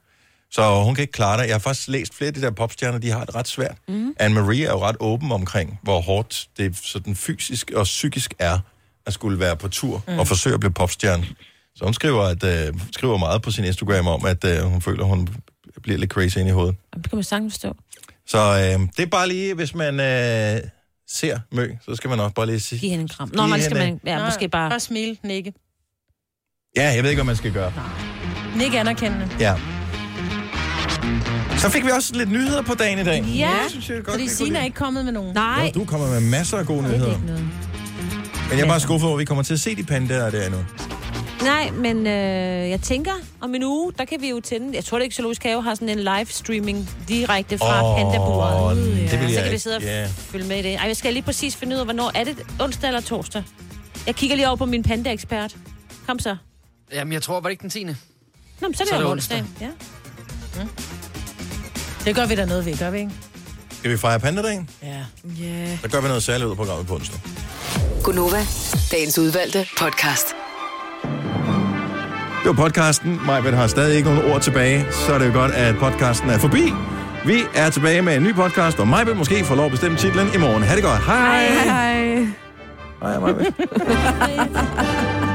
Speaker 1: Så hun kan ikke klare det. Jeg har faktisk læst flere af de der popstjerner, de har det ret svært.
Speaker 4: Mhm.
Speaker 1: Mm. Anne-Marie er jo ret åben omkring, hvor hårdt det sådan fysisk og psykisk er, at skulle være på tur mm.
Speaker 7: Mm.
Speaker 1: og forsøge at blive popstjerne. Så hun skriver, at, øh, skriver meget på sin Instagram om, at øh, hun føler, hun bliver lidt crazy ind i hovedet.
Speaker 4: Jamen, Det kan man sagtens forstå.
Speaker 1: Så øh, det er bare lige, hvis man øh, ser Mø, så skal man også bare lige sige...
Speaker 4: Giv hende en kram. Nå, man skal man... Ja,
Speaker 3: Nå,
Speaker 4: måske bare...
Speaker 3: Bare smile, nikke.
Speaker 1: Ja, jeg ved ikke, hvad man skal gøre.
Speaker 3: Nikke anerkendende.
Speaker 1: Ja. Så fik vi også lidt nyheder på dagen i dag. Det synes jeg godt, vi
Speaker 3: fordi
Speaker 1: kunne
Speaker 3: Sina er ikke kommet med nogen.
Speaker 1: Jo, du kommer med masser af gode nyheder. Men jeg er bare skuffet over, at vi kommer til at se de pandaer der endnu.
Speaker 4: Nej, men øh, jeg tænker, om en uge, der kan vi jo tænde... Jeg tror det ikke, Zoologisk Have har sådan en livestreaming direkte fra
Speaker 1: Åh,
Speaker 4: oh, pandaburet.
Speaker 1: det vil jeg
Speaker 4: Så kan vi
Speaker 1: ikke,
Speaker 4: sidde og
Speaker 1: ja.
Speaker 4: yeah. følge med i det. Ej, jeg skal lige præcis finde ud af, hvornår er det onsdag eller torsdag? Jeg kigger lige over på min panda-ekspert. Kom så.
Speaker 5: Jamen, jeg tror, var det ikke den 10.
Speaker 4: Nå, men så er det, så er det onsdag. Ja.
Speaker 3: Det gør vi da noget ved, gør vi ikke?
Speaker 1: Skal vi fejre pandadagen?
Speaker 3: Ja.
Speaker 2: Yeah.
Speaker 1: Så gør vi noget særligt ud af programmet på onsdag.
Speaker 6: Gunova, dagens udvalgte podcast.
Speaker 1: Det var podcasten. Majbet har stadig ikke nogen ord tilbage, så er det jo godt, at podcasten er forbi. Vi er tilbage med en ny podcast, og Majbet måske får lov at bestemme titlen i morgen. Ha' det godt. Hej.
Speaker 2: Hej.
Speaker 1: Hej, Majbet.